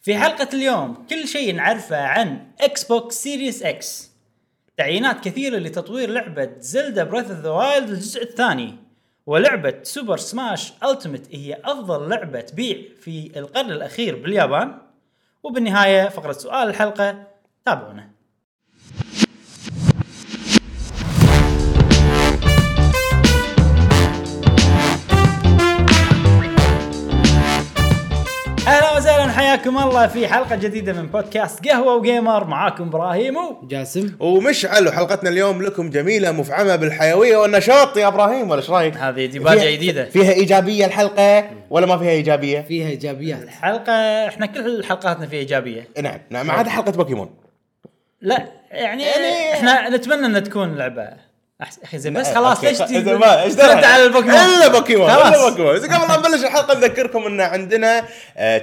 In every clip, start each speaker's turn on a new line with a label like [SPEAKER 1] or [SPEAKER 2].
[SPEAKER 1] في حلقة اليوم كل شيء نعرفه عن اكس بوكس سيريس اكس تعيينات كثيرة لتطوير لعبة زلدا بريث اوف ذا وايلد الجزء الثاني ولعبة سوبر سماش التيمت هي أفضل لعبة تبيع في القرن الأخير باليابان وبالنهاية فقرة سؤال الحلقة تابعونا اهلا وسهلا حياكم الله في حلقه جديده من بودكاست قهوه وجيمر معاكم ابراهيم و...
[SPEAKER 2] جاسم
[SPEAKER 3] ومشعل وحلقتنا اليوم لكم جميله مفعمه بالحيويه والنشاط يا ابراهيم ولا ايش رايك؟
[SPEAKER 1] هذه ديباجه
[SPEAKER 3] فيها-
[SPEAKER 1] جديده
[SPEAKER 3] فيها ايجابيه الحلقه ولا ما فيها ايجابيه؟
[SPEAKER 2] فيها ايجابيات
[SPEAKER 1] حلقه احنا كل حلقاتنا فيها ايجابيه
[SPEAKER 3] نعم نعم ما عدا حلقه بوكيمون
[SPEAKER 1] لا يعني,
[SPEAKER 3] يعني- إيه،
[SPEAKER 1] احنا نتمنى ان تكون لعبه احسن اخي زين بس
[SPEAKER 3] آه، أوكي.
[SPEAKER 1] خلاص ليش تي-
[SPEAKER 3] إذا ما- إيش دخل؟
[SPEAKER 1] ترد على البوكيمون
[SPEAKER 3] الا بوكيمون الا
[SPEAKER 1] خلاص.
[SPEAKER 3] بوكيمون إذا قبل لا نبلش الحلقه نذكركم ان عندنا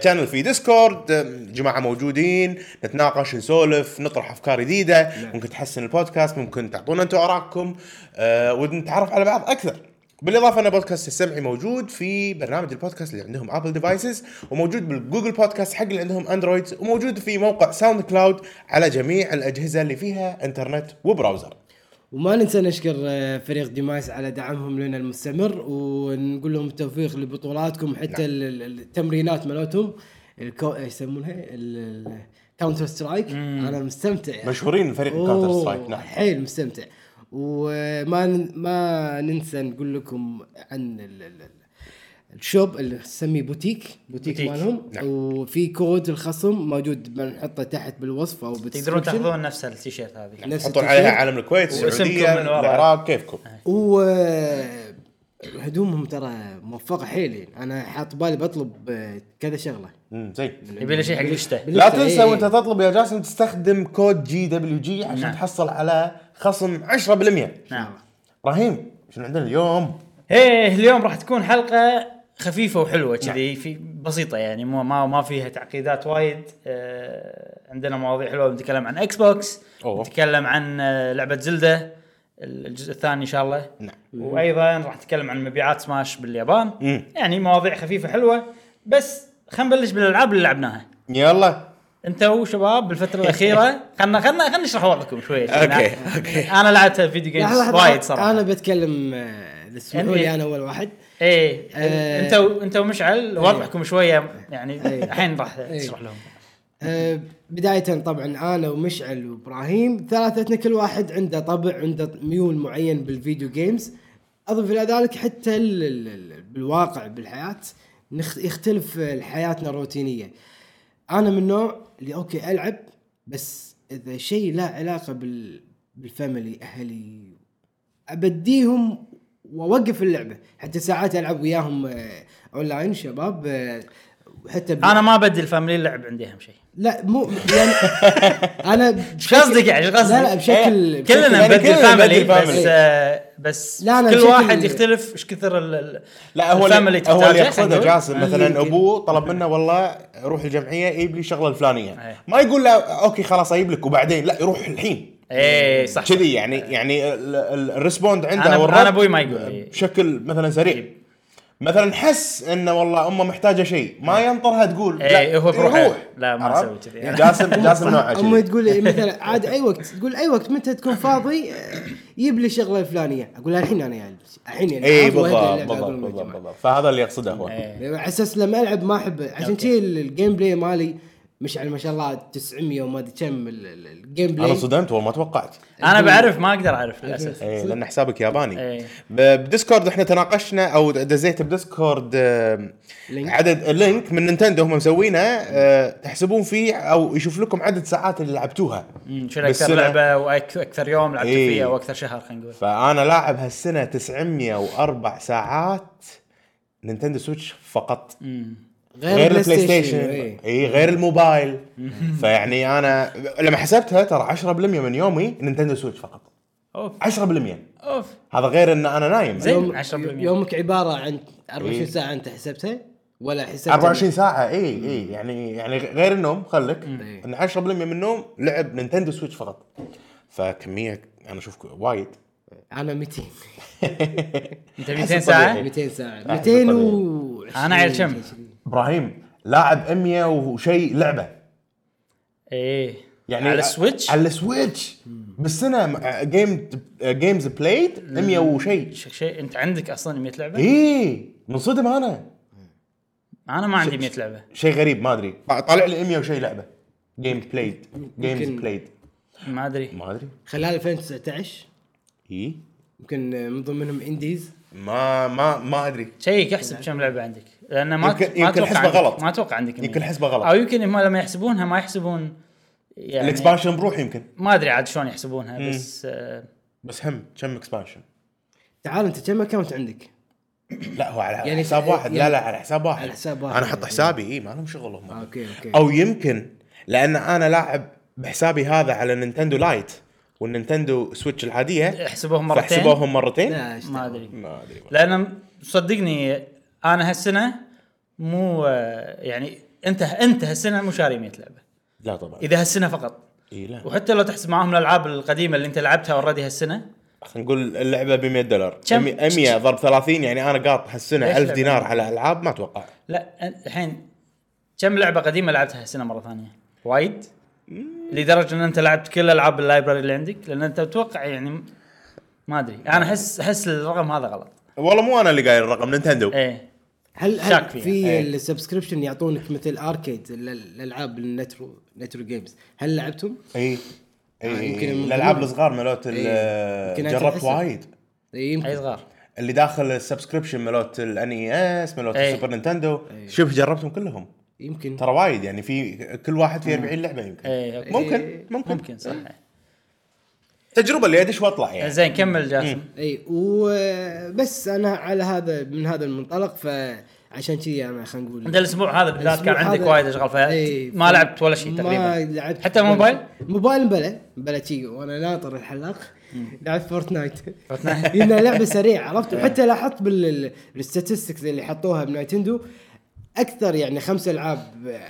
[SPEAKER 3] شانل في ديسكورد آه، جماعه موجودين نتناقش نسولف نطرح افكار جديده
[SPEAKER 1] نعم.
[SPEAKER 3] ممكن تحسن البودكاست ممكن تعطونا انتم ارائكم آه، ونتعرف على بعض اكثر بالاضافه ان بودكاست السمعي موجود في برنامج البودكاست اللي عندهم ابل ديفايسز وموجود بالجوجل بودكاست حق اللي عندهم اندرويد وموجود في موقع ساوند كلاود على جميع الاجهزه اللي فيها انترنت وبراوزر
[SPEAKER 2] وما ننسى نشكر آه، فريق ديمايس على دعمهم لنا المستمر ونقول لهم التوفيق لبطولاتكم
[SPEAKER 3] نعم.
[SPEAKER 2] حتى ال- ال- التمرينات مالتهم الكو... إيش يسمونها الكاونتر سترايك انا مستمتع
[SPEAKER 3] مشهورين فريق
[SPEAKER 2] أوه،
[SPEAKER 3] كاونتر سترايك نعم
[SPEAKER 2] حيل مستمتع وما ن- ما ننسى نقول لكم عن ال... ال... ال- الشوب اللي نسميه بوتيك بوتيك
[SPEAKER 1] بوتيك.
[SPEAKER 2] مالهم
[SPEAKER 3] نعم.
[SPEAKER 2] وفي كود الخصم موجود بنحطه تحت بالوصف او
[SPEAKER 1] تقدرون
[SPEAKER 2] بالديسكربشن
[SPEAKER 1] تاخذون نفس التيشيرت هذه
[SPEAKER 2] نفس
[SPEAKER 3] تحطون عليها
[SPEAKER 2] التيشيرت.
[SPEAKER 3] علم الكويت
[SPEAKER 1] واسمكم
[SPEAKER 3] السعوديه
[SPEAKER 1] من نعم. ورا.
[SPEAKER 3] العراق كيفكم
[SPEAKER 2] و هدومهم ترى موفقه حيل يعني انا حاط بالي بطلب آه، كذا شغله
[SPEAKER 3] امم زين
[SPEAKER 1] يبي له شيء حق الشتاء
[SPEAKER 3] لا
[SPEAKER 2] بالنسبة-
[SPEAKER 3] تنسى
[SPEAKER 2] إيه.
[SPEAKER 3] وانت تطلب يا جاسم تستخدم كود جي دبليو جي عشان
[SPEAKER 1] نعم.
[SPEAKER 3] تحصل على خصم 10%
[SPEAKER 1] نعم
[SPEAKER 3] ابراهيم شنو عندنا اليوم؟
[SPEAKER 1] ايه اليوم راح تكون حلقه خفيفه وحلوه
[SPEAKER 3] نعم.
[SPEAKER 1] كذي في بسيطه يعني مو ما ما فيها تعقيدات وايد آه عندنا مواضيع حلوه بنتكلم عن اكس بوكس
[SPEAKER 3] أوه.
[SPEAKER 1] بنتكلم عن آه، لعبه زلده الجزء الثاني ان شاء الله
[SPEAKER 3] نعم.
[SPEAKER 1] وايضا راح نتكلم عن مبيعات سماش باليابان
[SPEAKER 3] مم.
[SPEAKER 1] يعني مواضيع خفيفه حلوه بس خلينا نبلش بالالعاب اللي لعبناها
[SPEAKER 3] يلا
[SPEAKER 1] انت وشباب بالفتره الاخيره خلنا خلنا خلنا نشرح وضعكم شوي
[SPEAKER 3] اوكي اوكي
[SPEAKER 1] انا لعبت فيديو
[SPEAKER 2] لحظة،
[SPEAKER 1] جيمز
[SPEAKER 2] لحظة،
[SPEAKER 1] وايد يعني صراحه
[SPEAKER 2] انا بتكلم آه،
[SPEAKER 1] NBA.
[SPEAKER 2] السعودي انا اول واحد
[SPEAKER 1] ايه
[SPEAKER 2] آه،
[SPEAKER 1] انت و- انت ومشعل وضعكم شويه يعني
[SPEAKER 2] إيه.
[SPEAKER 1] الحين راح
[SPEAKER 2] إيه.
[SPEAKER 1] تشرح لهم
[SPEAKER 2] آه، بداية طبعا انا ومشعل وابراهيم ثلاثتنا كل واحد عنده طبع عنده ميول معين بالفيديو جيمز اضف الى ذلك حتى ال- ال- ال- بالواقع بالحياة نخ- يختلف آه، حياتنا الروتينية انا من النوع اللي اوكي العب بس اذا شيء لا علاقة بال بالفاميلي اهلي ابديهم واوقف اللعبه حتى ساعات العب وياهم آه، اونلاين شباب آه، وحتى بال-
[SPEAKER 1] انا ما بدي فاميلي اللعب عندي اهم شيء
[SPEAKER 2] لا مو يعني انا
[SPEAKER 1] ايش قصدك يعني ايش قصدك؟ إيه.
[SPEAKER 2] لا لا بشكل بشكل-
[SPEAKER 1] كلنا
[SPEAKER 3] يعني
[SPEAKER 1] نبدل
[SPEAKER 3] كلنا
[SPEAKER 1] فاميلي
[SPEAKER 3] نبدل
[SPEAKER 1] بس
[SPEAKER 3] family.
[SPEAKER 1] آه، بس
[SPEAKER 2] لا، أنا
[SPEAKER 1] كل
[SPEAKER 2] بشكل-
[SPEAKER 1] واحد يختلف ايش كثر ال- ال-
[SPEAKER 3] لا هو
[SPEAKER 1] الفاميلي
[SPEAKER 3] اللي هو اللي
[SPEAKER 1] تحتاجه، أيوه.
[SPEAKER 3] يقصده
[SPEAKER 1] خلينا
[SPEAKER 3] جاسم
[SPEAKER 2] نقول.
[SPEAKER 3] مثلا
[SPEAKER 2] يمكن.
[SPEAKER 3] ابوه طلب منه والله روح الجمعيه جيب لي الشغله الفلانيه
[SPEAKER 1] إيه.
[SPEAKER 3] ما يقول له اوكي خلاص اجيب لك وبعدين لا يروح الحين
[SPEAKER 1] ايه صح
[SPEAKER 3] كذي يعني يعني ال- ال- الريسبوند عنده
[SPEAKER 1] أنا- أنا
[SPEAKER 3] أو الرد
[SPEAKER 1] أبوي ما يقول. طيب.
[SPEAKER 3] بشكل مثلا سريع مثلا حس انه والله امه محتاجه شيء ما ينطرها تقول لا
[SPEAKER 1] آه. إيه، هو بروحه.
[SPEAKER 3] يروح.
[SPEAKER 1] لا، ما
[SPEAKER 3] عرفت؟ يعني
[SPEAKER 1] أسوي كذي أنا.
[SPEAKER 3] جاسم جاسم نوعه
[SPEAKER 2] امي
[SPEAKER 3] كذي
[SPEAKER 2] تقول لي مثلا عاد اي وقت تقول اي وقت متى تكون فاضي آه، جيب لي شغله الفلانيه اقول لها الحين انا يعني الحين يعني
[SPEAKER 3] اي
[SPEAKER 2] عاد وأهدى
[SPEAKER 3] إيه، بالضبط
[SPEAKER 2] اللعبة،
[SPEAKER 3] بالضبط
[SPEAKER 2] أقول لهم يا
[SPEAKER 3] بالضبط
[SPEAKER 2] جماعة. يعني
[SPEAKER 3] بالضبط. فهذا اللي يقصده هو
[SPEAKER 1] إيه.
[SPEAKER 2] على اساس لما العب ما احب عشان
[SPEAKER 1] أوكي.
[SPEAKER 2] كذي الجيم بلاي مالي مش على ما شاء الله 900 وما ادري كم ال- ال- الجيم
[SPEAKER 3] انا
[SPEAKER 2] بلاي
[SPEAKER 3] صدمت والله ما توقعت
[SPEAKER 1] انا بعرف ما اقدر اعرف للاسف
[SPEAKER 3] ايه لان حسابك ياباني
[SPEAKER 1] إيه.
[SPEAKER 3] ب- بديسكورد احنا تناقشنا او دزيت بديسكورد آم،
[SPEAKER 2] لينك.
[SPEAKER 3] عدد لينك من نينتندو هم مسوينه آه، تحسبون فيه او يشوف لكم عدد ساعات اللي لعبتوها
[SPEAKER 1] مم، شنو اكثر
[SPEAKER 3] بالسنة.
[SPEAKER 1] لعبه واكثر يوم لعبت
[SPEAKER 3] إيه.
[SPEAKER 1] فيها واكثر شهر خلينا نقول
[SPEAKER 3] فانا لاعب هالسنه 904 ساعات نينتندو سويتش فقط غير البلاي ستيشن
[SPEAKER 2] إيه.
[SPEAKER 3] اي غير الموبايل فيعني انا لما حسبتها ترى 10% من يومي نينتندو سويتش فقط
[SPEAKER 1] اوف
[SPEAKER 3] 10%
[SPEAKER 1] اوف
[SPEAKER 3] هذا غير ان انا نايم
[SPEAKER 1] زين.
[SPEAKER 2] يوم
[SPEAKER 1] 10%.
[SPEAKER 2] يومك عباره عن 24
[SPEAKER 3] إيه.
[SPEAKER 2] ساعه انت حسبتها ولا حسبتها
[SPEAKER 3] 24 ساعة اي اي يعني يعني غير النوم خلك
[SPEAKER 2] إيه.
[SPEAKER 3] ان 10% من النوم لعب نينتندو سويتش فقط فكمية انا اشوف وايد
[SPEAKER 2] انا 200
[SPEAKER 1] انت 200
[SPEAKER 3] حسب طبيعي.
[SPEAKER 1] ساعه
[SPEAKER 2] يعني 200 ساعه
[SPEAKER 3] طبيعي.
[SPEAKER 2] 220
[SPEAKER 1] أنا عيل كم؟
[SPEAKER 3] ابراهيم لاعب 100 وشيء لعبه
[SPEAKER 1] ايه
[SPEAKER 3] يعني
[SPEAKER 1] على السويتش
[SPEAKER 3] على السويتش آه، بالسنه جيم جيمز بلايد 100 وشيء
[SPEAKER 1] ش- شيء انت عندك اصلا 100 لعبه؟
[SPEAKER 3] إيه. اي منصدم انا
[SPEAKER 1] انا ما عندي 100 لعبه
[SPEAKER 3] شيء غريب ما ادري طا- طالع لي 100 وشيء لعبه جيم بلايد جيمز بلايد
[SPEAKER 1] ما ادري
[SPEAKER 3] ما ادري
[SPEAKER 2] خلال 2019
[SPEAKER 3] اي
[SPEAKER 2] يمكن من ضمنهم انديز
[SPEAKER 3] ما ما ما ادري
[SPEAKER 1] شيك احسب كم لعبه عندك لان ما
[SPEAKER 3] يمكن-
[SPEAKER 1] ت-
[SPEAKER 3] يمكن
[SPEAKER 1] ما اتوقع
[SPEAKER 3] حسبة
[SPEAKER 1] عندك-
[SPEAKER 3] غلط.
[SPEAKER 1] ما اتوقع عندك
[SPEAKER 3] يمكن
[SPEAKER 1] 100.
[SPEAKER 3] حسبة غلط.
[SPEAKER 1] او يمكن هم لما يحسبونها ما يحسبون يعني
[SPEAKER 3] الاكسبانشن بروح يمكن
[SPEAKER 1] ما ادري عاد شلون يحسبونها بس آه،
[SPEAKER 3] بس هم كم اكسبانشن
[SPEAKER 2] تعال انت كم اكونت عندك؟
[SPEAKER 3] لا هو على
[SPEAKER 2] يعني-
[SPEAKER 3] يعني حساب واحد لا
[SPEAKER 2] يعني-
[SPEAKER 3] لا على حساب واحد
[SPEAKER 2] على حساب واحد.
[SPEAKER 3] انا احط حسابي اي ما لهم شغل هم
[SPEAKER 2] اوكي اوكي
[SPEAKER 3] او يمكن لان انا لاعب بحسابي هذا على نينتندو لايت والنينتندو سويتش العاديه
[SPEAKER 1] يحسبوهم مرتين
[SPEAKER 3] فحسبوهم مرتين
[SPEAKER 2] لا إيش
[SPEAKER 1] ما
[SPEAKER 2] دعوة.
[SPEAKER 1] ادري
[SPEAKER 3] ما ادري
[SPEAKER 1] لان صدقني انا هالسنه مو آه، يعني انت انت هالسنه مو شاري 100 لعبه
[SPEAKER 3] لا طبعا
[SPEAKER 1] اذا هالسنه فقط
[SPEAKER 3] اي لا
[SPEAKER 1] وحتى لو تحسب معاهم الالعاب القديمه اللي انت لعبتها اوريدي هالسنه
[SPEAKER 3] خلينا نقول اللعبه ب 100 دولار
[SPEAKER 1] كم-
[SPEAKER 3] 100 ضرب 30 يعني انا قاط
[SPEAKER 1] ليش
[SPEAKER 3] هالسنه 1000
[SPEAKER 1] لعبة؟
[SPEAKER 3] دينار على العاب ما اتوقع
[SPEAKER 1] لا أن- الحين كم لعبه قديمه لعبتها هالسنه مره ثانيه؟ وايد؟ لدرجه ان انت لعبت كل العاب اللايبرري اللي عندك لان انت تتوقع يعني م- ما ادري انا احس احس الرقم هذا غلط
[SPEAKER 3] والله مو انا اللي قايل الرقم نينتندو
[SPEAKER 2] إيه.
[SPEAKER 1] ايه
[SPEAKER 2] هل
[SPEAKER 1] شاك
[SPEAKER 2] هل
[SPEAKER 1] فيها.
[SPEAKER 2] في
[SPEAKER 3] إيه.
[SPEAKER 2] السبسكريبشن يعطونك مثل اركيد ال- الالعاب النترو نترو جيمز هل لعبتهم؟
[SPEAKER 3] اي
[SPEAKER 2] آه،
[SPEAKER 3] اي
[SPEAKER 2] يمكن من
[SPEAKER 3] الالعاب
[SPEAKER 2] ضمنهم.
[SPEAKER 3] الصغار مالوت ال-
[SPEAKER 2] إيه. يمكن
[SPEAKER 3] جربت
[SPEAKER 2] أتحسب.
[SPEAKER 3] وايد
[SPEAKER 2] إي،
[SPEAKER 1] اي
[SPEAKER 2] يمكن
[SPEAKER 1] صغار
[SPEAKER 3] اللي داخل السبسكريبشن مالوت الان اي اس مالوت
[SPEAKER 1] إيه.
[SPEAKER 3] E السوبر نينتندو شوف جربتهم كلهم
[SPEAKER 2] يمكن
[SPEAKER 3] ترى وايد يعني في كل واحد فيه 40 لعبه يمكن
[SPEAKER 1] ايه أوكي.
[SPEAKER 3] ممكن ممكن
[SPEAKER 1] ممكن صح إيه،
[SPEAKER 3] تجربه اللي ادش واطلع يعني
[SPEAKER 1] زين كمل جاسم
[SPEAKER 2] اي وبس انا على هذا من هذا المنطلق فعشان كذي انا خلينا نقول
[SPEAKER 1] انت الاسبوع هذا بالذات كان
[SPEAKER 2] الأسبوع
[SPEAKER 1] عندك
[SPEAKER 2] هذا-
[SPEAKER 1] وايد اشغال
[SPEAKER 2] إي،
[SPEAKER 1] فما
[SPEAKER 2] ف-
[SPEAKER 1] لعبت ولا شيء
[SPEAKER 2] ما
[SPEAKER 1] تقريبا
[SPEAKER 2] لعبت
[SPEAKER 1] حتى
[SPEAKER 2] ولا
[SPEAKER 1] موبايل؟
[SPEAKER 2] شيء. موبايل بلا بلا شيء وانا ناطر الحلاق لعبت فورتنايت
[SPEAKER 1] فورتنايت.
[SPEAKER 2] لانها لعبه سريعه عرفت وحتى لاحظت بالستاتستكس اللي حطوها بنايتندو اكثر يعني خمس العاب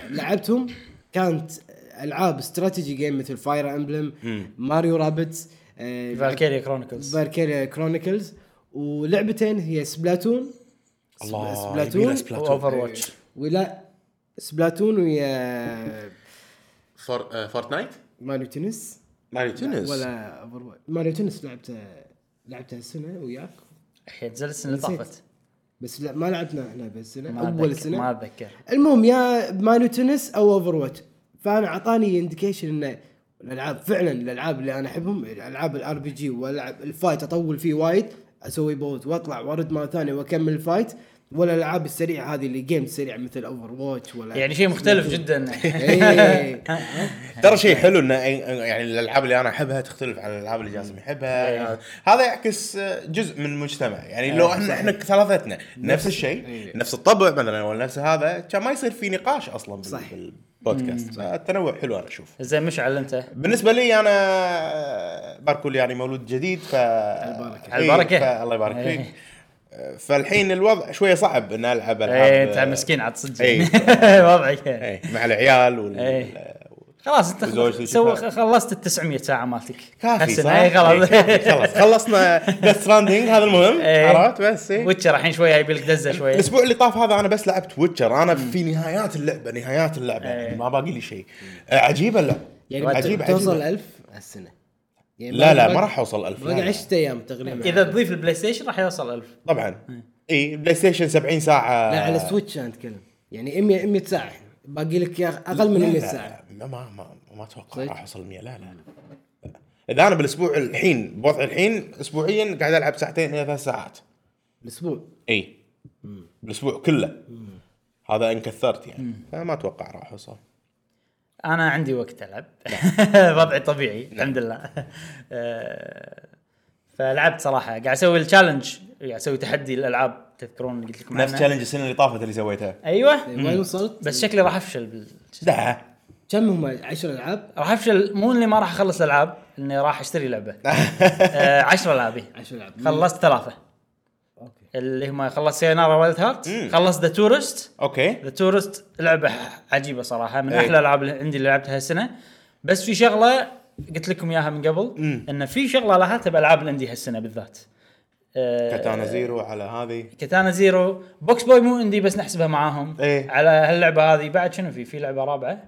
[SPEAKER 2] لعبتهم كانت العاب استراتيجي جيم مثل فاير امبلم ماريو رابتس آه،
[SPEAKER 1] فالكيريا كرونيكلز
[SPEAKER 2] فالكيريا كرونيكلز ولعبتين هي سبلاتون
[SPEAKER 3] الله،
[SPEAKER 2] سبلاتون
[SPEAKER 3] يبيلها سبلاتون.
[SPEAKER 1] واوفر واتش
[SPEAKER 2] ولا سبلاتون ويا
[SPEAKER 3] فورتنايت
[SPEAKER 2] ماريو تنس
[SPEAKER 3] ماريو تنس
[SPEAKER 2] ولا أوفر- ماريو تنس لعبته لعبته السنه وياك
[SPEAKER 1] نزلت السنه اللي
[SPEAKER 2] نسيت.
[SPEAKER 1] طافت
[SPEAKER 2] بس لا ما لعبنا احنا بالسنه
[SPEAKER 1] ما
[SPEAKER 2] اول
[SPEAKER 1] أتذكر-
[SPEAKER 2] سنه
[SPEAKER 1] ما اتذكر
[SPEAKER 2] المهم يا ماريو تنس او اوفر واتش فانا اعطاني انديكيشن انه الالعاب فعلا الالعاب اللي انا احبهم الالعاب الار بي جي والعب الفايت اطول فيه وايد اسوي بوت واطلع وارد مره ثانيه واكمل الفايت ولا الالعاب السريعه هذه اللي جيم سريع مثل اوفر واتش ولا
[SPEAKER 1] يعني شيء مختلف جدا
[SPEAKER 2] إيه.
[SPEAKER 3] ترى شيء حلو انه يعني الالعاب اللي انا احبها تختلف عن الالعاب اللي جاسم يحبها
[SPEAKER 1] إيه.
[SPEAKER 3] هذا يعكس آه، جزء من المجتمع يعني لو احنا احنا ثلاثتنا نفس الشيء
[SPEAKER 2] إيه.
[SPEAKER 3] نفس الطبع مثلا ولا نفس هذا كان ما يصير في نقاش اصلا بال-
[SPEAKER 2] صح.
[SPEAKER 3] بالبودكاست التنوع حلو انا اشوف
[SPEAKER 1] زين مشعل انت
[SPEAKER 3] بالنسبه لي انا باركول يعني مولود جديد ف
[SPEAKER 2] البركة.
[SPEAKER 3] إيه،
[SPEAKER 1] البركة.
[SPEAKER 3] ف- الله يبارك
[SPEAKER 1] إيه.
[SPEAKER 3] فيك فالحين الوضع شويه صعب ان العب العاب
[SPEAKER 1] ايه انت مسكين عاد صدق
[SPEAKER 3] آه، إيه.
[SPEAKER 1] وضعك يعني.
[SPEAKER 3] إيه، مع العيال وال
[SPEAKER 1] إيه. خلاص انت
[SPEAKER 3] وزوجتي
[SPEAKER 1] خل-
[SPEAKER 3] وشي
[SPEAKER 1] سو
[SPEAKER 3] فاهم.
[SPEAKER 1] خلصت ال 900 ساعه مالتك
[SPEAKER 3] كافي
[SPEAKER 1] هالسنة.
[SPEAKER 3] صح؟
[SPEAKER 1] إيه، خلاص
[SPEAKER 3] إيه، كافي، خلاص خلصنا ديث ستراندنج هذا المهم
[SPEAKER 1] إيه.
[SPEAKER 3] عرفت بس إيه.
[SPEAKER 1] ويتشر الحين شويه يبي لك دزه شويه
[SPEAKER 3] الاسبوع اللي طاف هذا انا بس لعبت ويتشر انا في نهايات اللعبه نهايات اللعبه
[SPEAKER 1] إيه.
[SPEAKER 3] ما باقي لي شيء آه، عجيبه اللعبه
[SPEAKER 2] يعني
[SPEAKER 3] عجيب
[SPEAKER 2] بت- توصل
[SPEAKER 3] عجيب
[SPEAKER 2] 1000 هالسنه يعني
[SPEAKER 3] لا لا
[SPEAKER 2] باقي-
[SPEAKER 3] ما راح اوصل 1000
[SPEAKER 2] باقي 10 ايام تقريبا
[SPEAKER 1] اذا تضيف البلاي ستيشن راح يوصل 1000
[SPEAKER 3] طبعا اي بلاي ستيشن 70 ساعه
[SPEAKER 2] إيه. لا على السويتش انا اتكلم يعني 100 100 ساعه باقي لك يا أخ- اقل من
[SPEAKER 3] لا،
[SPEAKER 2] 100
[SPEAKER 3] لا،
[SPEAKER 2] ساعه
[SPEAKER 3] لا، ما ما ما اتوقع
[SPEAKER 2] صدق؟
[SPEAKER 3] راح اوصل 100 لا لا لا اذا انا بالاسبوع الحين بوضعي الحين اسبوعيا قاعد العب ساعتين الى ثلاث ساعات
[SPEAKER 2] الاسبوع
[SPEAKER 3] اي بالاسبوع كله هذا ان كثرت يعني فما اتوقع راح اوصل
[SPEAKER 1] انا عندي وقت العب
[SPEAKER 3] نعم.
[SPEAKER 1] وضعي طبيعي الحمد لله آه، فلعبت صراحه قاعد اسوي التشالنج قاعد اسوي تحدي الالعاب تذكرون اللي قلت لكم
[SPEAKER 3] نفس إيه،
[SPEAKER 1] عنه
[SPEAKER 3] تشالنج السنه اللي طافت اللي سويتها
[SPEAKER 1] ايوه
[SPEAKER 2] وين وصلت؟
[SPEAKER 1] بس شكلي راح افشل بال...
[SPEAKER 3] لا
[SPEAKER 2] كم هم 10 العاب؟
[SPEAKER 1] راح افشل مو اني ما راح اخلص العاب اني راح اشتري لعبه آه، 10 العابي
[SPEAKER 2] 10 العاب
[SPEAKER 1] خلصت ثلاثه
[SPEAKER 2] اوكي
[SPEAKER 1] اللي هم خلصت سينارا وايلد هارت
[SPEAKER 3] مم.
[SPEAKER 1] خلصت ذا تورست
[SPEAKER 3] اوكي
[SPEAKER 1] ذا تورست لعبه عجيبه صراحه من
[SPEAKER 3] إيه.
[SPEAKER 1] احلى الالعاب اللي عندي اللي لعبتها هالسنه بس في شغله قلت لكم اياها من قبل
[SPEAKER 3] مم.
[SPEAKER 1] ان في شغله لاحظتها بالالعاب الاندي هالسنه بالذات آه،
[SPEAKER 3] كاتانا زيرو على هذه
[SPEAKER 1] كاتانا زيرو بوكس بوي مو اندي بس نحسبها معاهم
[SPEAKER 3] إيه.
[SPEAKER 1] على هاللعبه هذه بعد شنو في في لعبه رابعه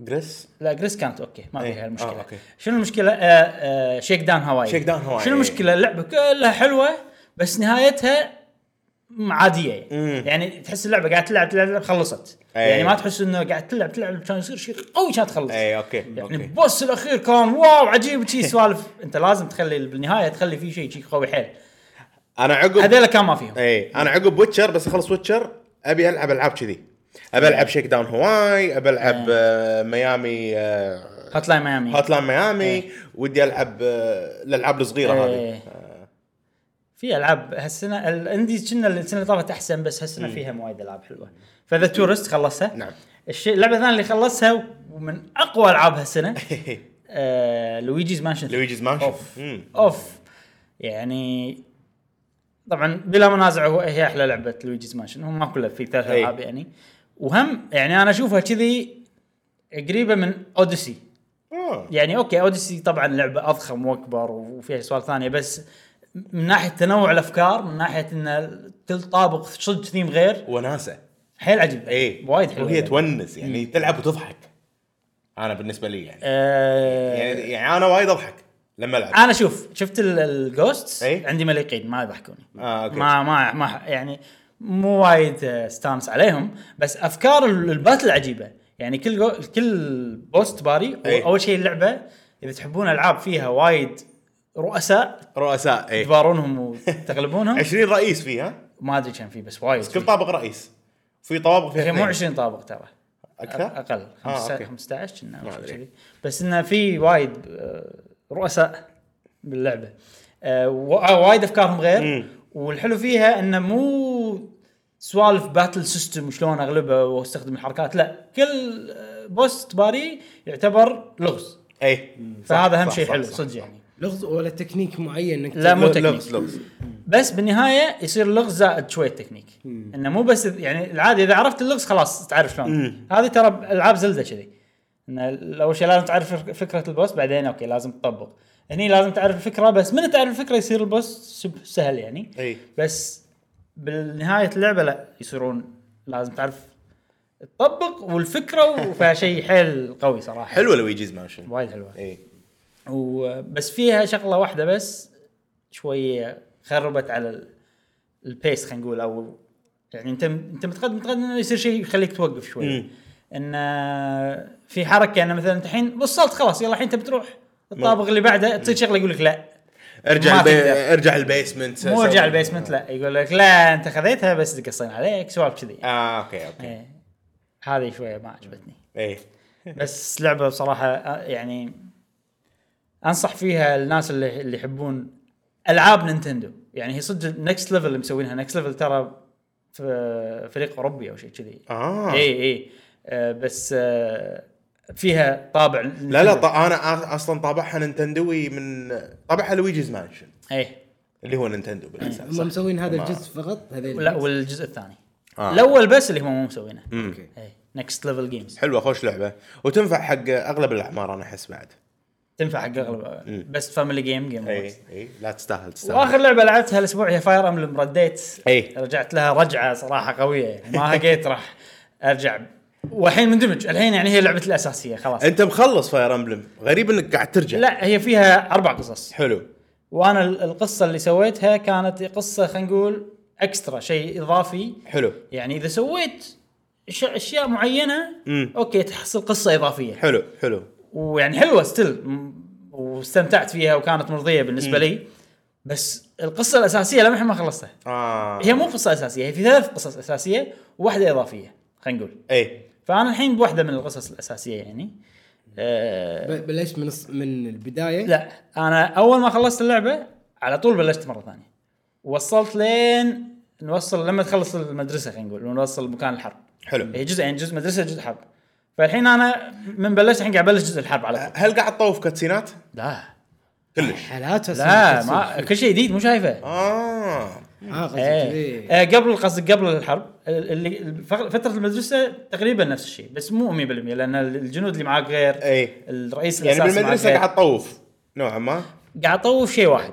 [SPEAKER 3] جريس
[SPEAKER 1] لا جريس كانت اوكي ما
[SPEAKER 3] إيه.
[SPEAKER 1] فيها المشكله
[SPEAKER 3] آه، أوكي.
[SPEAKER 1] شنو المشكله آه آه شيك داون هواي
[SPEAKER 3] شيك داون هواي.
[SPEAKER 1] شنو المشكله اللعبه كلها حلوه بس نهايتها م- عاديه يعني,
[SPEAKER 3] مم.
[SPEAKER 1] يعني تحس اللعبه قاعد تلعب تلعب تلعب خلصت
[SPEAKER 3] إيه.
[SPEAKER 1] يعني ما تحس انه قاعد تلعب تلعب كان يصير شيء قوي كانت تخلص
[SPEAKER 3] اي اوكي
[SPEAKER 1] يعني
[SPEAKER 3] اوكي
[SPEAKER 1] البوس الاخير كان واو عجيب شي سوالف انت لازم تخلي بالنهايه تخلي فيه شيء شيء قوي حيل
[SPEAKER 3] انا عقب
[SPEAKER 1] هذيلا كان ما فيهم
[SPEAKER 3] اي انا إيه، عقب ويتشر بس اخلص ويتشر ابي العب العاب كذي ابي العب شيك داون هواي ابي
[SPEAKER 1] إيه.
[SPEAKER 3] العب آه، ميامي آه،
[SPEAKER 1] هات لاين ميامي
[SPEAKER 3] هات لاين ميامي ودي العب آه، الالعاب الصغيره
[SPEAKER 1] إيه.
[SPEAKER 3] هذه
[SPEAKER 1] في العاب هالسنه الانديز كنا السنه اللي طافت احسن بس هالسنه فيها وايد العاب حلوه فذا تورست خلصها
[SPEAKER 3] نعم.
[SPEAKER 1] الشيء اللعبه الثانيه اللي خلصها ومن اقوى العاب هالسنه آه لويجيز مانشن
[SPEAKER 3] لويجيز مانشن.
[SPEAKER 1] اوف
[SPEAKER 3] مم.
[SPEAKER 1] اوف يعني طبعا بلا منازع هو هي احلى لعبه لويجيز مانشن هم ما كلها في ثلاث
[SPEAKER 3] إي.
[SPEAKER 1] العاب يعني وهم يعني انا اشوفها كذي قريبه من اوديسي
[SPEAKER 3] آه.
[SPEAKER 1] يعني اوكي اوديسي طبعا لعبه اضخم واكبر وفيها سوالف ثانيه بس من ناحيه تنوع الافكار من ناحيه ان كل طابق صدق ثيم غير
[SPEAKER 3] وناسه
[SPEAKER 1] حيل عجيب
[SPEAKER 3] اي
[SPEAKER 1] وايد حلوه
[SPEAKER 3] إيه. وهي
[SPEAKER 1] يعني.
[SPEAKER 3] تونس يعني تلعب وتضحك انا بالنسبه لي يعني
[SPEAKER 1] آه
[SPEAKER 3] يعني, يعني انا وايد اضحك لما العب
[SPEAKER 1] انا شوف شفت الجوست
[SPEAKER 3] إي.
[SPEAKER 1] عندي مليقين ما يضحكوني
[SPEAKER 3] آه، إيه. أوكي.
[SPEAKER 1] ما ما ما يعني مو وايد آه، ستانس عليهم بس افكار ال- الباتل عجيبه يعني كل جو كل بوست باري
[SPEAKER 3] إي.
[SPEAKER 1] اول شيء اللعبه اذا تحبون العاب فيها وايد رؤساء
[SPEAKER 3] رؤساء اي
[SPEAKER 1] تبارونهم وتغلبونهم
[SPEAKER 3] 20 رئيس فيها
[SPEAKER 1] ما ادري كم في بس وايد في.
[SPEAKER 3] كل طابق رئيس في طوابق
[SPEAKER 1] يا
[SPEAKER 3] فيها
[SPEAKER 1] أخي إيه، مو
[SPEAKER 3] اثنين.
[SPEAKER 1] 20 طابق ترى
[SPEAKER 3] اكثر
[SPEAKER 1] اقل
[SPEAKER 3] آه،
[SPEAKER 1] 15
[SPEAKER 3] أوكي.
[SPEAKER 1] 15 كنا أو
[SPEAKER 3] ما
[SPEAKER 1] شيء
[SPEAKER 3] أدري.
[SPEAKER 1] كذي. بس انه في وايد آه، رؤساء باللعبه آه، وا- وايد افكارهم غير
[SPEAKER 3] مم.
[SPEAKER 1] والحلو فيها انه مو سوالف باتل سيستم وشلون اغلبه واستخدم الحركات لا كل آه، بوس تباري يعتبر لغز
[SPEAKER 3] اي
[SPEAKER 1] فهذا
[SPEAKER 3] إيه. صح،
[SPEAKER 1] اهم
[SPEAKER 3] صح،
[SPEAKER 1] شيء
[SPEAKER 3] صح،
[SPEAKER 1] حلو
[SPEAKER 3] صح،
[SPEAKER 1] صدق
[SPEAKER 3] صح.
[SPEAKER 1] يعني
[SPEAKER 2] لغز ولا تكنيك معين انك
[SPEAKER 1] لا مو
[SPEAKER 3] لغز-
[SPEAKER 1] تكنيك.
[SPEAKER 3] لغز لغز
[SPEAKER 1] بس بالنهايه يصير اللغز زائد شويه تكنيك انه مو بس يعني العادي اذا عرفت اللغز خلاص تعرف شلون هذه ترى العاب زلده كذي انه ال- اول شيء لازم تعرف فك- فكره البوس بعدين اوكي لازم تطبق هني لازم تعرف الفكره بس من تعرف الفكره يصير البوس شبه سهل يعني
[SPEAKER 3] اي
[SPEAKER 1] بس بالنهايه اللعبه لا يصيرون لازم تعرف تطبق والفكره وفيها شيء حيل قوي صراحه
[SPEAKER 3] حلوه لويجيز مانشن
[SPEAKER 1] وايد حلوه
[SPEAKER 3] اي
[SPEAKER 1] وبس فيها شغله واحده بس شويه خربت على ال- البيس خلينا نقول او يعني انت انت متقدم متقدم انه يصير شيء يخليك توقف شوي
[SPEAKER 3] مم.
[SPEAKER 1] ان آه، في حركه انه مثلا انت الحين وصلت خلاص يلا الحين انت بتروح الطابق اللي بعده تصير شغله يقول لك لا
[SPEAKER 3] ارجع
[SPEAKER 1] ما
[SPEAKER 3] البي...
[SPEAKER 1] تقدر.
[SPEAKER 3] ارجع البيسمنت
[SPEAKER 1] مو
[SPEAKER 3] سوي-
[SPEAKER 1] ارجع البيسمنت لا يقول لك لا انت خذيتها بس قصين عليك سوالف كذي
[SPEAKER 3] اه اوكي اوكي
[SPEAKER 1] إيه. هذه شويه ما عجبتني
[SPEAKER 3] اي
[SPEAKER 1] بس لعبه بصراحه آه، يعني انصح فيها الناس اللي اللي يحبون العاب نينتندو يعني هي صدق نكست ليفل اللي مسوينها نكست ليفل ترى في فريق اوروبي او شيء كذي
[SPEAKER 3] اه
[SPEAKER 1] اي اي آه، بس آه، فيها طابع
[SPEAKER 3] لا لا ط... انا أ- اصلا طابعها نينتندوي من طابعها لويجيز مانشن
[SPEAKER 1] اي
[SPEAKER 3] اللي هو نينتندو بالاساس
[SPEAKER 2] هم
[SPEAKER 3] صح؟
[SPEAKER 2] مسوين هذا
[SPEAKER 3] ما-
[SPEAKER 2] الجزء فقط هذا
[SPEAKER 1] لا والجزء الثاني
[SPEAKER 3] آه.
[SPEAKER 1] الاول بس اللي هم مو مسوينه إيه،
[SPEAKER 2] اوكي
[SPEAKER 1] اي نكست ليفل جيمز
[SPEAKER 3] حلوه خوش لعبه وتنفع حق اغلب الاعمار انا احس بعد
[SPEAKER 1] تنفع حق اغلب بس فاميلي جيم جيم
[SPEAKER 3] اي اي إيه. لا تستاهل تستاهل
[SPEAKER 1] واخر لعبه لعبتها الاسبوع هي فاير امبلم رديت
[SPEAKER 3] إيه.
[SPEAKER 1] رجعت لها رجعه صراحه قويه يعني ما هقيت راح ارجع والحين مندمج الحين يعني هي لعبتي الاساسيه خلاص
[SPEAKER 3] انت مخلص فاير امبلم غريب انك قاعد ترجع
[SPEAKER 1] لا هي فيها اربع قصص
[SPEAKER 3] حلو
[SPEAKER 1] وانا ال- القصه اللي سويتها كانت قصه خلينا نقول اكسترا شيء اضافي
[SPEAKER 3] حلو
[SPEAKER 1] يعني اذا سويت ش- اشياء معينه
[SPEAKER 3] مم.
[SPEAKER 1] اوكي تحصل قصه اضافيه
[SPEAKER 3] حلو حلو
[SPEAKER 1] ويعني حلوه ستيل واستمتعت فيها وكانت مرضيه بالنسبه لي بس القصه الاساسيه لمحها ما خلصتها
[SPEAKER 3] اه
[SPEAKER 1] هي مو قصه اساسيه هي في ثلاث قصص اساسيه وواحده اضافيه خلينا نقول
[SPEAKER 3] اي
[SPEAKER 1] فانا الحين بواحده من القصص الاساسيه يعني أه
[SPEAKER 2] ب- بلشت من الص- من البدايه
[SPEAKER 1] لا انا اول ما خلصت اللعبه على طول بلشت مره ثانيه وصلت لين نوصل لما تخلص المدرسه خلينا نقول ونوصل مكان الحرب
[SPEAKER 3] حلو
[SPEAKER 1] هي جزئين جزء مدرسه جزء حرب فالحين انا من بلشت الحين قاعد ابلش جزء الحرب على طول
[SPEAKER 3] هل قاعد تطوف كاتسينات؟
[SPEAKER 1] لا
[SPEAKER 3] كلش
[SPEAKER 2] حالات
[SPEAKER 1] لا ما كل شيء جديد مو شايفه
[SPEAKER 3] اه
[SPEAKER 2] اه قصدك
[SPEAKER 1] ايه
[SPEAKER 2] كذي.
[SPEAKER 1] آه، قبل قصدك قبل الحرب اللي الفق- فتره المدرسه تقريبا نفس الشيء بس مو 100% لان الجنود اللي معاك غير
[SPEAKER 3] اي
[SPEAKER 1] الرئيس
[SPEAKER 3] يعني
[SPEAKER 1] الاساسي معاك
[SPEAKER 3] بالمدرسه
[SPEAKER 1] غير.
[SPEAKER 3] قاعد تطوف نوعا ما
[SPEAKER 1] قاعد اطوف شيء واحد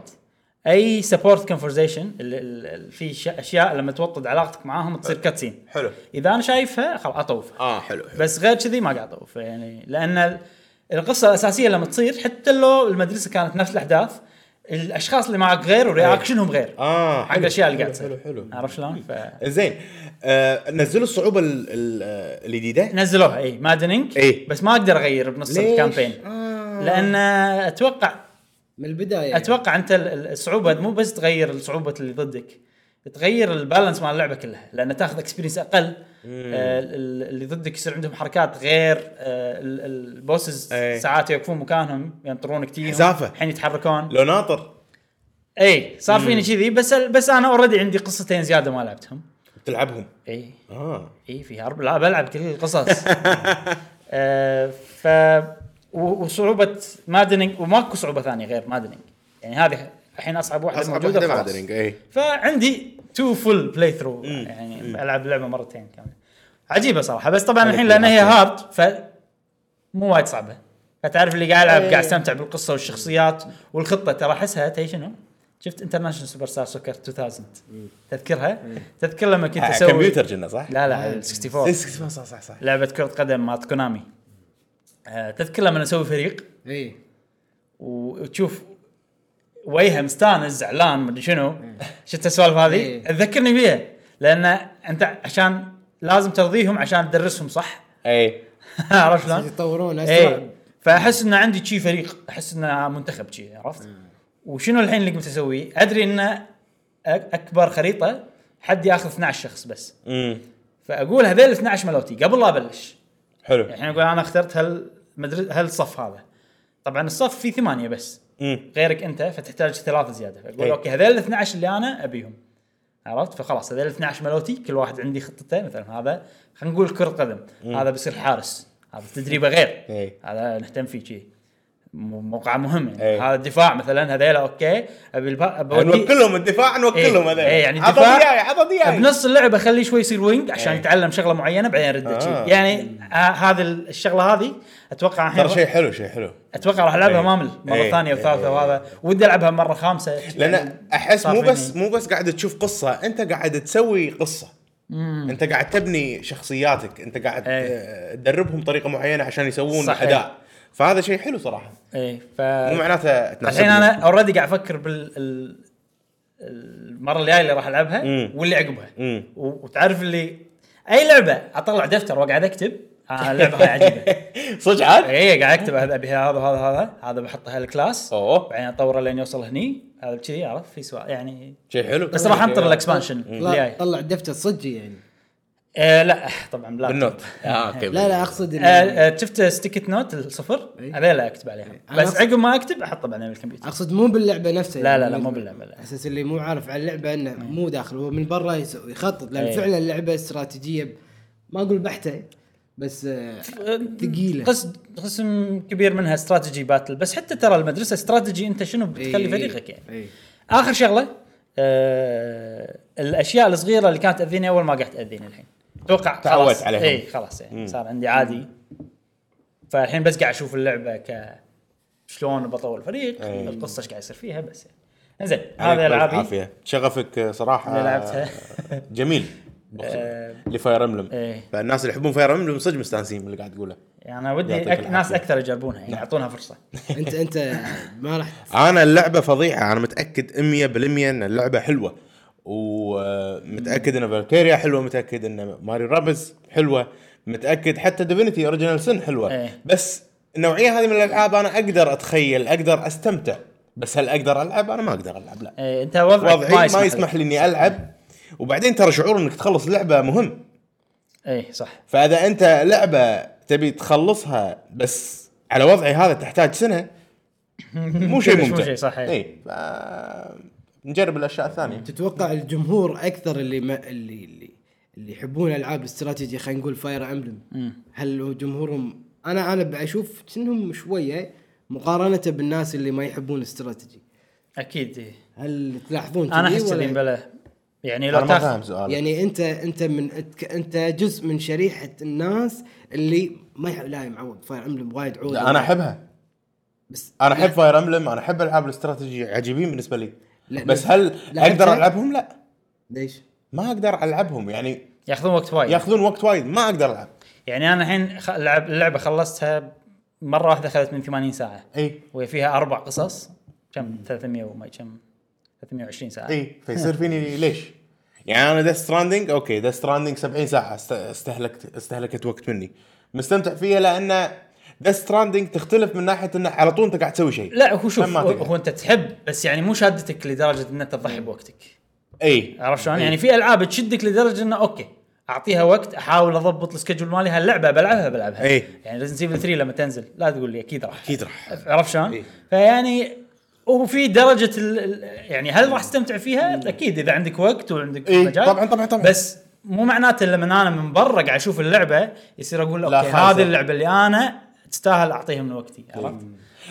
[SPEAKER 1] اي سبورت كونفرزيشن في ش- اشياء لما توطد علاقتك معاهم تصير كاتسين
[SPEAKER 3] حلو
[SPEAKER 1] اذا انا شايفها خلاص اطوفها
[SPEAKER 3] اه حلو حلو
[SPEAKER 1] بس غير كذي ما قاعد اطوف يعني لان ال- القصه الاساسيه لما تصير حتى لو المدرسه كانت نفس الاحداث الاشخاص اللي معك غير ورياكشنهم غير
[SPEAKER 3] اه
[SPEAKER 1] حق الاشياء اللي قاعد
[SPEAKER 3] إيه. حلو
[SPEAKER 1] تصير
[SPEAKER 3] حلو
[SPEAKER 1] عرفت شلون؟ ف-
[SPEAKER 3] زين آه نزلوا الصعوبه ال- ال- آه، الجديده
[SPEAKER 1] نزلوها اي مادنينج
[SPEAKER 3] إي.
[SPEAKER 1] بس ما اقدر اغير بنص
[SPEAKER 3] ليش؟
[SPEAKER 1] الكامبين
[SPEAKER 3] آه.
[SPEAKER 1] لان اتوقع
[SPEAKER 2] من البدايه
[SPEAKER 1] اتوقع انت ال- ال- الصعوبه مو بس تغير الصعوبه اللي ضدك تغير البالانس مع اللعبه كلها لان تاخذ اكسبيرينس اقل آه، ال- ال- اللي ضدك يصير عندهم حركات غير آه، ال- ال- البوسز
[SPEAKER 3] إي.
[SPEAKER 1] ساعات يوقفون مكانهم ينطرون كتير
[SPEAKER 3] حزافة.
[SPEAKER 1] الحين يتحركون
[SPEAKER 3] لو ناطر
[SPEAKER 1] اي صار فيني كذي بس بس انا اوريدي عندي قصتين زياده ما لعبتهم
[SPEAKER 3] تلعبهم
[SPEAKER 1] اي
[SPEAKER 3] اه
[SPEAKER 1] اي إيه، في حرب لا بلعب كل القصص آه ف و- وصعوبه مادنينج وماكو صعوبه ثانيه غير مادنينج يعني هذه الحين اصعب واحده
[SPEAKER 3] اصعب
[SPEAKER 1] موجودة
[SPEAKER 3] واحده
[SPEAKER 1] خلاص.
[SPEAKER 3] مادرينج اي
[SPEAKER 1] فعندي تو فول بلاي ثرو يعني العب اللعبه مرتين كامله عجيبه صراحه بس طبعا الحين لان هي هارد ف مو وايد صعبه فتعرف اللي قاعد العب قاعد استمتع بالقصه والشخصيات والخطه ترى احسها تي شنو؟ شفت انترناشونال سوبر ستار سوكر 2000 تذكرها؟ تذكر لما كنت
[SPEAKER 3] آه،
[SPEAKER 1] اسوي
[SPEAKER 3] كمبيوتر جنة صح؟
[SPEAKER 1] لا لا ال 64
[SPEAKER 3] إيه، صح صح صح
[SPEAKER 1] لعبه كره قدم مالت كونامي آه، تذكر لما نسوي فريق
[SPEAKER 2] اي
[SPEAKER 1] وتشوف وجهه مستانس زعلان مدري شنو
[SPEAKER 3] إيه.
[SPEAKER 1] شفت السوالف هذه
[SPEAKER 2] إيه.
[SPEAKER 1] تذكرني بيها لان انت عشان لازم ترضيهم عشان تدرسهم صح
[SPEAKER 3] اي
[SPEAKER 1] عرفت شلون؟
[SPEAKER 2] يتطورون
[SPEAKER 3] إيه.
[SPEAKER 2] اسرع
[SPEAKER 1] اي فاحس ان عندي شي فريق احس انه منتخب شي عرفت؟
[SPEAKER 3] إيه.
[SPEAKER 1] وشنو الحين اللي قمت اسويه؟ ادري ان أك- اكبر خريطه حد ياخذ 12 شخص بس
[SPEAKER 3] امم
[SPEAKER 1] فاقول هذول 12 ملوتي قبل لا ابلش
[SPEAKER 3] حلو
[SPEAKER 1] الحين اقول انا اخترت هال مدرس هالصف هذا طبعا الصف فيه ثمانيه بس
[SPEAKER 3] امم
[SPEAKER 1] غيرك انت فتحتاج ثلاثه زياده فاقول
[SPEAKER 3] إي.
[SPEAKER 1] اوكي هذول ال 12 اللي انا ابيهم عرفت فخلاص هذول ال 12 ملوتي كل واحد عندي خطته مثلا هذا خلينا نقول كره قدم هذا بيصير حارس هذا تدريبه غير
[SPEAKER 3] إي.
[SPEAKER 1] هذا نهتم فيه شي م- موقعه مهم
[SPEAKER 3] إي.
[SPEAKER 1] يعني هذا الدفاع مثلا هذيلا اوكي ابي البا...
[SPEAKER 3] يعني
[SPEAKER 1] أبي أوديه-
[SPEAKER 3] نوكلهم الدفاع نوكلهم
[SPEAKER 1] إيه،
[SPEAKER 3] هذا
[SPEAKER 1] إيه، يعني
[SPEAKER 3] عطى
[SPEAKER 1] الدفاع-
[SPEAKER 3] دياي عطى دياي
[SPEAKER 1] بنص اللعبه خليه شوي يصير وينج عشان
[SPEAKER 3] إيه.
[SPEAKER 1] يتعلم شغله معينه بعدين رده
[SPEAKER 3] آه.
[SPEAKER 1] آه. يعني آه هذه الشغله هذه اتوقع الحين
[SPEAKER 3] ترى شيء حلو شيء حلو
[SPEAKER 1] اتوقع راح العبها
[SPEAKER 3] إيه.
[SPEAKER 1] مامل مره
[SPEAKER 3] إيه.
[SPEAKER 1] ثانيه وثالثه
[SPEAKER 3] إيه.
[SPEAKER 1] وهذا ودي العبها مره خامسه يعني
[SPEAKER 3] لان احس
[SPEAKER 1] صار
[SPEAKER 3] مو
[SPEAKER 1] فيني.
[SPEAKER 3] بس مو بس قاعد تشوف قصه انت قاعد تسوي قصه انت قاعد تبني شخصياتك انت قاعد
[SPEAKER 1] إيه.
[SPEAKER 3] آه، تدربهم طريقه معينه عشان يسوون
[SPEAKER 1] صحيح.
[SPEAKER 3] اداء فهذا شيء حلو صراحه
[SPEAKER 1] اي إيه، ف
[SPEAKER 3] مو معناته تناسبني.
[SPEAKER 1] الحين انا اوريدي قاعد افكر بال ال- المره الجايه اللي راح العبها
[SPEAKER 3] مم.
[SPEAKER 1] واللي عقبها
[SPEAKER 3] مم.
[SPEAKER 1] و- وتعرف اللي اي لعبه اطلع دفتر واقعد اكتب آه اللعبه هاي عجيبه
[SPEAKER 3] صدق عاد؟
[SPEAKER 1] اي قاعد اكتب هذا ابي هذا وهذا هذا هذا بحطه هالكلاس
[SPEAKER 3] اوه
[SPEAKER 1] بعدين اطوره لين يوصل هني هذا كذي عرفت في سؤال يعني
[SPEAKER 3] شيء حلو
[SPEAKER 1] بس راح انطر الاكسبانشن اللي
[SPEAKER 2] طلع
[SPEAKER 1] جاي
[SPEAKER 2] طلع الدفتر صجي يعني
[SPEAKER 1] آه، لا طبعا لا
[SPEAKER 3] بالنوت اه اوكي
[SPEAKER 2] لا لا اقصد
[SPEAKER 1] آه،
[SPEAKER 2] إن-
[SPEAKER 1] آه، شفت ستيكت نوت الصفر
[SPEAKER 2] إي.
[SPEAKER 1] هذا لا اكتب عليها
[SPEAKER 2] أنا
[SPEAKER 1] بس
[SPEAKER 2] أقصد-
[SPEAKER 1] عقب ما اكتب احطه بعدين بالكمبيوتر
[SPEAKER 2] اقصد مو باللعبه نفسها
[SPEAKER 1] لا
[SPEAKER 2] يعني
[SPEAKER 1] لا لا
[SPEAKER 2] من-
[SPEAKER 1] مو باللعبه لا
[SPEAKER 2] اساس اللي مو عارف عن اللعبه انه مو داخل هو من برا يس- يخطط لان
[SPEAKER 1] إيه.
[SPEAKER 2] فعلا اللعبه استراتيجيه ب- ما اقول بحته بس آه، ثقيله
[SPEAKER 1] قسم قسم كبير منها استراتيجي باتل بس حتى ترى المدرسه استراتيجي انت شنو بتخلي
[SPEAKER 2] إيه،
[SPEAKER 1] فريقك يعني
[SPEAKER 2] إيه.
[SPEAKER 1] اخر شغله آه الاشياء الصغيره اللي كانت تاذيني اول ما قاعد تاذيني الحين اتوقع
[SPEAKER 3] تعودت
[SPEAKER 1] خلاص
[SPEAKER 3] عليهم.
[SPEAKER 1] اي خلاص يعني صار عندي عادي فالحين بس قاعد اشوف اللعبه ك شلون بطور الفريق
[SPEAKER 3] إيه.
[SPEAKER 1] القصه ايش قاعد يصير فيها بس يعني زين
[SPEAKER 3] عليك
[SPEAKER 2] طيب
[SPEAKER 1] هذا العابي
[SPEAKER 3] بالعافيه شغفك آه، صراحه
[SPEAKER 1] اللي لعبتها.
[SPEAKER 3] آه، جميل
[SPEAKER 1] آه،
[SPEAKER 3] لفاير املم
[SPEAKER 1] ايه
[SPEAKER 3] فالناس اللي يحبون فاير املم صدق مستانسين من اللي قاعد تقوله
[SPEAKER 1] يعني انا ودي
[SPEAKER 3] يعطيك
[SPEAKER 1] أك... ناس
[SPEAKER 3] العافية. نعم.
[SPEAKER 1] اكثر يجربونها يعني يعطونها فرصه
[SPEAKER 2] انت انت ما راح
[SPEAKER 3] انا اللعبه فظيعه انا متاكد 100% ان اللعبه حلوه ومتاكد ان فالكيريا حلوه متاكد ان ماري رابز حلوه متاكد حتى ديفينيتي اوريجينال سن حلوه
[SPEAKER 1] إيه.
[SPEAKER 3] بس النوعيه هذه من الالعاب انا اقدر اتخيل اقدر استمتع بس هل اقدر العب انا ما اقدر العب لا
[SPEAKER 1] إيه انت وضعك
[SPEAKER 3] وضعي ما يسمح,
[SPEAKER 1] لك.
[SPEAKER 3] لي اني العب وبعدين ترى شعور انك تخلص لعبه مهم
[SPEAKER 1] ايه صح
[SPEAKER 3] فاذا انت لعبه تبي تخلصها بس على وضعي هذا تحتاج سنه مو شيء
[SPEAKER 1] مش
[SPEAKER 3] ممتع
[SPEAKER 1] مو شيء صح إيه.
[SPEAKER 3] اي ف... نجرب الاشياء الثانيه
[SPEAKER 2] تتوقع الجمهور اكثر اللي ما اللي اللي, اللي يحبون العاب الاستراتيجي خلينا نقول فاير امبلم هل هو جمهورهم انا انا بشوف انهم شويه مقارنه بالناس اللي ما يحبون الاستراتيجي
[SPEAKER 1] اكيد إيه.
[SPEAKER 2] هل تلاحظون
[SPEAKER 1] انا
[SPEAKER 2] كذي
[SPEAKER 1] احس
[SPEAKER 2] ولا-
[SPEAKER 3] إيه؟
[SPEAKER 1] اللي بلا يعني
[SPEAKER 3] انا
[SPEAKER 1] لو
[SPEAKER 3] ما
[SPEAKER 1] تاخذ
[SPEAKER 3] فاهم سؤالك
[SPEAKER 2] يعني انت انت من أتك- انت جزء من شريحه الناس اللي ما يح... لا يا معود فاير امبلم وايد عود
[SPEAKER 3] لا انا احبها
[SPEAKER 2] بس
[SPEAKER 3] انا احب فاير املم انا احب العاب الاستراتيجي عجيبين بالنسبه لي
[SPEAKER 2] لا،
[SPEAKER 3] بس هل
[SPEAKER 2] لعبتها؟
[SPEAKER 3] اقدر العبهم؟ لا
[SPEAKER 2] ليش؟
[SPEAKER 3] ما اقدر العبهم يعني
[SPEAKER 1] ياخذون وقت وايد
[SPEAKER 3] ياخذون وقت وايد ما اقدر العب
[SPEAKER 1] يعني انا الحين خ- لعب- اللعبه خلصتها مره واحده اخذت من 80 ساعه
[SPEAKER 3] اي
[SPEAKER 1] وفيها اربع قصص كم 300 وما كم 320 ساعه
[SPEAKER 3] اي إيه، فيصير فيني ليش؟ يعني انا ذا ستراندنج اوكي ذا ستراندنج 70 ساعه است- استهلكت استهلكت وقت مني مستمتع فيها لان ذا ستراندنج تختلف من ناحيه انه على طول انت قاعد تسوي شيء
[SPEAKER 1] لا هو شوف
[SPEAKER 3] لما
[SPEAKER 1] هو,
[SPEAKER 3] تقعد.
[SPEAKER 1] هو انت تحب بس يعني مو شادتك لدرجه ان تضحي بوقتك
[SPEAKER 3] اي
[SPEAKER 1] عرفت شلون؟ يعني في العاب تشدك لدرجه انه اوكي اعطيها وقت احاول اضبط السكجول مالي هاللعبه بلعبها بلعبها
[SPEAKER 3] إيه.
[SPEAKER 1] يعني ريزنت ايفل 3 لما تنزل لا تقول لي اكيد راح
[SPEAKER 3] اكيد راح
[SPEAKER 1] عرفت شلون؟
[SPEAKER 3] إيه.
[SPEAKER 1] فيعني وفي درجه ال... ال- يعني هل راح تستمتع فيها؟ اكيد اذا عندك وقت وعندك
[SPEAKER 3] إيه،
[SPEAKER 1] مجال
[SPEAKER 3] طبعاً- طبعاً- طبعاً.
[SPEAKER 1] بس مو معناته لما انا من برا قاعد اشوف اللعبه يصير اقول
[SPEAKER 3] لا،
[SPEAKER 1] اوكي
[SPEAKER 3] خالصة.
[SPEAKER 1] هذه اللعبه اللي انا تستاهل اعطيها من وقتي عرفت؟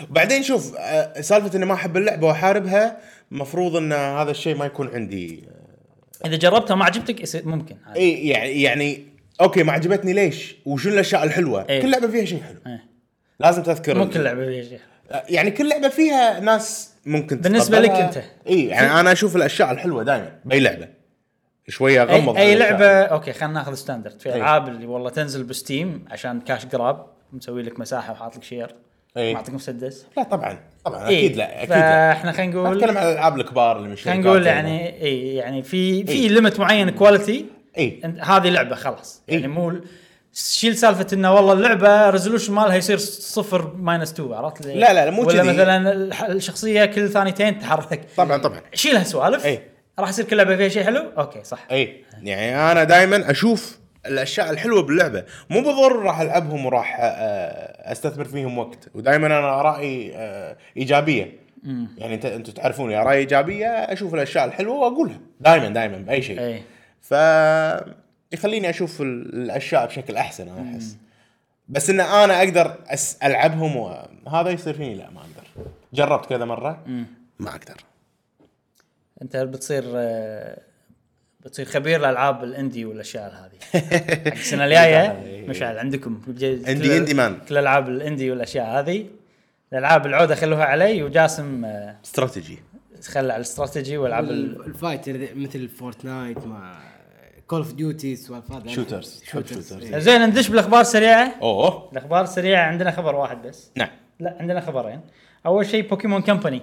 [SPEAKER 3] بعدين شوف آه، سالفه اني ما احب اللعبه واحاربها مفروض ان هذا الشيء ما يكون عندي إيه.
[SPEAKER 1] اذا جربتها ما عجبتك يصير ممكن عادي.
[SPEAKER 3] اي يعني يعني اوكي ما عجبتني ليش؟ وشنو الاشياء الحلوه؟
[SPEAKER 1] إيه.
[SPEAKER 3] كل لعبه فيها شيء حلو
[SPEAKER 1] إيه.
[SPEAKER 3] لازم تذكر
[SPEAKER 1] مو كل لعبه فيها شيء
[SPEAKER 3] يعني كل لعبه فيها ناس ممكن
[SPEAKER 1] بالنسبة
[SPEAKER 3] تتقبلها.
[SPEAKER 1] لك أنت.
[SPEAKER 3] اي يعني انا اشوف الاشياء الحلوه دائما باي لعبه شويه اغمض
[SPEAKER 1] اي, أي
[SPEAKER 3] على الأشياء.
[SPEAKER 1] لعبه اوكي خلينا ناخذ ستاندرد في
[SPEAKER 3] أي.
[SPEAKER 1] العاب اللي والله تنزل بستيم عشان كاش جراب مسوي لك مساحه وحاط لك شير
[SPEAKER 3] أي.
[SPEAKER 1] معطيك مسدس
[SPEAKER 3] لا طبعا طبعا
[SPEAKER 1] إي.
[SPEAKER 3] اكيد لا اكيد لا
[SPEAKER 1] فاحنا خلينا
[SPEAKER 3] أنا
[SPEAKER 1] نقول
[SPEAKER 3] اتكلم عن الالعاب الكبار اللي من
[SPEAKER 1] خلينا
[SPEAKER 3] شركات
[SPEAKER 1] نقول
[SPEAKER 3] زي-
[SPEAKER 1] يعني اي يعني في في
[SPEAKER 3] إي.
[SPEAKER 1] ليمت معين كواليتي
[SPEAKER 3] اي
[SPEAKER 1] هذه لعبه خلاص
[SPEAKER 3] إي.
[SPEAKER 1] يعني مو شيل سالفه انه والله اللعبه ريزولوشن مالها يصير صفر ماينس 2 عرفت؟
[SPEAKER 3] لا، لا، لا، مو
[SPEAKER 1] ولا
[SPEAKER 3] كذي.
[SPEAKER 1] مثلا الح- الشخصيه كل ثانيتين تحرك
[SPEAKER 3] طبعا طبعا
[SPEAKER 1] شيل هالسوالف
[SPEAKER 3] إي.
[SPEAKER 1] راح يصير كل لعبه فيها شيء حلو اوكي صح
[SPEAKER 3] اي يعني انا دائما اشوف الاشياء الحلوه باللعبه مو بالضروره راح العبهم وراح آه، استثمر فيهم وقت ودائما انا رايي آه، ايجابيه يعني انت انتم تعرفوني ارائي ايجابيه اشوف الاشياء الحلوه واقولها دائما دائما باي شيء
[SPEAKER 1] اي
[SPEAKER 3] ف يخليني اشوف ال- الاشياء بشكل احسن انا احس بس ان انا اقدر أس العبهم وهذا يصير فيني لا ما اقدر جربت كذا مره ما اقدر
[SPEAKER 1] انت بتصير آه، بتصير خبير الالعاب الاندي والاشياء هذه حق السنه الجايه مشعل عندكم جاي-
[SPEAKER 3] عندي
[SPEAKER 1] كل-
[SPEAKER 3] in demand.
[SPEAKER 1] كل العاب الاندي والاشياء هذه الالعاب العوده خلوها علي وجاسم آه،
[SPEAKER 3] استراتيجي
[SPEAKER 1] خلى على الاستراتيجي والعاب ال-
[SPEAKER 2] الفايتر ذي- مثل فورتنايت مع كول اوف ديوتي سوالف هذا
[SPEAKER 3] Shooters.
[SPEAKER 2] شوترز
[SPEAKER 3] Shooters.
[SPEAKER 1] زين ندش بالاخبار سريعه
[SPEAKER 3] اوه
[SPEAKER 1] الاخبار السريعه عندنا خبر واحد بس
[SPEAKER 3] نعم
[SPEAKER 1] لا عندنا خبرين اول شيء بوكيمون كمباني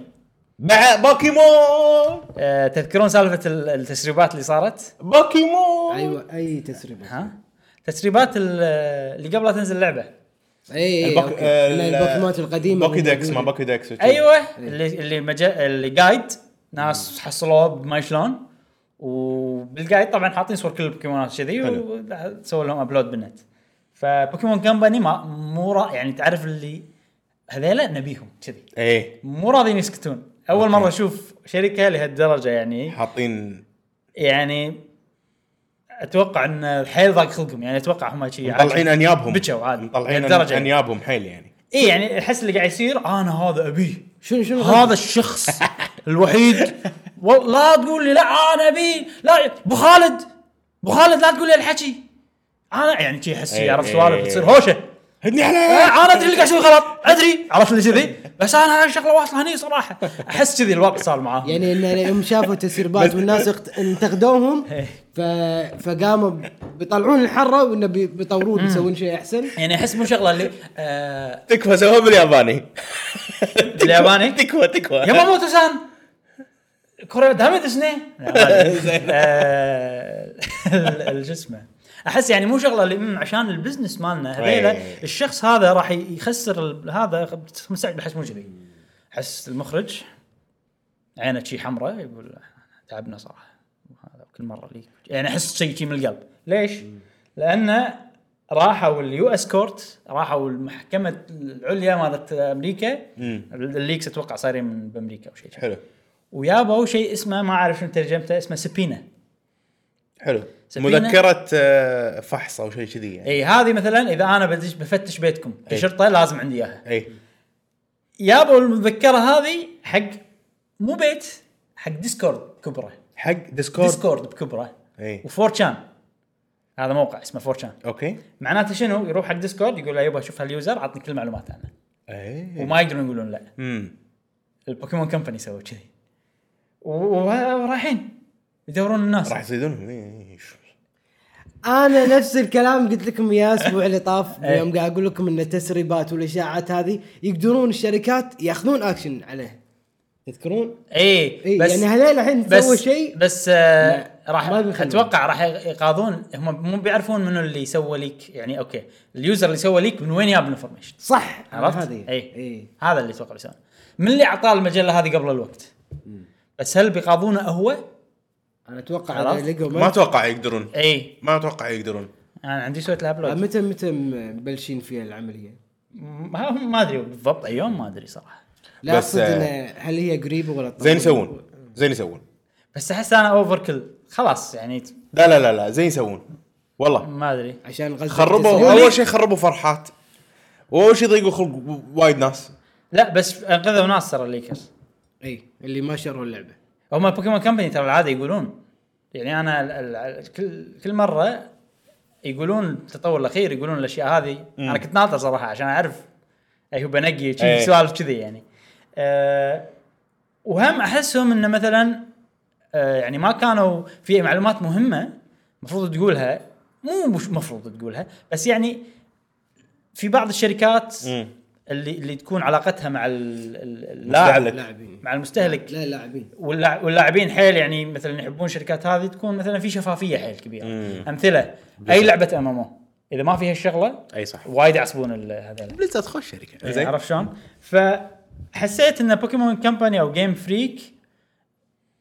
[SPEAKER 3] مع بوكيمون
[SPEAKER 1] آه، تذكرون سالفه ال- التسريبات اللي صارت
[SPEAKER 3] بوكيمون
[SPEAKER 2] ايوه اي تسريبه
[SPEAKER 1] ها تسريبات ال- اللي قبل لا تنزل اللعبه
[SPEAKER 2] اي اي إيه،
[SPEAKER 3] البوك-
[SPEAKER 2] أيوة، أوكي.
[SPEAKER 3] آه،
[SPEAKER 2] لأن
[SPEAKER 3] ال-
[SPEAKER 2] البوكيمونات القديمه
[SPEAKER 3] بوكي دكس ما
[SPEAKER 2] موجودة.
[SPEAKER 3] بوكي دكس إيه.
[SPEAKER 1] ايوه اللي اللي مجا... اللي جايد ناس حصلوه بما شلون وبالجايد طبعا حاطين صور كل البوكيمونات كذي
[SPEAKER 3] حلو.
[SPEAKER 1] وسووا لهم ابلود بالنت فبوكيمون كمباني ما مو را... يعني تعرف اللي هذيلا نبيهم كذي
[SPEAKER 3] ايه
[SPEAKER 1] مو راضيين يسكتون اول مره اشوف شركه لهالدرجه يعني
[SPEAKER 3] حاطين
[SPEAKER 1] يعني اتوقع ان حيل ضاق خلقهم يعني اتوقع هم شي عادي.
[SPEAKER 3] مطلعين انيابهم
[SPEAKER 1] بتشوا عادي
[SPEAKER 3] مطلعين
[SPEAKER 1] لهالدرجة يعني.
[SPEAKER 3] انيابهم حيل يعني
[SPEAKER 1] اي يعني احس اللي قاعد يصير انا هذا ابيه
[SPEAKER 2] شنو شنو
[SPEAKER 1] هذا الشخص الوحيد وال- لا تقول لي لا انا ابي لا ابو خالد ابو خالد لا تقول لي الحكي انا يعني شي احس
[SPEAKER 3] إيه،
[SPEAKER 1] عرفت
[SPEAKER 3] إيه،
[SPEAKER 1] سوالف
[SPEAKER 3] إيه.
[SPEAKER 1] تصير هوشه
[SPEAKER 3] هدني
[SPEAKER 1] إيه،
[SPEAKER 3] عليه
[SPEAKER 1] انا ادري اللي قاعد اسوي غلط ادري عرفت اللي كذي بس انا هاي الشغله واصله هني صراحه احس كذي الوضع صار معاهم
[SPEAKER 2] يعني إن يوم شافوا تسريبات والناس اخت- انتقدوهم
[SPEAKER 3] إيه.
[SPEAKER 2] ف... فقاموا ب- بيطلعون الحره وانه بي- بيطورون يسوون شيء احسن
[SPEAKER 1] يعني احس مو شغله اللي آه
[SPEAKER 3] تكفى سووها بالياباني
[SPEAKER 1] بالياباني؟
[SPEAKER 3] تكفى تكفى
[SPEAKER 1] يا ماموتو سان كوريا دامت سنه شو اسمه احس يعني مو شغله اللي مم، عشان البزنس مالنا هذيلا
[SPEAKER 3] إيه.
[SPEAKER 1] الشخص هذا راح يخسر ال- هذا مستعجل احس مو كذي احس المخرج عينه شي حمراء يقول تعبنا صراحه هذا كل مره لي يعني احس شيء شي من القلب ليش؟ لانه راحوا اليو اس كورت راحوا المحكمه العليا مالت امريكا الليكس اتوقع صايرين من بامريكا او شيء
[SPEAKER 3] حلو
[SPEAKER 1] ويابوا شيء اسمه ما اعرف شنو ترجمته اسمه سبينه
[SPEAKER 3] حلو
[SPEAKER 1] سفينة؟
[SPEAKER 3] مذكره آه، فحص او شيء كذي يعني
[SPEAKER 1] اي هذه مثلا اذا انا بدش بفتش بيتكم كشرطه لازم عندي اياها
[SPEAKER 3] اي
[SPEAKER 1] يابوا المذكره هذه حق مو بيت حق ديسكورد كبره
[SPEAKER 3] حق إيه. ديسكورد
[SPEAKER 1] ديسكورد بكبره
[SPEAKER 3] اي
[SPEAKER 1] وفورتشان هذا موقع اسمه فورتشان
[SPEAKER 3] اوكي
[SPEAKER 1] معناته شنو يروح حق ديسكورد يقول له يبا شوف هاليوزر عطني كل المعلومات عنه
[SPEAKER 3] اي
[SPEAKER 1] وما يقدرون يقولون لا
[SPEAKER 3] امم
[SPEAKER 1] البوكيمون كمباني سووا كذي و- ورايحين يدورون الناس
[SPEAKER 3] راح إيه، يصيدونهم إي، إي، شو.
[SPEAKER 2] انا نفس الكلام قلت لكم اياه الاسبوع اللي طاف
[SPEAKER 1] إيه.
[SPEAKER 2] يوم قاعد اقول لكم ان التسريبات والاشاعات هذه يقدرون الشركات ياخذون اكشن عليه تذكرون؟
[SPEAKER 1] اي
[SPEAKER 2] اي
[SPEAKER 1] بس
[SPEAKER 2] يعني هذول الحين
[SPEAKER 1] بس
[SPEAKER 2] سووا شيء
[SPEAKER 1] بس آه راح
[SPEAKER 2] ما بيخلون.
[SPEAKER 1] اتوقع راح يقاضون هم مو بيعرفون منو اللي سوى ليك يعني اوكي اليوزر اللي سوى ليك من وين جاب الانفورميشن
[SPEAKER 2] صح
[SPEAKER 1] عرفت؟
[SPEAKER 2] آه، هذه
[SPEAKER 3] إيه.
[SPEAKER 2] إيه.
[SPEAKER 1] اي
[SPEAKER 2] اي
[SPEAKER 1] هذا اللي اتوقع بيسوونه من اللي اعطاه المجله هذه قبل الوقت بس هل بيقاضونه هو؟
[SPEAKER 2] انا اتوقع
[SPEAKER 1] عرفت؟
[SPEAKER 2] إذا لقوا
[SPEAKER 3] ما
[SPEAKER 2] ما
[SPEAKER 3] اتوقع يقدرون
[SPEAKER 1] اي
[SPEAKER 3] ما اتوقع يقدرون
[SPEAKER 1] انا عندي سويت لها ابلود
[SPEAKER 2] متى متى مبلشين فيها العمليه؟
[SPEAKER 1] ما ما ادري بالضبط اي يوم ما ادري صراحه
[SPEAKER 2] لا
[SPEAKER 3] بس،
[SPEAKER 2] اقصد
[SPEAKER 3] آه،
[SPEAKER 2] إنه هل هي قريبه ولا طيب؟
[SPEAKER 3] زين يسوون زين يسوون
[SPEAKER 1] بس احس انا اوفر كل خلاص يعني ت-
[SPEAKER 3] لا لا لا لا زين يسوون والله
[SPEAKER 1] ما ادري
[SPEAKER 2] عشان غزه
[SPEAKER 3] خربوا
[SPEAKER 2] تسوي-
[SPEAKER 3] اول شيء خربوا فرحات واول شيء ضيقوا خلق وايد ناس
[SPEAKER 1] لا بس انقذوا ناس ترى الليكرز
[SPEAKER 2] اي إيه، اللي ما شروا اللعبه
[SPEAKER 1] هم بوكيمون كمباني ترى العاده يقولون يعني انا ال ال ال كل كل مره يقولون التطور الاخير يقولون الاشياء هذه انا كنت ناطر صراحه عشان اعرف اي هو بنقي شي
[SPEAKER 3] إيه.
[SPEAKER 1] سوالف كذي يعني أه وهم احسهم انه مثلا أه يعني ما كانوا في معلومات مهمه المفروض تقولها مو مش مفروض تقولها بس يعني في بعض الشركات
[SPEAKER 3] مم.
[SPEAKER 1] اللي اللي تكون علاقتها مع ال- ال- اللاعب
[SPEAKER 3] مستهلك.
[SPEAKER 2] لاعبين
[SPEAKER 1] مع المستهلك
[SPEAKER 2] لا لاعبين
[SPEAKER 1] واللاع- واللاعبين حيل يعني مثلا يحبون الشركات هذه تكون مثلا في شفافيه حيل كبيره
[SPEAKER 3] مم.
[SPEAKER 1] امثله اي لعبه ام ام اذا ما فيها الشغله
[SPEAKER 3] اي صح
[SPEAKER 1] وايد يعصبون ال- هذول
[SPEAKER 3] بليزرد خوش شركه
[SPEAKER 1] يعني
[SPEAKER 3] زين
[SPEAKER 1] عرفت شلون؟ فحسيت ان بوكيمون كمباني او جيم فريك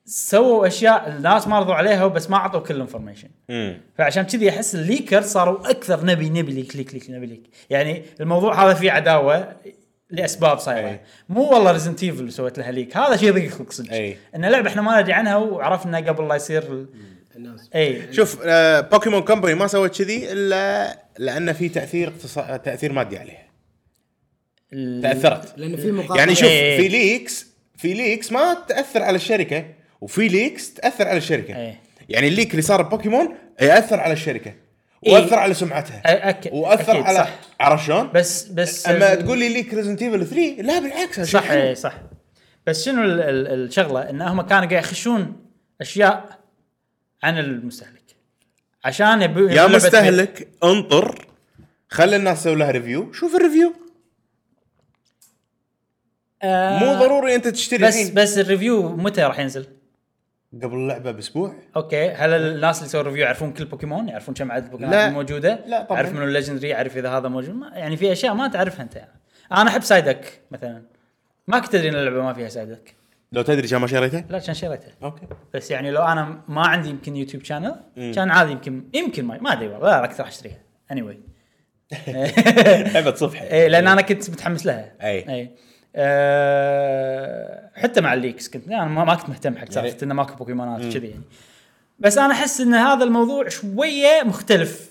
[SPEAKER 1] سووا اشياء الناس ما رضوا عليها بس ما اعطوا كل الانفورميشن
[SPEAKER 3] مم.
[SPEAKER 1] فعشان كذي احس الليكر صاروا اكثر نبي نبي ليك ليك ليك نبي ليك يعني الموضوع هذا فيه عداوه لاسباب صايره
[SPEAKER 3] أي.
[SPEAKER 1] مو والله ريزنت ايفل اللي سويت لها ليك هذا شيء ضيق خلق صدق
[SPEAKER 3] أي.
[SPEAKER 1] ان لعبه احنا ما ندري عنها وعرفنا قبل لا يصير ال-
[SPEAKER 2] الناس
[SPEAKER 1] اي
[SPEAKER 3] شوف آه، بوكيمون كومباني ما سوت كذي الا لان في تاثير اقتصا- تاثير مادي عليها
[SPEAKER 1] ال-
[SPEAKER 3] تاثرت
[SPEAKER 2] لان في مقاطع
[SPEAKER 3] يعني شوف
[SPEAKER 1] إيه.
[SPEAKER 3] في ليكس في ليكس ما تاثر على الشركه وفي ليكس تاثر على الشركه
[SPEAKER 1] إيه.
[SPEAKER 3] يعني الليك اللي صار ببوكيمون ياثر على الشركه واثر على سمعتها
[SPEAKER 1] إيه. أ- أك-
[SPEAKER 3] واثر
[SPEAKER 1] أكيد
[SPEAKER 3] على
[SPEAKER 1] صح.
[SPEAKER 3] عرفت شلون؟
[SPEAKER 1] بس بس
[SPEAKER 3] اما
[SPEAKER 1] ال-
[SPEAKER 3] تقول لي ليك ريزنت ايفل 3 لا بالعكس هذا شيء
[SPEAKER 1] صح إيه،
[SPEAKER 3] حلو.
[SPEAKER 1] اي صح بس شنو ال- ال- الشغله ان هم كانوا قاعد يخشون اشياء عن المستهلك عشان يبو يبو
[SPEAKER 3] يا
[SPEAKER 1] لعبة-
[SPEAKER 3] مستهلك انطر خلي الناس تسوي لها ريفيو شوف الريفيو
[SPEAKER 1] آه،
[SPEAKER 3] مو ضروري انت تشتري
[SPEAKER 1] بس
[SPEAKER 3] الحين
[SPEAKER 1] بس الريفيو متى راح ينزل؟
[SPEAKER 3] قبل اللعبه باسبوع
[SPEAKER 1] اوكي هل الناس اللي سووا ريفيو يعرفون كل بوكيمون يعرفون كم عدد البوكيمون
[SPEAKER 3] لا.
[SPEAKER 1] موجوده
[SPEAKER 3] لا طبعاً.
[SPEAKER 1] يعرف منو الليجندري يعرف اذا هذا موجود ما يعني في اشياء ما تعرفها انت يعني. انا احب سايدك مثلا ما كنت ادري ان اللعبه ما فيها سايدك
[SPEAKER 3] لو تدري كم ما شريته
[SPEAKER 1] لا كان شريتها
[SPEAKER 3] اوكي
[SPEAKER 1] بس يعني لو انا ما عندي يمكن يوتيوب شانل كان عادي يمكن يمكن ما, ما ادري والله لا كنت راح اشتريها اني anyway.
[SPEAKER 3] لعبه صبح
[SPEAKER 1] اي لان انا إيه، كنت متحمس لها
[SPEAKER 3] إيه. أي.
[SPEAKER 1] اي أه حتى مع الليكس كنت انا ما ما كنت مهتم حق سالفه
[SPEAKER 3] يعني-
[SPEAKER 1] انه ماكو بوكيمونات وكذي يعني بس انا احس ان هذا الموضوع شويه مختلف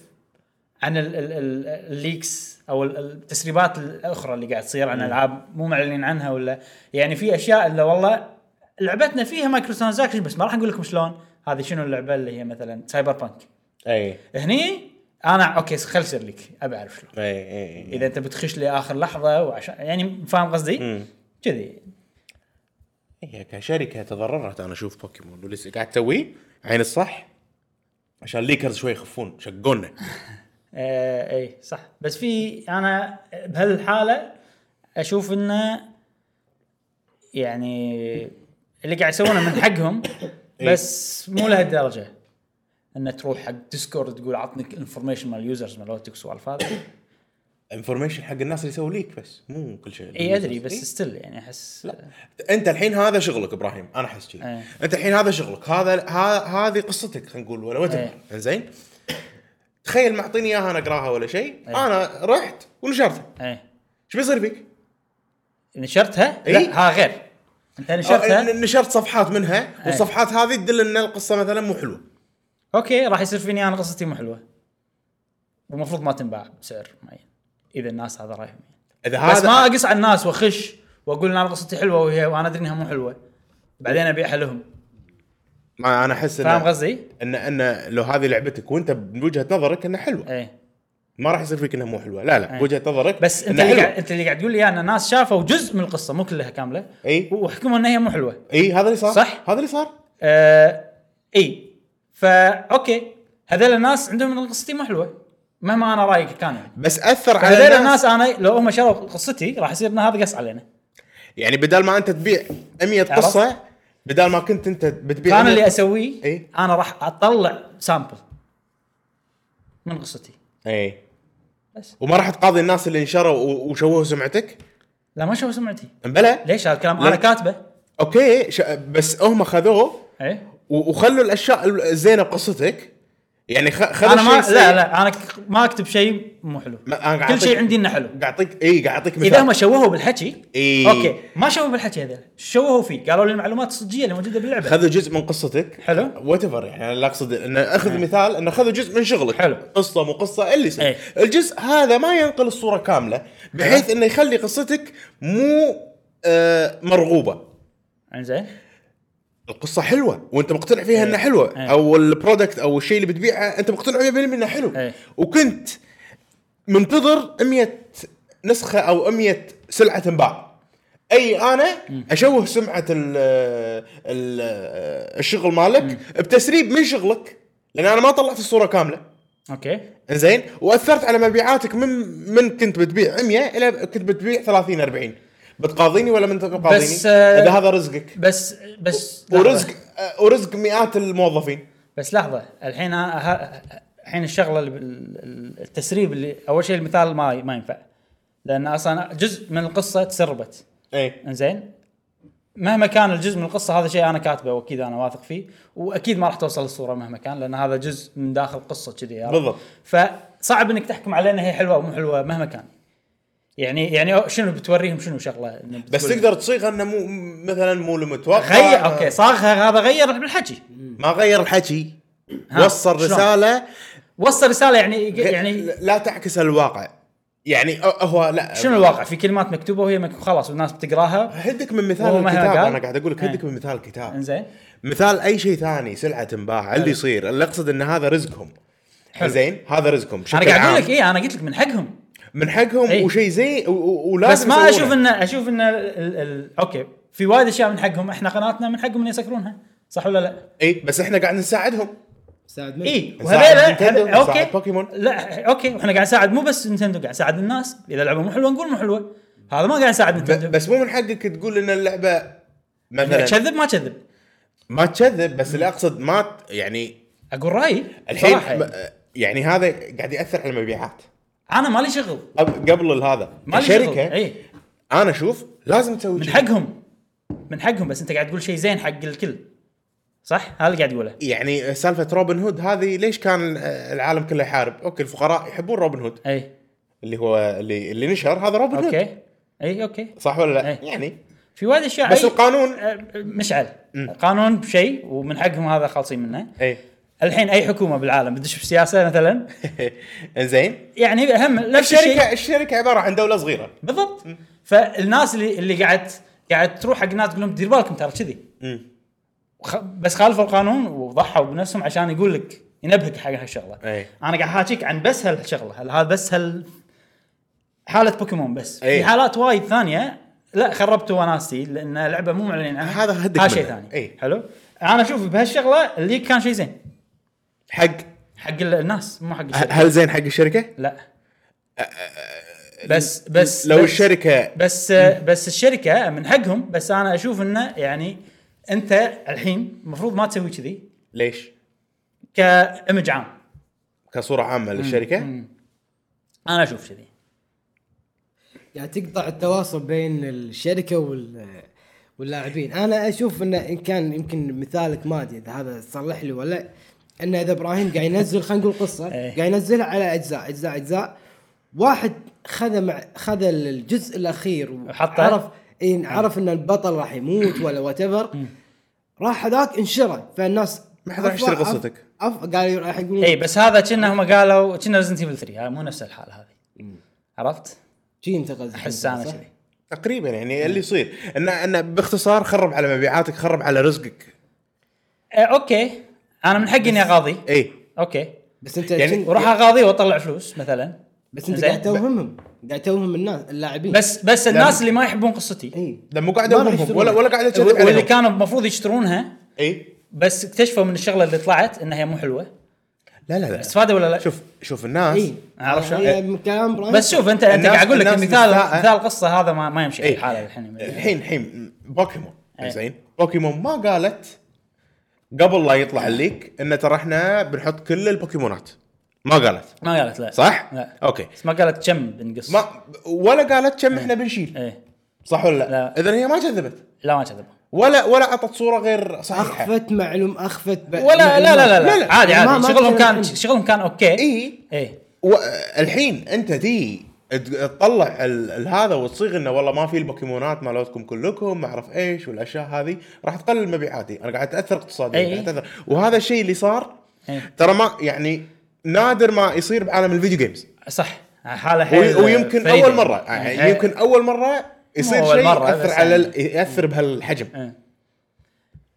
[SPEAKER 1] عن ال ال ال الليكس او ال- التسريبات الاخرى اللي قاعد تصير عن العاب مو معلنين عنها ولا يعني في اشياء اللي والله لعبتنا فيها مايكرو ترانزاكشن بس ما راح نقول لكم شلون هذه شنو اللعبه اللي هي مثلا سايبر بانك
[SPEAKER 3] اي
[SPEAKER 1] هني انا اوكي خل يصير لك ابي اعرف شلون
[SPEAKER 3] اي اي
[SPEAKER 1] اذا انت بتخش لاخر لحظه وعشان يعني فاهم قصدي؟
[SPEAKER 3] مم.
[SPEAKER 1] كذي
[SPEAKER 3] هي كشركه إيه، تضررت انا اشوف بوكيمون واللي قاعد تسويه عين الصح عشان الليكرز شوي يخفون شقونا
[SPEAKER 1] آه اي صح بس في انا بهالحاله اشوف انه يعني اللي قاعد يسوونه من حقهم بس مو لهالدرجه انه تروح حق ديسكورد تقول عطني انفورميشن مال اليوزرز مال اوتكس والف هذا
[SPEAKER 3] انفورميشن حق الناس اللي يسووا ليك بس مو كل شيء
[SPEAKER 1] اي ادري إيه، بس ستيل يعني احس
[SPEAKER 3] لا انت الحين هذا شغلك ابراهيم انا احس كذي
[SPEAKER 1] ايه.
[SPEAKER 3] انت الحين هذا شغلك هذا ه- هذه قصتك خلينا نقول ولا وات
[SPEAKER 1] ايه.
[SPEAKER 3] زين تخيل معطيني اياها انا اقراها ولا شيء
[SPEAKER 1] إيه.
[SPEAKER 3] انا رحت ونشرتها
[SPEAKER 1] اي
[SPEAKER 3] ايش بيصير فيك؟
[SPEAKER 1] نشرتها؟
[SPEAKER 3] إي.
[SPEAKER 1] لا ها غير انت
[SPEAKER 3] آه،
[SPEAKER 1] نشرتها
[SPEAKER 3] نشرت صفحات منها
[SPEAKER 1] ايه.
[SPEAKER 3] والصفحات هذه تدل ان القصه مثلا مو حلوه
[SPEAKER 1] اوكي راح يصير فيني انا قصتي مو حلوه والمفروض ما تنباع بسعر معين اذا الناس هذا رايهم يعني.
[SPEAKER 3] اذا
[SPEAKER 1] بس
[SPEAKER 3] هذا
[SPEAKER 1] ما اقص على الناس واخش واقول ان انا قصتي حلوه وهي وانا ادري انها مو حلوه بعدين ابيعها لهم
[SPEAKER 3] ما انا احس
[SPEAKER 1] فاهم
[SPEAKER 3] ان
[SPEAKER 1] قصدي؟
[SPEAKER 3] ان ان لو هذه لعبتك وانت من وجهه نظرك انها حلوه
[SPEAKER 1] ايه
[SPEAKER 3] ما راح يصير فيك انها مو حلوه لا لا
[SPEAKER 1] أي.
[SPEAKER 3] بوجهه نظرك
[SPEAKER 1] إيه. بس انت
[SPEAKER 3] إنها
[SPEAKER 1] اللي
[SPEAKER 3] حلوة.
[SPEAKER 1] قاعد انت اللي قاعد تقول لي انا ناس شافوا جزء من القصه مو كلها كامله
[SPEAKER 3] اي
[SPEAKER 1] وحكموا انها هي مو حلوه
[SPEAKER 3] اي هذا اللي صار
[SPEAKER 1] صح؟
[SPEAKER 3] هذا اللي صار
[SPEAKER 1] آه اي فا اوكي هذول الناس عندهم إن قصتي مو حلوه مهما انا رايي كان يعني
[SPEAKER 3] بس اثر على
[SPEAKER 1] فهذول الناس
[SPEAKER 3] الناس,
[SPEAKER 1] انا لو هم شروا قصتي راح يصير ان هذا قص علينا
[SPEAKER 3] يعني بدل ما انت تبيع 100
[SPEAKER 1] عرفت؟
[SPEAKER 3] قصه بدل ما كنت انت بتبيع
[SPEAKER 1] فانا
[SPEAKER 3] 100
[SPEAKER 1] اللي اسويه
[SPEAKER 3] إي.
[SPEAKER 1] انا راح اطلع سامبل من قصتي
[SPEAKER 3] اي
[SPEAKER 1] بس.
[SPEAKER 3] وما راح تقاضي الناس اللي انشروا و- وشوهوا سمعتك
[SPEAKER 1] لا ما شوفوا سمعتي
[SPEAKER 3] بلى
[SPEAKER 1] ليش هذا الكلام
[SPEAKER 3] لا.
[SPEAKER 1] انا كاتبه
[SPEAKER 3] اوكي ش... بس هم خذوه
[SPEAKER 1] اي
[SPEAKER 3] و- وخلوا الاشياء الزينه بقصتك يعني خ... خذوا
[SPEAKER 1] انا ما
[SPEAKER 3] الشيء
[SPEAKER 1] لا
[SPEAKER 3] السيء.
[SPEAKER 1] لا انا ك- ما اكتب شيء مو حلو
[SPEAKER 3] ما- أنا قاعد
[SPEAKER 1] كل شيء
[SPEAKER 3] أعطيك-
[SPEAKER 1] عندي انه حلو
[SPEAKER 3] قاعد اعطيك اي قاعد اعطيك مثال
[SPEAKER 1] اذا هم شوهوا بالحكي
[SPEAKER 3] إي.
[SPEAKER 1] اوكي ما شوهوا بالحكي هذول شوهوا فيه قالوا لي المعلومات الصجيه اللي موجوده باللعبه
[SPEAKER 3] خذوا جزء من قصتك
[SPEAKER 1] حلو. إيه.
[SPEAKER 3] وات ايفر يعني انا لا اقصد انه اخذ مثال انه خذوا جزء من شغلك
[SPEAKER 1] حلو.
[SPEAKER 3] قصه مو قصه اللي يصير
[SPEAKER 1] إيه.
[SPEAKER 3] الجزء هذا ما ينقل الصوره كامله بحيث انه يخلي قصتك مو آه مرغوبه
[SPEAKER 1] انزين
[SPEAKER 3] القصه حلوه وانت مقتنع فيها انها حلوه
[SPEAKER 1] إيه.
[SPEAKER 3] او البرودكت او الشيء اللي بتبيعه انت مقتنع 100% انه حلو
[SPEAKER 1] إيه.
[SPEAKER 3] وكنت منتظر 100 نسخه او 100 سلعه تنباع اي انا اشوه سمعه ال ال الشغل مالك بتسريب من شغلك لان انا ما طلعت الصوره كامله
[SPEAKER 1] اوكي
[SPEAKER 3] زين واثرت على مبيعاتك من من كنت بتبيع 100 الى كنت بتبيع 30 40 بتقاضيني ولا ما انت بتقاضيني؟
[SPEAKER 1] بس، آه،
[SPEAKER 3] اذا هذا رزقك
[SPEAKER 1] بس بس لحظة.
[SPEAKER 3] ورزق آه، ورزق مئات الموظفين
[SPEAKER 1] بس لحظه الحين ها- ها- الحين الشغله اللي بال- التسريب اللي اول شيء المثال ما ما ينفع لان اصلا جزء من القصه تسربت
[SPEAKER 3] اي
[SPEAKER 1] انزين مهما كان الجزء من القصه هذا شيء انا كاتبه واكيد انا واثق فيه واكيد ما راح توصل الصوره مهما كان لان هذا جزء من داخل قصه كذي عرفت؟
[SPEAKER 3] بالضبط.
[SPEAKER 1] فصعب انك تحكم عليها انها هي حلوه او مو حلوه مهما كان يعني يعني شنو بتوريهم شنو شغله إنه
[SPEAKER 3] بس
[SPEAKER 1] بتقول-
[SPEAKER 3] تقدر تصيغ انه مو مثلا مو المتوقع
[SPEAKER 1] غير
[SPEAKER 3] ما-
[SPEAKER 1] اوكي صاغها هذا غير بالحكي
[SPEAKER 3] ما غير الحكي
[SPEAKER 1] ها،
[SPEAKER 3] وصل
[SPEAKER 1] شلون؟
[SPEAKER 3] رساله
[SPEAKER 1] وصل رساله يعني يعني
[SPEAKER 3] يعني لا تعكس الواقع يعني أ- هو لا
[SPEAKER 1] شنو الواقع في كلمات مكتوبه وهي مك... خلاص والناس بتقراها
[SPEAKER 3] هدك من مثال
[SPEAKER 1] هو ما
[SPEAKER 3] الكتاب
[SPEAKER 1] قال؟
[SPEAKER 3] انا قاعد اقول لك
[SPEAKER 1] إيه.
[SPEAKER 3] هدك من مثال الكتاب
[SPEAKER 1] انزين
[SPEAKER 3] مثال اي شيء ثاني سلعه تنباع اللي يصير اللي اقصد ان هذا رزقهم
[SPEAKER 1] حلو.
[SPEAKER 3] زين هذا رزقهم
[SPEAKER 1] انا
[SPEAKER 3] بشكل
[SPEAKER 1] قاعد اقول
[SPEAKER 3] عام.
[SPEAKER 1] لك ايه انا قلت لك من حقهم
[SPEAKER 3] من حقهم
[SPEAKER 1] إيه.
[SPEAKER 3] وشيء زين و- و- ولازم
[SPEAKER 1] بس ما
[SPEAKER 3] يسوونه.
[SPEAKER 1] اشوف انه اشوف انه ال... ال... اوكي في وايد اشياء من حقهم احنا قناتنا من حقهم ان يسكرونها صح ولا لا؟
[SPEAKER 3] اي إيه. بس احنا قاعد نساعدهم
[SPEAKER 2] ساعد منك.
[SPEAKER 1] اي
[SPEAKER 3] نساعد نينتندو،
[SPEAKER 1] وهذيلا
[SPEAKER 3] نساعد
[SPEAKER 1] اوكي
[SPEAKER 3] بوكيمون.
[SPEAKER 1] لا اوكي واحنا قاعد نساعد مو بس نينتندو قاعد نساعد الناس اذا لعبه مو حلوه نقول مو حلوه هذا ما قاعد نساعد نينتندو
[SPEAKER 3] ب-
[SPEAKER 1] بس
[SPEAKER 3] بس مو من حقك تقول ان اللعبه مثلا
[SPEAKER 1] كذب ما كذب
[SPEAKER 3] ما تكذب بس اللي اقصد ما ت- يعني
[SPEAKER 1] اقول رايي
[SPEAKER 3] الحين
[SPEAKER 1] صراحة يعني.
[SPEAKER 3] م- يعني هذا قاعد ياثر على المبيعات
[SPEAKER 1] انا مالي شغل
[SPEAKER 3] قب- قبل هذا
[SPEAKER 1] مالي شغل إيه.
[SPEAKER 3] الشركه
[SPEAKER 1] اي
[SPEAKER 3] انا اشوف لازم تسوي
[SPEAKER 1] من
[SPEAKER 3] شيء.
[SPEAKER 1] حقهم من حقهم بس انت قاعد تقول شيء زين حق الكل صح هذا اللي قاعد تقوله
[SPEAKER 3] يعني سالفه روبن هود هذه ليش كان آه، العالم كله يحارب؟ اوكي الفقراء يحبون روبن هود
[SPEAKER 1] اي
[SPEAKER 3] اللي هو اللي اللي نشر هذا روبن هود
[SPEAKER 1] اوكي اي اوكي
[SPEAKER 3] صح ولا لا؟
[SPEAKER 1] إيه.
[SPEAKER 3] يعني
[SPEAKER 1] في وايد اشياء
[SPEAKER 3] بس
[SPEAKER 1] أي-
[SPEAKER 3] القانون
[SPEAKER 1] آه، مشعل قانون بشيء ومن حقهم هذا خالصين منه
[SPEAKER 3] اي
[SPEAKER 1] الحين اي حكومه بالعالم بتدش بالسياسه مثلا
[SPEAKER 3] زين
[SPEAKER 1] يعني اهم نفس الشيء
[SPEAKER 3] الشركه الشركه عباره عن دوله صغيره
[SPEAKER 1] بالضبط فالناس اللي اللي قاعد قاعد تروح حق ناس تقول لهم دير بالكم ترى كذي
[SPEAKER 3] مم.
[SPEAKER 1] وخ- بس خالفوا القانون وضحوا بنفسهم عشان يقول لك ينبهك حق هالشغله
[SPEAKER 3] أي.
[SPEAKER 1] انا قاعد حاكيك عن بس هالشغله هل- هذا بس هال حاله بوكيمون بس
[SPEAKER 3] أي.
[SPEAKER 1] في حالات وايد ثانيه لا خربت وناسي لان لعبه مو معلنين عنها
[SPEAKER 3] هذا هدك
[SPEAKER 1] هذا شيء
[SPEAKER 3] منها.
[SPEAKER 1] ثاني
[SPEAKER 3] أي.
[SPEAKER 1] حلو انا اشوف بهالشغله اللي كان شيء زين
[SPEAKER 3] حق
[SPEAKER 1] حق ال- الناس مو حق
[SPEAKER 3] ه-
[SPEAKER 1] الشركه
[SPEAKER 3] هل زين حق الشركه؟
[SPEAKER 1] لا
[SPEAKER 3] أه،
[SPEAKER 1] بس بس
[SPEAKER 3] لو
[SPEAKER 1] بس-
[SPEAKER 3] الشركه
[SPEAKER 1] بس بس الشركه من حقهم بس انا اشوف انه يعني انت الحين المفروض ما تسوي كذي
[SPEAKER 3] ليش؟
[SPEAKER 1] كامج عام
[SPEAKER 3] كصوره عامه للشركه
[SPEAKER 1] انا اشوف كذي
[SPEAKER 2] يعني تقطع التواصل بين الشركه وال واللاعبين انا اشوف انه ان كان يمكن مثالك ما ادري اذا هذا تصلح لي ولا انه اذا ابراهيم قاعد ينزل خلينا نقول قصه
[SPEAKER 1] إيه.
[SPEAKER 2] قاعد ينزلها على اجزاء اجزاء اجزاء واحد خذ مع خذ الجزء الاخير
[SPEAKER 1] وحطه؟
[SPEAKER 2] عرف إيه عرف ان البطل راح يموت ولا وات راح هذاك انشره فالناس
[SPEAKER 3] ما حد راح يشتري قصتك.
[SPEAKER 2] قالوا راح يقولون
[SPEAKER 1] اي بس هذا كنا هم قالوا كنا ريزنت ايفل 3 هاي مو نفس الحاله هذه عرفت؟
[SPEAKER 2] شي انت قصدك
[SPEAKER 1] احس انا
[SPEAKER 2] صح؟
[SPEAKER 1] كذي
[SPEAKER 3] تقريبا يعني اللي يصير انه انه باختصار خرب على مبيعاتك خرب على رزقك
[SPEAKER 1] آه، اوكي انا من حقي اني اغاضي
[SPEAKER 3] اي
[SPEAKER 1] اوكي
[SPEAKER 2] بس انت
[SPEAKER 3] يعني
[SPEAKER 2] شن-
[SPEAKER 1] وراح اغاضي واطلع فلوس مثلا
[SPEAKER 2] بس انت
[SPEAKER 1] زين.
[SPEAKER 2] قاعد توهمهم قاعد توهم الناس اللاعبين
[SPEAKER 1] بس بس الناس اللي ما يحبون قصتي
[SPEAKER 2] اي
[SPEAKER 3] لا مو قاعد
[SPEAKER 2] ما راح
[SPEAKER 3] أوهمهم
[SPEAKER 2] يشترون.
[SPEAKER 3] ولا ولا قاعد اكذب
[SPEAKER 1] واللي
[SPEAKER 3] عليهم إيه؟
[SPEAKER 1] كانوا المفروض يشترونها
[SPEAKER 3] اي
[SPEAKER 1] بس اكتشفوا من الشغله اللي طلعت انها هي مو حلوه
[SPEAKER 3] لا لا لا
[SPEAKER 1] استفادوا ولا لا؟
[SPEAKER 3] شوف شوف الناس
[SPEAKER 1] إيه.
[SPEAKER 2] اي
[SPEAKER 1] عارف شلون؟
[SPEAKER 2] إيه. هي كلام ابراهيم
[SPEAKER 1] بس شوف انت انت
[SPEAKER 3] الناس-
[SPEAKER 1] قاعد اقول لك
[SPEAKER 3] الناس
[SPEAKER 1] مثال
[SPEAKER 3] مستاءة.
[SPEAKER 1] مثال قصه هذا ما, ما يمشي
[SPEAKER 3] إيه.
[SPEAKER 1] الحاله الحين
[SPEAKER 3] الحين الحين بوكيمون
[SPEAKER 1] إيه.
[SPEAKER 3] زين بوكيمون ما قالت قبل لا يطلع الليك ان ترى احنا بنحط كل البوكيمونات ما قالت
[SPEAKER 1] ما قالت لا
[SPEAKER 3] صح؟
[SPEAKER 1] لا
[SPEAKER 3] اوكي
[SPEAKER 1] بس ما قالت كم بنقص
[SPEAKER 3] ما ولا قالت كم احنا بنشيل
[SPEAKER 1] ايه
[SPEAKER 3] صح ولا لا؟
[SPEAKER 1] لا.
[SPEAKER 3] اذا هي ما كذبت
[SPEAKER 1] لا ما كذب
[SPEAKER 3] ولا ولا اعطت صوره غير صحيحه
[SPEAKER 2] اخفت معلوم اخفت ب...
[SPEAKER 1] ولا لا لا لا,
[SPEAKER 3] لا، لا.
[SPEAKER 1] لا. عادي
[SPEAKER 2] ما- ما
[SPEAKER 1] عادي شغلهم
[SPEAKER 2] تكلم
[SPEAKER 1] كان
[SPEAKER 2] عنه.
[SPEAKER 1] شغلهم كان اوكي
[SPEAKER 3] اي
[SPEAKER 1] ايه
[SPEAKER 3] و- الحين انت تي تطلع ال- ال- هذا وتصيغ انه والله ما في البوكيمونات مالتكم كلكم ما اعرف ايش والاشياء هذه راح تقلل مبيعاتي انا قاعد اتاثر اقتصاديا
[SPEAKER 1] اي.
[SPEAKER 3] قاعد اتاثر وهذا الشيء اللي صار
[SPEAKER 1] إيه.
[SPEAKER 3] ترى ما يعني نادر ما يصير بعالم الفيديو جيمز
[SPEAKER 1] صح حاله حيل
[SPEAKER 3] وي- ويمكن
[SPEAKER 1] فريدة.
[SPEAKER 3] اول مره يعني
[SPEAKER 1] إيه.
[SPEAKER 3] يمكن اول مره يصير
[SPEAKER 1] مو أول
[SPEAKER 3] شيء
[SPEAKER 1] مرة،
[SPEAKER 3] ياثر
[SPEAKER 1] بس
[SPEAKER 3] على
[SPEAKER 1] يعني.
[SPEAKER 3] ال- ياثر بهالحجم
[SPEAKER 1] إيه.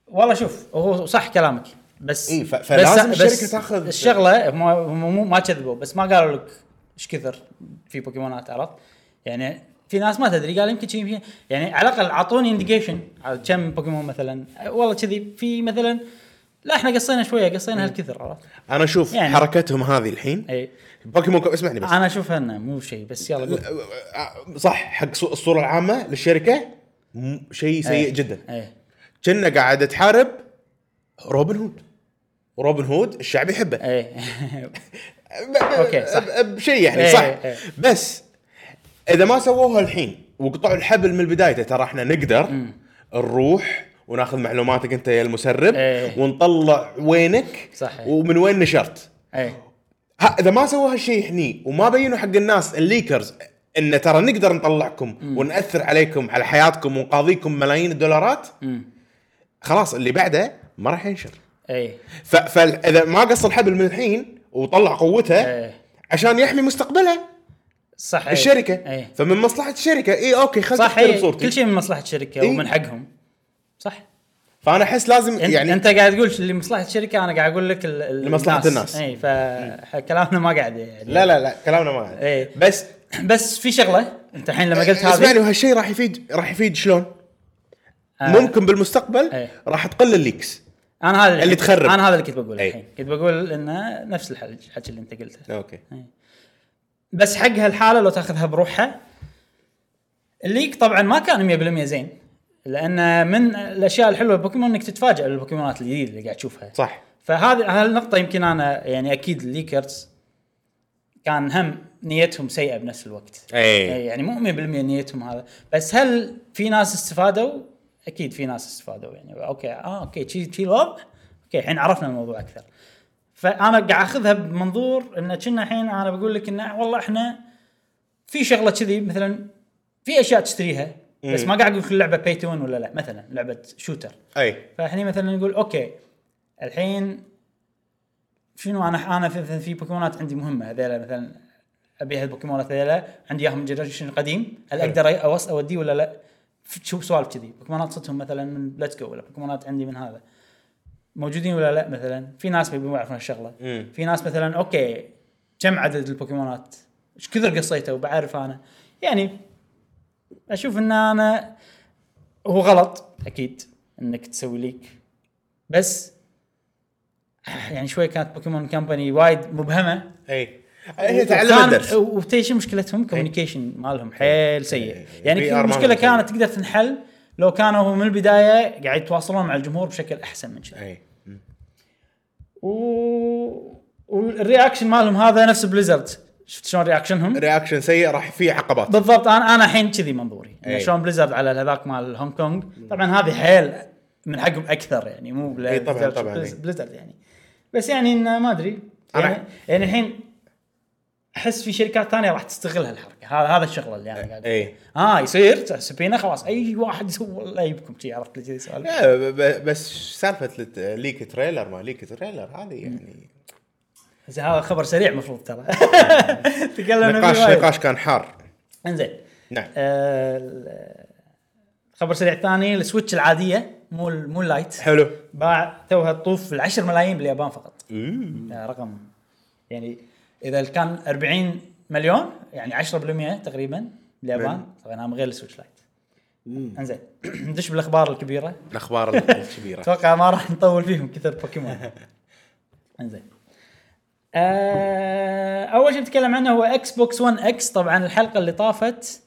[SPEAKER 1] والله شوف هو صح كلامك بس
[SPEAKER 3] إيه، ف- فلازم الشركة تاخذ-
[SPEAKER 1] الشغله هم هم مو ما كذبوا بس ما قالوا لك ايش كثر في بوكيمونات عرفت؟ يعني في ناس ما تدري قال يمكن شي- يمكن يعني على الاقل اعطوني انديكيشن على كم بوكيمون مثلا والله كذي في مثلا لا احنا قصينا شويه قصينا هالكثر عرفت؟ إيه.
[SPEAKER 3] انا اشوف
[SPEAKER 1] يعني.
[SPEAKER 3] حركتهم هذه الحين
[SPEAKER 1] اي
[SPEAKER 3] بوكيمون كو- اسمعني بس
[SPEAKER 1] انا اشوفها انه مو شيء بس يلا قول.
[SPEAKER 3] صح حق صو- الصوره العامه للشركه م- شيء سيء
[SPEAKER 1] إيه.
[SPEAKER 3] جدا
[SPEAKER 1] ايه
[SPEAKER 3] كنا قاعد تحارب روبن هود روبن هود الشعب يحبه
[SPEAKER 1] ايه
[SPEAKER 3] ب- ب-
[SPEAKER 1] أوكي، صح.
[SPEAKER 3] ب- بشيء يعني
[SPEAKER 1] إيه،
[SPEAKER 3] صح
[SPEAKER 1] إيه.
[SPEAKER 3] بس اذا ما سووها الحين وقطعوا الحبل من بدايته ترى احنا نقدر نروح وناخذ معلوماتك انت يا المسرب
[SPEAKER 1] إيه.
[SPEAKER 3] ونطلع وينك
[SPEAKER 1] صحيح.
[SPEAKER 3] ومن وين نشرت
[SPEAKER 1] ايه
[SPEAKER 3] ها اذا ما سووا هالشيء هني وما بينوا حق الناس الليكرز ان ترى نقدر نطلعكم وناثر عليكم على حياتكم ونقاضيكم ملايين الدولارات
[SPEAKER 1] مم.
[SPEAKER 3] خلاص اللي بعده ما راح ينشر
[SPEAKER 1] ايه
[SPEAKER 3] ف- فاذا ما قص الحبل من الحين وطلع قوته
[SPEAKER 1] ايه
[SPEAKER 3] عشان يحمي مستقبله
[SPEAKER 1] صح إيه.
[SPEAKER 3] الشركه
[SPEAKER 1] ايه
[SPEAKER 3] فمن مصلحه الشركه اي اوكي خلت
[SPEAKER 1] صح
[SPEAKER 3] تحترم
[SPEAKER 1] إيه.
[SPEAKER 3] صورتي
[SPEAKER 1] كل شيء من مصلحه الشركه
[SPEAKER 3] إيه.
[SPEAKER 1] ومن حقهم صح
[SPEAKER 3] فانا احس لازم
[SPEAKER 1] يعني,
[SPEAKER 3] يعني
[SPEAKER 1] انت قاعد تقول اللي مصلحه الشركه انا قاعد اقول لك ال- ال-
[SPEAKER 3] لمصلحة الناس.
[SPEAKER 1] اي فكلامنا ما قاعد يعني
[SPEAKER 3] لا لا لا كلامنا ما
[SPEAKER 1] إيه.
[SPEAKER 3] بس
[SPEAKER 1] بس في شغله انت الحين لما قلت
[SPEAKER 3] اسمعني
[SPEAKER 1] هذه
[SPEAKER 3] وهالشيء راح يفيد راح يفيد شلون؟
[SPEAKER 1] آه.
[SPEAKER 3] ممكن بالمستقبل
[SPEAKER 1] إيه.
[SPEAKER 3] راح تقل الليكس
[SPEAKER 1] انا هذا
[SPEAKER 3] اللي
[SPEAKER 1] كنت-
[SPEAKER 3] تخرب.
[SPEAKER 1] انا هذا اللي كنت بقوله
[SPEAKER 3] إيه.
[SPEAKER 1] الحين كنت بقول انه نفس الحل- الحكي اللي انت قلته
[SPEAKER 3] اوكي
[SPEAKER 1] بس حق هالحاله لو تاخذها بروحها الليك طبعا ما كان 100% زين لان من الاشياء الحلوه ببوكيمون انك تتفاجئ بالبوكيمونات الجديده اللي قاعد تشوفها
[SPEAKER 3] صح
[SPEAKER 1] فهذه هالنقطة يمكن انا يعني اكيد الليكرز كان هم نيتهم سيئة بنفس الوقت.
[SPEAKER 3] إيه.
[SPEAKER 1] يعني مو 100% نيتهم هذا، بس هل في ناس استفادوا؟ اكيد في ناس استفادوا يعني اوكي اه اوكي شي شي الوضع اوكي الحين عرفنا الموضوع اكثر. فانا قاعد اخذها بمنظور انه كنا الحين انا بقول لك انه والله احنا في شغله كذي مثلا في اشياء تشتريها بس ما قاعد اقول لك اللعبه بي تو ولا لا مثلا لعبه شوتر
[SPEAKER 3] اي
[SPEAKER 1] فاحنا مثلا نقول اوكي الحين شنو انا انا في, في- في بوكيمونات عندي مهمه هذيلا مثلا ابي هالبوكيمونات هذيلا عندي اياهم من الجنريشن القديم هل اقدر اوص اوديه ولا لا؟ ف- شوف سوالف كذي بوكيمونات صدتهم مثلا من ليتس جو ولا بوكيمونات عندي من هذا موجودين ولا لا مثلا في ناس ما يعرفون الشغله
[SPEAKER 3] مم.
[SPEAKER 1] في ناس مثلا اوكي كم عدد البوكيمونات ايش كثر قصيته وبعرف انا يعني اشوف ان انا هو غلط اكيد انك تسوي ليك بس يعني شوي كانت بوكيمون كمباني وايد مبهمه
[SPEAKER 3] اي إيه. هي تعلم الدرس
[SPEAKER 1] وتدري شو مشكلتهم كوميونيكيشن مالهم حيل سيء
[SPEAKER 3] إيه.
[SPEAKER 1] يعني
[SPEAKER 3] PR
[SPEAKER 1] كل المشكله
[SPEAKER 3] مالهم سيء.
[SPEAKER 1] كانت تقدر تنحل لو كانوا هم من البدايه قاعد يتواصلون مع الجمهور بشكل احسن من كذا
[SPEAKER 3] اي
[SPEAKER 1] و... والرياكشن مالهم هذا نفس بليزرد شفت شلون رياكشنهم
[SPEAKER 3] رياكشن سيء راح فيه عقبات
[SPEAKER 1] بالضبط انا انا الحين كذي منظوري إنه
[SPEAKER 3] أي.
[SPEAKER 1] شلون بليزرد على هذاك مال هونج كونج طبعا هذه حيل من حقهم اكثر يعني مو بلا-
[SPEAKER 3] أي إيه، طبعاً،
[SPEAKER 1] بليزرد-
[SPEAKER 3] طبعاً،
[SPEAKER 1] بليز-
[SPEAKER 3] أي.
[SPEAKER 1] بليزرد يعني بس يعني انه ما ادري
[SPEAKER 3] أنا-
[SPEAKER 1] يعني, يعني الحين احس في شركات ثانيه راح تستغل هالحركه هذا هذا الشغله اللي انا قاعد
[SPEAKER 3] أي.
[SPEAKER 1] اه يصير سبينا خلاص اي واحد يسوي والله يبكم شي عرفت لي كذي سؤال
[SPEAKER 3] لا ب- ب- بس سالفه لت- ليك تريلر ما ليك تريلر هذه يعني
[SPEAKER 1] زين هذا خبر سريع المفروض ترى تكلمنا
[SPEAKER 3] نقاش
[SPEAKER 1] فيه وايد.
[SPEAKER 3] نقاش كان حار
[SPEAKER 1] انزين
[SPEAKER 3] نعم
[SPEAKER 1] آه، ال- خبر سريع ثاني السويتش العاديه مو ال- مو اللايت
[SPEAKER 3] حلو
[SPEAKER 1] باع توها تطوف ال أمم. 10 ملايين باليابان فقط آه، رقم يعني اذا كان 40 مليون يعني 10% تقريبا باليابان طبعا انا من غير السويتش لايت
[SPEAKER 2] مم.
[SPEAKER 1] انزين ندش بالاخبار الكبيره
[SPEAKER 3] الاخبار الكبيره
[SPEAKER 1] اتوقع ما راح نطول فيهم كثر بوكيمون انزين آه اول شيء نتكلم عنه هو اكس بوكس 1 اكس طبعا الحلقه اللي طافت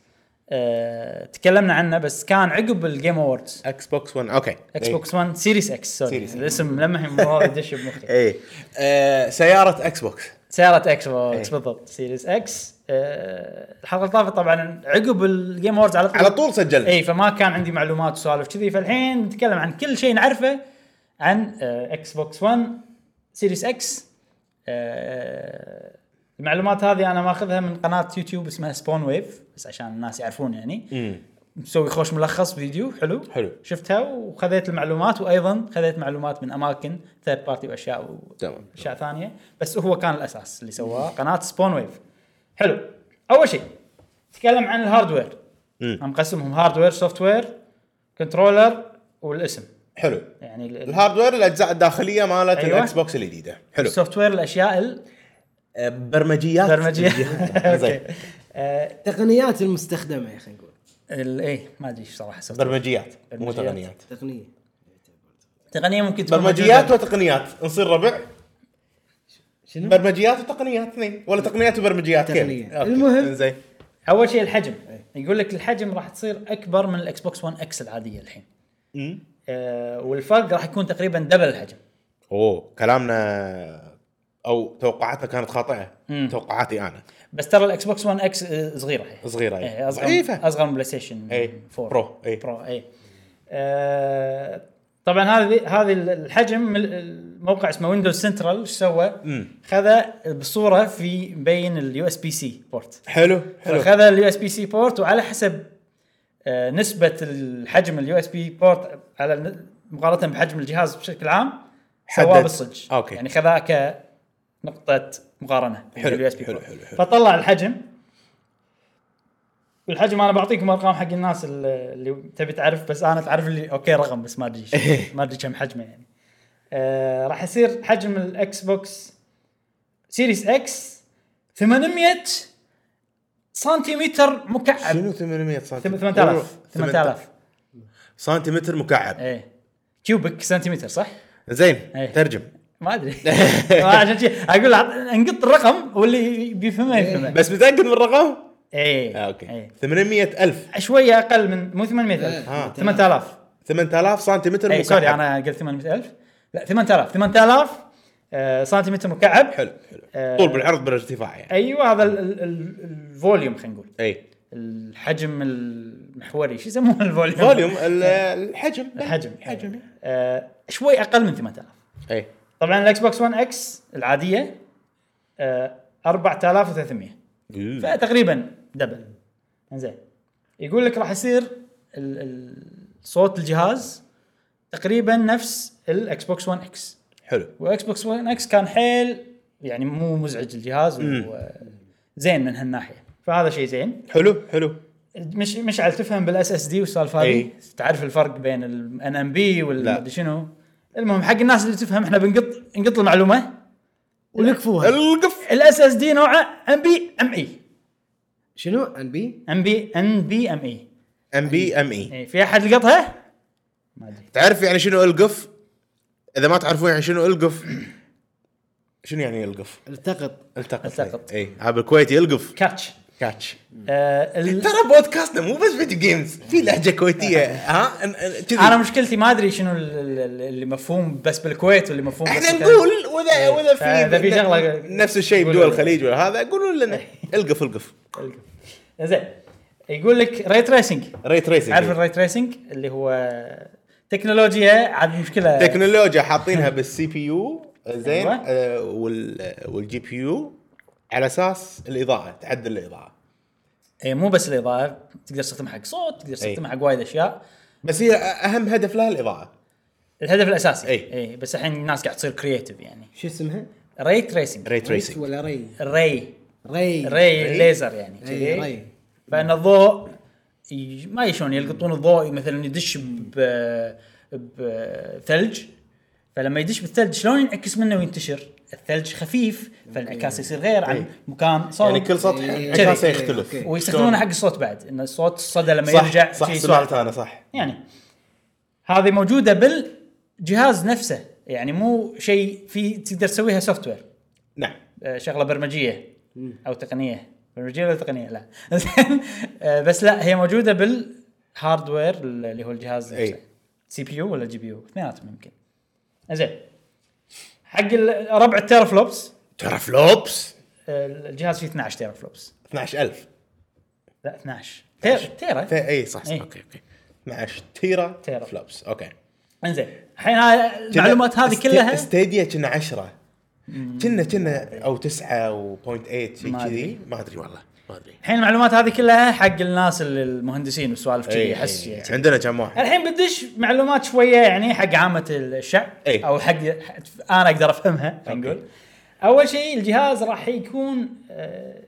[SPEAKER 1] آه تكلمنا عنه بس كان عقب الجيم اووردز
[SPEAKER 3] اكس بوكس 1 اوكي
[SPEAKER 1] اكس بوكس 1 سيريس اكس سوري
[SPEAKER 3] إيه. Series X.
[SPEAKER 1] الاسم لمح الموضوع يدش بمخي
[SPEAKER 3] اي إيه. آه، سياره اكس بوكس
[SPEAKER 1] سيارة اكس
[SPEAKER 3] إيه.
[SPEAKER 1] بوكس بالضبط سيريس اكس آه، الحلقة اللي طافت طبعا عقب الجيم اووردز على طول
[SPEAKER 3] على طول سجلت.
[SPEAKER 1] اي فما كان عندي معلومات وسوالف كذي فالحين نتكلم عن كل شيء نعرفه عن آه، اكس بوكس 1 سيريس اكس آه، المعلومات هذه انا ماخذها من قناة يوتيوب اسمها سبون ويف بس عشان الناس يعرفون يعني مسوي خوش ملخص فيديو حلو
[SPEAKER 3] إيه. حلو.
[SPEAKER 1] شفتها وخذيت المعلومات وايضا خذيت معلومات من اماكن ثيرد بارتي واشياء و...
[SPEAKER 3] تمام.
[SPEAKER 1] اشياء ثانيه بس هو كان الاساس اللي سواه قناه سبون ويف حلو اول شيء تكلم عن الهاردوير
[SPEAKER 3] مم.
[SPEAKER 1] أنا مقسمهم هاردوير سوفت وير كنترولر والاسم
[SPEAKER 3] حلو
[SPEAKER 1] يعني ال- ال-
[SPEAKER 3] الهاردوير الاجزاء الداخليه مالت
[SPEAKER 1] أيوة.
[SPEAKER 3] الاكس بوكس الجديده حلو
[SPEAKER 1] السوفت وير الاشياء
[SPEAKER 3] آه، برمجيات
[SPEAKER 1] البرمجيه
[SPEAKER 3] زين
[SPEAKER 1] اوكي آه،
[SPEAKER 2] التقنيات المستخدمه يا اخي نقول
[SPEAKER 1] ال- ايه ما ادري ايش صراحه software.
[SPEAKER 3] برمجيات مو
[SPEAKER 1] برمجيات.
[SPEAKER 3] تقنيات
[SPEAKER 2] تقنيه
[SPEAKER 1] تقنيه ممكن تكون
[SPEAKER 3] برمجيات
[SPEAKER 1] موجودة.
[SPEAKER 3] وتقنيات نصير ربع
[SPEAKER 2] شنو؟
[SPEAKER 3] برمجيات وتقنيات اثنين ولا تقنيات وبرمجيات كيف
[SPEAKER 2] تقنية.
[SPEAKER 3] أوكي.
[SPEAKER 2] المهم.
[SPEAKER 3] زين
[SPEAKER 1] اول شيء الحجم يقول لك الحجم راح تصير اكبر من الاكس بوكس 1 اكس العاديه الحين
[SPEAKER 3] مم.
[SPEAKER 1] آه، والفرق راح يكون تقريبا دبل الحجم
[SPEAKER 3] اوه كلامنا او توقعاتنا كانت خاطئه
[SPEAKER 1] مم.
[SPEAKER 3] توقعاتي انا
[SPEAKER 1] بس ترى الاكس بوكس آه، 1 اكس صغيره هي
[SPEAKER 3] صغيرة، أي.
[SPEAKER 1] إيه، اصغر
[SPEAKER 3] ضعيفة.
[SPEAKER 1] اصغر من بلاي ستيشن
[SPEAKER 3] أي.
[SPEAKER 1] 4
[SPEAKER 3] برو، إيه. أي.
[SPEAKER 1] برو اي آه، طبعا هذه هذه الحجم من الموقع اسمه ويندوز سنترال ايش سوى؟ خذ بصوره في مبين اليو اس بي سي بورت
[SPEAKER 3] حلو حلو
[SPEAKER 1] فخذ اليو اس بي سي بورت وعلى حسب آه، نسبه الحجم اليو اس بي بورت على الن- مقارنه بحجم الجهاز بشكل عام سواه
[SPEAKER 3] حدد.
[SPEAKER 1] بالصج
[SPEAKER 3] أوكي.
[SPEAKER 1] يعني خذاه كنقطه مقارنه
[SPEAKER 3] حلو،
[SPEAKER 1] اليو اس بي
[SPEAKER 3] حلو،
[SPEAKER 1] بورت
[SPEAKER 3] حلو، حلو.
[SPEAKER 1] فطلع الحجم والحجم انا بعطيكم ارقام حق الناس ال- اللي تبي تعرف بس انا تعرف اللي اوكي رقم بس ما ادري إيش- ما ادري كم حجمه يعني آه راح يصير حجم الاكس بوكس سيريس اكس 800 سنتيمتر مكعب
[SPEAKER 3] شنو 800 سنتيمتر
[SPEAKER 1] 8000 8000
[SPEAKER 3] سنتيمتر مكعب
[SPEAKER 1] ايه كيوبك سنتيمتر صح؟
[SPEAKER 3] زين
[SPEAKER 1] إيه.
[SPEAKER 3] ترجم
[SPEAKER 1] ما ادري ما عشان شي اقول عط- انقط الرقم واللي بيفهمه يفهمه
[SPEAKER 3] بس متاكد من الرقم؟
[SPEAKER 1] ايه
[SPEAKER 3] إيه. آه، اوكي
[SPEAKER 1] إيه.
[SPEAKER 3] 800 ألف
[SPEAKER 1] شويه اقل من مو 800000
[SPEAKER 2] آه.
[SPEAKER 1] 8000
[SPEAKER 3] 8000 سنتيمتر
[SPEAKER 1] اي
[SPEAKER 3] مكعب
[SPEAKER 1] إيه، سوري انا قلت 800000 لا 8000 8000 آه، سنتيمتر مكعب
[SPEAKER 3] حلو حلو
[SPEAKER 1] آه.
[SPEAKER 3] طول بالعرض بالارتفاع يعني
[SPEAKER 1] ايوه هذا ال- ال- ال- الفوليوم خلينا نقول
[SPEAKER 3] اي
[SPEAKER 1] الحجم المحوري شو يسمونه الفوليوم؟
[SPEAKER 3] فوليوم ال- الحجم
[SPEAKER 1] الحجم
[SPEAKER 3] الحجم
[SPEAKER 1] يعني. آه، شوي اقل من 8000
[SPEAKER 3] اي
[SPEAKER 1] طبعا الاكس بوكس 1 اكس العاديه آه، 4300 فتقريبا دبل زين يقول لك راح يصير ال- ال- صوت الجهاز تقريبا نفس الاكس بوكس 1 اكس
[SPEAKER 3] حلو
[SPEAKER 1] واكس بوكس 1 اكس كان حيل يعني مو مزعج الجهاز وزين من هالناحيه فهذا شيء زين
[SPEAKER 3] حلو حلو
[SPEAKER 1] مش مشعل تفهم بالاس اس دي والسالفه هذه
[SPEAKER 3] إي.
[SPEAKER 1] تعرف الفرق بين الان ام بي
[SPEAKER 3] إيه. لا.
[SPEAKER 1] والمدري شنو المهم حق الناس اللي تفهم احنا بنقط نقط المعلومه
[SPEAKER 2] ولكفوها
[SPEAKER 3] القف
[SPEAKER 1] الاس اس دي نوعه ام بي ام اي
[SPEAKER 2] شنو ان بي؟
[SPEAKER 1] ام بي ان بي ام اي
[SPEAKER 3] ام بي ام اي
[SPEAKER 1] E. إيه، في احد لقطها؟ ما ادري
[SPEAKER 3] E. تعرف يعني شنو القف؟ اذا ما تعرفون يعني شنو القف شنو يعني القف؟
[SPEAKER 2] التقط
[SPEAKER 3] التقط إيه.
[SPEAKER 1] التقط.
[SPEAKER 3] اي هذا بالكويتي القف
[SPEAKER 1] كاتش
[SPEAKER 3] كاتش
[SPEAKER 1] آه ال...
[SPEAKER 3] ترى بودكاستنا مو بس فيديو جيمز في لهجه كويتيه ها أن- أن- كذي
[SPEAKER 1] انا مشكلتي ما ادري شنو ال- ال- اللي مفهوم بس بالكويت واللي مفهوم بس
[SPEAKER 3] احنا
[SPEAKER 1] بالخليج.
[SPEAKER 3] نقول واذا
[SPEAKER 1] إيه.
[SPEAKER 3] واذا في
[SPEAKER 1] فإذا في شغلة-
[SPEAKER 3] نفس الشيء
[SPEAKER 1] قولوا
[SPEAKER 3] بدول
[SPEAKER 1] لنا.
[SPEAKER 3] الخليج ولا هذا قولوا لنا القف القف
[SPEAKER 1] زين يقول لك ري تريسنج
[SPEAKER 3] ريت ريسنج
[SPEAKER 1] تعرف الري تريسنج اللي هو تكنولوجيا عاد مشكله
[SPEAKER 3] تكنولوجيا حاطينها بالسي بي يو زين
[SPEAKER 1] أيوة.
[SPEAKER 3] آه، وال والجي بي يو على اساس الاضاءه تعدل الاضاءه
[SPEAKER 1] إيه مو بس الاضاءه تقدر تستخدمها حق صوت
[SPEAKER 3] إيه.
[SPEAKER 1] تقدر تستخدمها حق وايد اشياء
[SPEAKER 3] بس هي اهم هدف لها الاضاءه
[SPEAKER 1] الهدف الاساسي
[SPEAKER 3] إي.
[SPEAKER 1] إيه بس الحين الناس قاعد تصير كرييتيف يعني
[SPEAKER 2] شو اسمها؟
[SPEAKER 1] ري تريسنج
[SPEAKER 3] ري
[SPEAKER 2] ريس
[SPEAKER 3] تريسنج
[SPEAKER 2] ولا ري؟
[SPEAKER 1] الري
[SPEAKER 2] ري
[SPEAKER 1] ري ليزر يعني
[SPEAKER 2] إي،
[SPEAKER 1] كذي.
[SPEAKER 2] ري
[SPEAKER 1] فان الضوء ي- ما يشون يلقطون الضوء مثلا يدش ب بثلج فلما يدش بالثلج شلون ينعكس منه وينتشر؟ الثلج خفيف فالانعكاس يصير غير عن مكان صوت
[SPEAKER 3] إيه. يعني كل سطح
[SPEAKER 2] إيه.
[SPEAKER 3] انعكاسه
[SPEAKER 1] إيه.
[SPEAKER 3] يختلف
[SPEAKER 2] أوكي.
[SPEAKER 1] ويستخدمونه حق الصوت بعد ان الصوت الصدى لما يرجع
[SPEAKER 3] صح صح
[SPEAKER 1] شيء
[SPEAKER 3] سمعت انا صح
[SPEAKER 1] يعني هذه موجوده بالجهاز نفسه يعني مو شيء في تقدر تسويها سوفت وير
[SPEAKER 3] نعم
[SPEAKER 1] آه، شغله برمجيه او تقنيه برمجيه ولا تقنيه لا زين آه، بس لا هي موجوده بالهاردوير اللي هو الجهاز
[SPEAKER 3] أي.
[SPEAKER 1] نفسه سي بي يو ولا جي بي يو اثنيناتهم يمكن زين حق ال- ربع التيرا فلوبس
[SPEAKER 3] ترى فلوبس
[SPEAKER 1] آه، الجهاز فيه 12 تيرا فلوبس
[SPEAKER 3] 12000
[SPEAKER 1] لا 12 تيرا تيرا
[SPEAKER 3] ف- اي صح صح
[SPEAKER 1] إيه.
[SPEAKER 3] اوكي اوكي 12 تيرا
[SPEAKER 1] تيرا.
[SPEAKER 3] فلوبس اوكي
[SPEAKER 1] انزين الحين هاي المعلومات هذه
[SPEAKER 3] است-
[SPEAKER 1] كلها
[SPEAKER 3] استيديا كنا 10 كنا كنا او 9 وبوينت 8 شيء
[SPEAKER 1] ما أدري.
[SPEAKER 3] كذي ما ادري والله ما ادري
[SPEAKER 1] الحين المعلومات هذه كلها حق الناس اللي- المهندسين والسوالف كذي
[SPEAKER 3] إيه،
[SPEAKER 1] احس
[SPEAKER 3] إيه.
[SPEAKER 1] يعني.
[SPEAKER 3] عندنا كم واحد
[SPEAKER 1] الحين بدش معلومات شويه يعني حق عامه الشعب
[SPEAKER 3] إيه.
[SPEAKER 1] او حق انا اقدر افهمها خلينا نقول
[SPEAKER 3] أوكي.
[SPEAKER 1] اول شيء الجهاز راح يكون آه،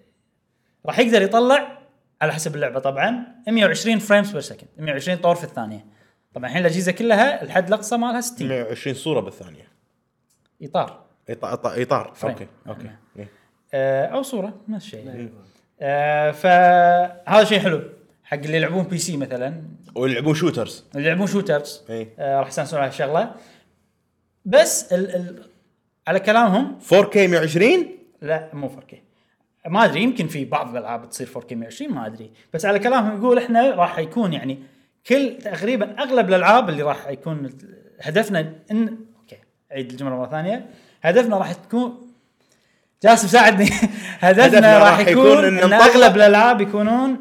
[SPEAKER 1] راح يقدر يطلع على حسب اللعبه طبعا 120 فريمز بير سكند 120 طور في الثانيه طبعا الحين الاجهزه كلها الحد الاقصى مالها 60
[SPEAKER 3] 120 صوره بالثانيه
[SPEAKER 1] اطار
[SPEAKER 3] إطار- إطار- اطار
[SPEAKER 1] فريم.
[SPEAKER 3] اوكي اوكي إيه.
[SPEAKER 1] آه، او صوره نفس الشيء يعني. آه، فهذا شيء حلو حق اللي يلعبون بي سي مثلا
[SPEAKER 3] ويلعبون شوترز
[SPEAKER 1] اللي يلعبون شوترز
[SPEAKER 3] إي.
[SPEAKER 1] آه راح يستانسون على هالشغله بس ال ال على كلامهم
[SPEAKER 3] 4K 120
[SPEAKER 1] لا مو 4K ما ادري يمكن في بعض الالعاب تصير 4K 120 ما ادري بس على كلامهم يقول احنا راح يكون يعني كل تقريبا اغلب الالعاب اللي راح يكون هدفنا ان اوكي عيد الجمله مره ثانيه هدفنا راح تكون جاسم ساعدني هدفنا,
[SPEAKER 3] هدفنا
[SPEAKER 1] راح يكون ان,
[SPEAKER 3] نطلع-
[SPEAKER 1] اغلب الالعاب يكونون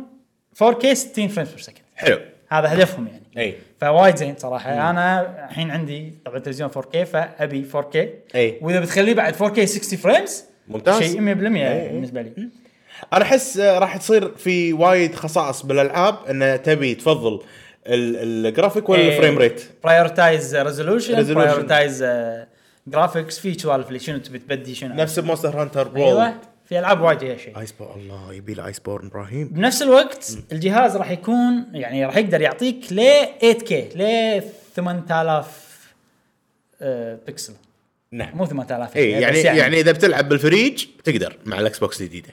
[SPEAKER 1] 4K 60 فريم بير سكند
[SPEAKER 3] حلو
[SPEAKER 1] هذا هدفهم يعني
[SPEAKER 3] اي
[SPEAKER 1] فوايد زين صراحه انا الحين عندي طبعا تلفزيون 4K فابي 4K
[SPEAKER 3] أي.
[SPEAKER 1] واذا بتخليه بعد 4K 60 فريمز
[SPEAKER 3] ممتاز.
[SPEAKER 1] شيء 100%
[SPEAKER 3] أي.
[SPEAKER 1] بالنسبه لي
[SPEAKER 3] انا احس آه، راح تصير في وايد خصائص بالالعاب انه تبي تفضل ال- الجرافيك ولا
[SPEAKER 1] إيه،
[SPEAKER 3] الفريم ريت
[SPEAKER 1] برايورتايز ريزولوشن
[SPEAKER 3] Resolution.
[SPEAKER 1] برايورتايز جرافيكس آه، في سوالف اللي شنو تبي تبدي شنو
[SPEAKER 3] نفس بمونستر هانتر بول
[SPEAKER 1] ايوه في العاب وايد فيها شيء
[SPEAKER 3] ايس بورن الله يبي له ايس بورن ابراهيم
[SPEAKER 1] بنفس الوقت الجهاز راح يكون يعني راح يقدر يعطيك ل 8K ل 8000 آه، بكسل
[SPEAKER 3] نعم
[SPEAKER 1] مو 8000
[SPEAKER 3] اي
[SPEAKER 1] بس
[SPEAKER 3] يعني يعني اذا بتلعب بالفريج تقدر مع الاكس بوكس الجديده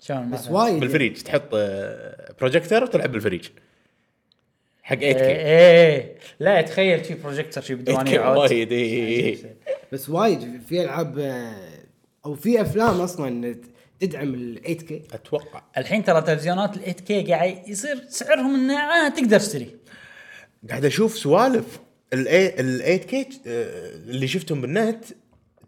[SPEAKER 1] شلون
[SPEAKER 2] بس
[SPEAKER 1] مثلاً؟
[SPEAKER 2] وايد
[SPEAKER 3] بالفريج تحط آه، بروجيكتر وتلعب بالفريج حق 8K
[SPEAKER 1] ايه ايه لا تخيل شي بروجيكتر شي
[SPEAKER 3] 8K
[SPEAKER 1] بديوانيه عود
[SPEAKER 3] وايد اي
[SPEAKER 2] بس وايد في العاب آه، او في افلام اصلا تدعم ال 8 كي
[SPEAKER 3] اتوقع
[SPEAKER 1] الحين ترى تلفزيونات ال 8 كي قاعد يصير سعرهم انه آه تقدر تشتري
[SPEAKER 3] قاعد اشوف سوالف ال 8 كي اللي شفتهم بالنت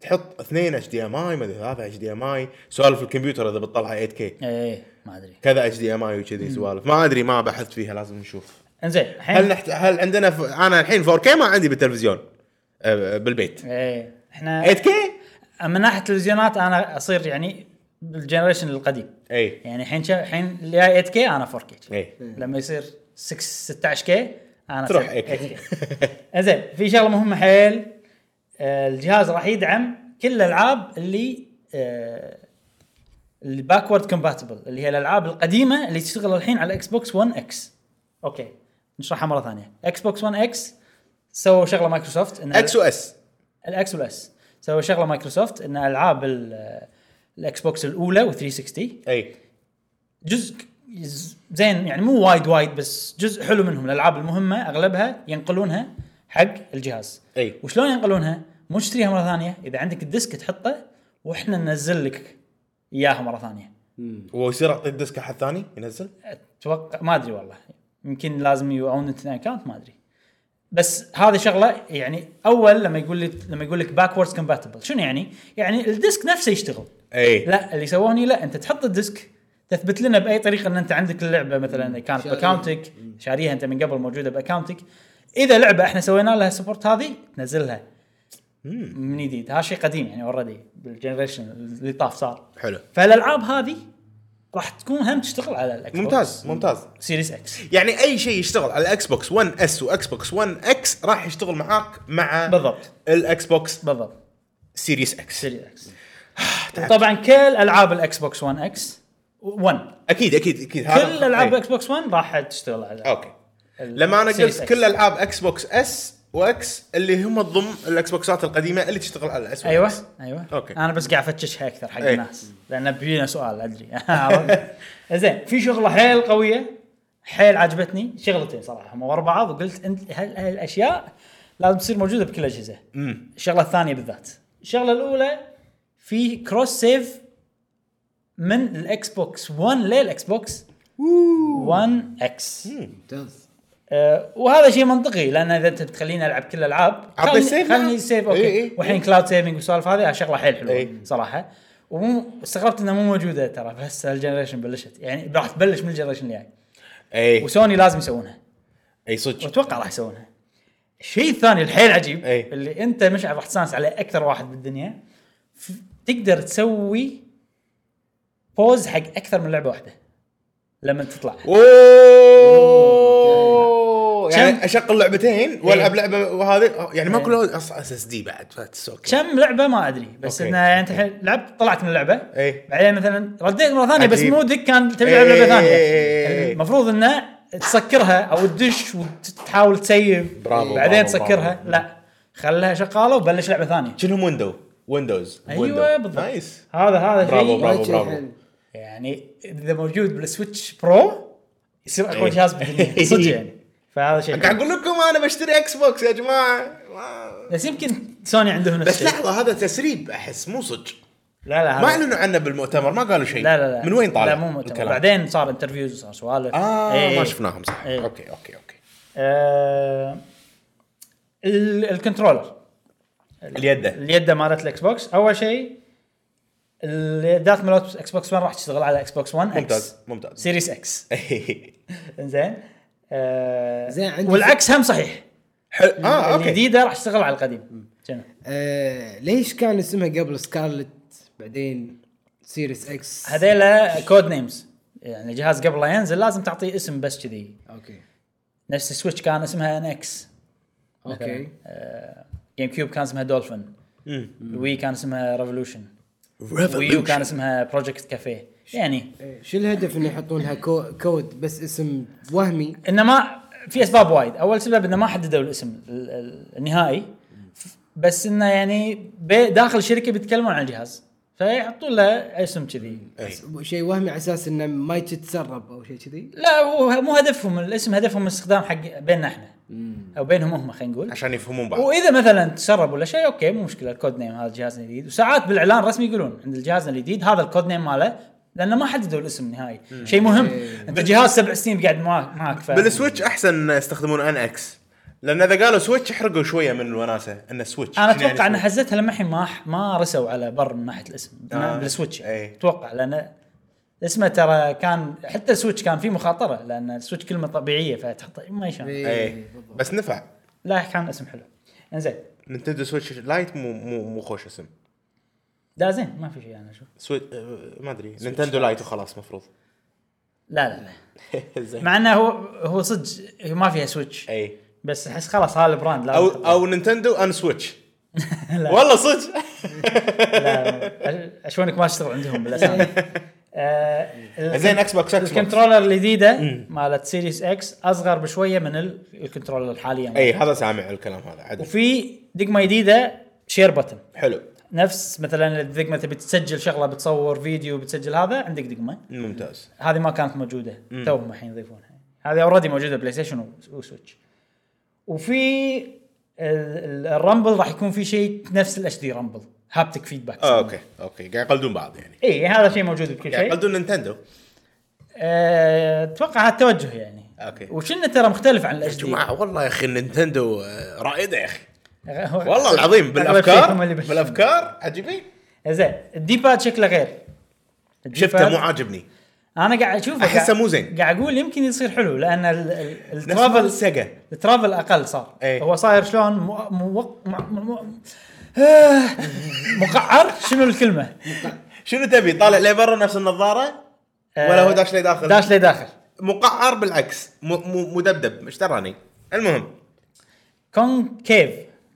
[SPEAKER 3] تحط اثنين اتش دي ام اي ما ادري ثلاثه اتش دي ام اي سوالف الكمبيوتر اذا بتطلع 8 كي
[SPEAKER 1] ايه ما ادري
[SPEAKER 3] كذا اتش دي ام اي وكذي سوالف ما ادري ما بحثت فيها لازم نشوف
[SPEAKER 1] انزين الحين
[SPEAKER 3] هل نحت... هل عندنا ف... انا الحين 4 كي ما عندي بالتلفزيون آه، بالبيت
[SPEAKER 1] ايه احنا
[SPEAKER 3] 8 كي
[SPEAKER 1] من ناحيه التلفزيونات انا اصير يعني بالجنريشن القديم
[SPEAKER 3] اي
[SPEAKER 1] يعني الحين شا- الحين اللي هاي 8 كي انا 4 كي
[SPEAKER 3] اي
[SPEAKER 1] لما يصير 6 16 كي انا
[SPEAKER 3] تروح
[SPEAKER 1] 8K.
[SPEAKER 3] 8K.
[SPEAKER 1] زين في شغله مهمه حيل آه، الجهاز راح يدعم كل الالعاب اللي آه، اللي باكورد كومباتبل اللي هي الالعاب القديمه اللي تشتغل الحين على اكس بوكس 1 اكس اوكي نشرحها مره ثانيه اكس بوكس 1 اكس سووا شغله مايكروسوفت ان
[SPEAKER 3] اكس واس
[SPEAKER 1] الاكس والاس سووا شغله مايكروسوفت ان العاب ال- الاكس بوكس الاولى و360
[SPEAKER 3] اي
[SPEAKER 1] جزء ز- زين يعني مو وايد وايد بس جزء حلو منهم الالعاب المهمه اغلبها ينقلونها حق الجهاز
[SPEAKER 3] أي.
[SPEAKER 1] وشلون ينقلونها مو تشتريها مره ثانيه اذا عندك الديسك تحطه واحنا ننزل لك اياها مره ثانيه
[SPEAKER 3] ويصير اعطي الديسك احد ثاني ينزل
[SPEAKER 1] اتوقع ما ادري والله يمكن لازم يو ات اكونت ما ادري بس هذه شغله يعني اول لما يقول لي لما يقول لك باكوردز كومباتبل شنو يعني؟ يعني الديسك نفسه يشتغل
[SPEAKER 3] اي
[SPEAKER 1] لا اللي سووه هني لا انت تحط الديسك تثبت لنا باي طريقه ان انت عندك اللعبه مثلا كانت
[SPEAKER 2] شاريها.
[SPEAKER 1] باكاونتك شاريها انت من قبل موجوده باكاونتك اذا لعبه احنا سوينا لها سبورت هذه تنزلها من جديد هذا شيء قديم يعني اوريدي بالجنريشن اللي طاف صار
[SPEAKER 3] حلو
[SPEAKER 1] فالالعاب هذه راح تكون هم تشتغل على الاكس
[SPEAKER 3] ممتاز ممتاز
[SPEAKER 1] سيريس اكس
[SPEAKER 3] يعني اي شيء يشتغل على الاكس بوكس 1 اس واكس بوكس 1 اكس راح يشتغل معاك مع
[SPEAKER 1] بالضبط
[SPEAKER 3] الاكس بوكس
[SPEAKER 1] بالضبط
[SPEAKER 3] سيريس اكس
[SPEAKER 1] سيريس اكس طبعا كل العاب الاكس بوكس 1 اكس 1
[SPEAKER 3] اكيد اكيد اكيد
[SPEAKER 1] كل العاب
[SPEAKER 3] إيه.
[SPEAKER 1] اكس بوكس 1 راح تشتغل على
[SPEAKER 3] اوكي لما انا
[SPEAKER 1] Series
[SPEAKER 3] قلت
[SPEAKER 1] X.
[SPEAKER 3] كل العاب اكس بوكس اس واكس اللي هم تضم الاكس بوكسات القديمه اللي تشتغل على الاس
[SPEAKER 1] ايوه ايوه
[SPEAKER 3] أوكي.
[SPEAKER 1] انا بس قاعد افتشها اكثر حق
[SPEAKER 3] أي.
[SPEAKER 1] الناس لان بينا سؤال ادري عرفت؟ زين في شغله حيل قويه حيل عجبتني شغلتين صراحه هم ورا بعض وقلت انت هال- هالاشياء لازم تصير موجوده بكل الاجهزه
[SPEAKER 3] امم
[SPEAKER 1] الشغله الثانيه بالذات الشغله الاولى في كروس سيف من الاكس بوكس 1 للاكس بوكس 1 اكس
[SPEAKER 2] ممتاز
[SPEAKER 1] أه، وهذا شيء منطقي لان اذا انت بتخليني العب كل الالعاب
[SPEAKER 3] أعطي
[SPEAKER 1] خلني-
[SPEAKER 3] سيف
[SPEAKER 1] خلني
[SPEAKER 3] معك.
[SPEAKER 1] سيف اوكي
[SPEAKER 3] إي إي.
[SPEAKER 1] والحين كلاود سيفنج والسوالف هذه شغله حيل حلوه
[SPEAKER 3] إي.
[SPEAKER 1] صراحه واستغربت انها مو موجوده ترى بس الجنريشن بلشت يعني راح تبلش من الجنريشن الجاي
[SPEAKER 3] اي
[SPEAKER 1] وسوني لازم يسوونها
[SPEAKER 3] اي صدق
[SPEAKER 1] واتوقع راح يسوونها الشيء الثاني الحيل عجيب
[SPEAKER 3] إي.
[SPEAKER 1] اللي انت مشعل راح تستانس عليه اكثر واحد بالدنيا ف- تقدر تسوي بوز حق اكثر من لعبه واحده لما تطلع
[SPEAKER 3] اوه
[SPEAKER 1] كم-
[SPEAKER 3] يعني اشغل لعبتين والعب لعبه وهذه يعني ما
[SPEAKER 1] إيه.
[SPEAKER 3] كله اس اس دي بعد فاتس اوكي
[SPEAKER 1] كم لعبه ما ادري بس
[SPEAKER 3] أوكي.
[SPEAKER 1] انه يعني انت الحين لعبت طلعت من اللعبه
[SPEAKER 3] اي
[SPEAKER 1] بعدين مثلا رديت مره ثانيه بس
[SPEAKER 3] عجيب.
[SPEAKER 1] مودك كان تبي تلعب لعبه
[SPEAKER 3] إيه.
[SPEAKER 1] ثانيه المفروض انه تسكرها او تدش وتحاول تسيب
[SPEAKER 3] برافو،
[SPEAKER 1] بعدين
[SPEAKER 3] برافو،
[SPEAKER 1] تسكرها
[SPEAKER 3] برافو.
[SPEAKER 1] لا خلها شغاله وبلش لعبه ثانيه
[SPEAKER 3] شنهم ويندو ويندوز
[SPEAKER 1] ايوه بالضبط
[SPEAKER 3] نايس
[SPEAKER 1] هذا هذا
[SPEAKER 3] برافو،
[SPEAKER 1] شيء
[SPEAKER 3] برافو.
[SPEAKER 2] وايد شيء حلو.
[SPEAKER 1] يعني اذا موجود بالسويتش برو يصير اقوى
[SPEAKER 3] إيه.
[SPEAKER 1] جهاز بالدنيا صدق يعني فهذا شيء حلو.
[SPEAKER 3] قاعد اقول لكم انا بشتري اكس بوكس يا جماعه ما-
[SPEAKER 1] بس يمكن سوني عندهم نفس
[SPEAKER 3] بس
[SPEAKER 1] الشيء
[SPEAKER 3] لحظه هذا تسريب احس مو صدق
[SPEAKER 1] لا لا هذا-
[SPEAKER 3] ما اعلنوا عنه بالمؤتمر ما قالوا شيء
[SPEAKER 1] لا لا لا
[SPEAKER 3] من وين طالع
[SPEAKER 1] لا مو مؤتمر
[SPEAKER 3] الكلام؟
[SPEAKER 1] بعدين صار انترفيوز وصار سوالف
[SPEAKER 3] اه
[SPEAKER 1] إيه.
[SPEAKER 3] ما شفناهم صح
[SPEAKER 1] إيه.
[SPEAKER 3] اوكي اوكي اوكي
[SPEAKER 1] آه، ال- الكنترولر
[SPEAKER 3] اليد
[SPEAKER 1] اليد مالت الاكس بوكس اول شيء اليدات مالت اكس بوكس 1 راح تشتغل على اكس بوكس 1
[SPEAKER 3] ممتاز ممتاز
[SPEAKER 1] سيريس اكس انزين آه،
[SPEAKER 2] زين، عندي-
[SPEAKER 1] والعكس هم صحيح
[SPEAKER 3] حلو اه اوكي
[SPEAKER 1] الجديده راح تشتغل على القديم جنة.
[SPEAKER 2] آه ليش كان اسمها قبل سكارلت بعدين سيريس اكس
[SPEAKER 1] هذيلا كود نيمز يعني الجهاز قبل لا ينزل لازم تعطيه اسم بس كذي
[SPEAKER 2] اوكي
[SPEAKER 1] نفس السويتش كان اسمها ان اكس
[SPEAKER 2] اوكي
[SPEAKER 1] جيم كيوب كان اسمها دولفين الوي كان اسمها ريفولوشن ويو كان
[SPEAKER 3] Revolution.
[SPEAKER 1] اسمها بروجكت كافيه يعني
[SPEAKER 2] إيه، شو الهدف انه يحطون لها كو- كود بس اسم وهمي
[SPEAKER 1] انما في اسباب وايد اول سبب انه ما حددوا الاسم ال- ال- النهائي ف- بس انه يعني بي- داخل الشركه بيتكلمون عن الجهاز فيحطون له اسم كذي
[SPEAKER 3] إيه.
[SPEAKER 2] شيء وهمي على اساس انه ما يتسرب او شيء كذي
[SPEAKER 1] لا هو مو هدفهم الاسم هدفهم استخدام حق بيننا احنا او بينهم هم خلينا نقول
[SPEAKER 3] عشان يفهمون بعض
[SPEAKER 1] واذا مثلا تسرب ولا شيء اوكي مو مشكله الكود نيم هذا الجهاز الجديد وساعات بالاعلان الرسمي يقولون عند الجهاز الجديد هذا الكود نيم ماله لانه ما حددوا الاسم النهائي شيء مهم
[SPEAKER 3] إيه.
[SPEAKER 1] انت جهاز سبع سنين قاعد معاك معاك ف...
[SPEAKER 3] بالسويتش احسن يستخدمون ان اكس لان اذا قالوا سويتش حرقوا شويه من الوناسه انه سويتش
[SPEAKER 1] انا
[SPEAKER 3] شنو يعني
[SPEAKER 1] اتوقع ان
[SPEAKER 3] سويتش؟
[SPEAKER 1] حزتها لما الحين ما ما رسوا على بر من ناحيه الاسم
[SPEAKER 3] آه.
[SPEAKER 1] بالسويتش
[SPEAKER 3] إيه.
[SPEAKER 1] اتوقع لان اسمه ترى كان حتى السويتش كان فيه مخاطره لان السويتش كلمه طبيعيه فتحط ما يشان
[SPEAKER 2] إيه،
[SPEAKER 3] إيه.
[SPEAKER 2] بالضبط.
[SPEAKER 3] بس نفع
[SPEAKER 1] لا كان اسم حلو انزين
[SPEAKER 3] نينتندو سويتش لايت مو مو مو خوش اسم
[SPEAKER 1] لا زين ما في شيء انا اشوف
[SPEAKER 3] سويتش آه، ما ادري نينتندو لايت وخلاص مفروض
[SPEAKER 1] لا لا لا
[SPEAKER 3] زين
[SPEAKER 1] مع انه هو هو صدق هي ما فيها سويتش
[SPEAKER 3] اي
[SPEAKER 1] بس احس خلاص هذا البراند لا
[SPEAKER 3] او
[SPEAKER 1] تطلع.
[SPEAKER 3] او نينتندو ان سويتش والله صدق
[SPEAKER 1] لا، أش- اشوانك ما تشتغل عندهم بالاسامي
[SPEAKER 3] إيه.
[SPEAKER 1] آه، ال-
[SPEAKER 3] زين اكس بوكس اكس بوكس
[SPEAKER 1] الكنترولر الجديده مالت سيريس اكس اصغر بشويه من ال- الكنترولر يعني. الحاليه
[SPEAKER 3] اي إيه، هذا سامع الكلام هذا عدل
[SPEAKER 1] وفي دقمه جديده شير بتن
[SPEAKER 3] حلو
[SPEAKER 1] نفس مثلا الدقمه تبي تسجل شغله بتصور فيديو بتسجل هذا عندك دقمه
[SPEAKER 3] ممتاز
[SPEAKER 1] هذه ما كانت موجوده توهم الحين يضيفونها هذه اوريدي موجوده بلاي ستيشن و- وسويتش وفي ال- ال- الرامبل راح يكون في شيء نفس الاتش دي رامبل هابتك فيدباك
[SPEAKER 3] اوكي اوكي آه، قاعد يقلدون بعض يعني
[SPEAKER 1] اي هذا شيء موجود بكل
[SPEAKER 3] قاعد
[SPEAKER 1] شيء
[SPEAKER 3] يقلدون نينتندو
[SPEAKER 1] أه، اتوقع هذا التوجه يعني
[SPEAKER 3] اوكي
[SPEAKER 1] وشنه ترى مختلف عن
[SPEAKER 3] يا
[SPEAKER 1] الاتش دي
[SPEAKER 3] جماعه والله يا اخي نينتندو آه، رائده يا اخي والله العظيم بالافكار بالافكار عجيبين
[SPEAKER 1] زين الديباد شكله غير
[SPEAKER 3] شفته
[SPEAKER 1] الديباد-
[SPEAKER 3] مو عاجبني
[SPEAKER 1] انا قاعد اشوفه
[SPEAKER 3] أحسه
[SPEAKER 1] قاعد-
[SPEAKER 3] مو زين.
[SPEAKER 1] قاعد اقول يمكن يصير حلو لان ال- ال-
[SPEAKER 3] نفس مال
[SPEAKER 1] الترافل
[SPEAKER 3] سيجا
[SPEAKER 1] الترافل اقل صار
[SPEAKER 3] إيه.
[SPEAKER 1] هو صاير شلون مو مو مو- مو- آه، مقعر شنو الكلمه؟
[SPEAKER 3] شنو تبي طالع لي برا نفس النظاره
[SPEAKER 1] آه،
[SPEAKER 3] ولا هو داش لي داخل
[SPEAKER 1] داش لداخل
[SPEAKER 3] مقعر بالعكس مو- مو- مدبدب ايش تراني المهم
[SPEAKER 1] كونكيف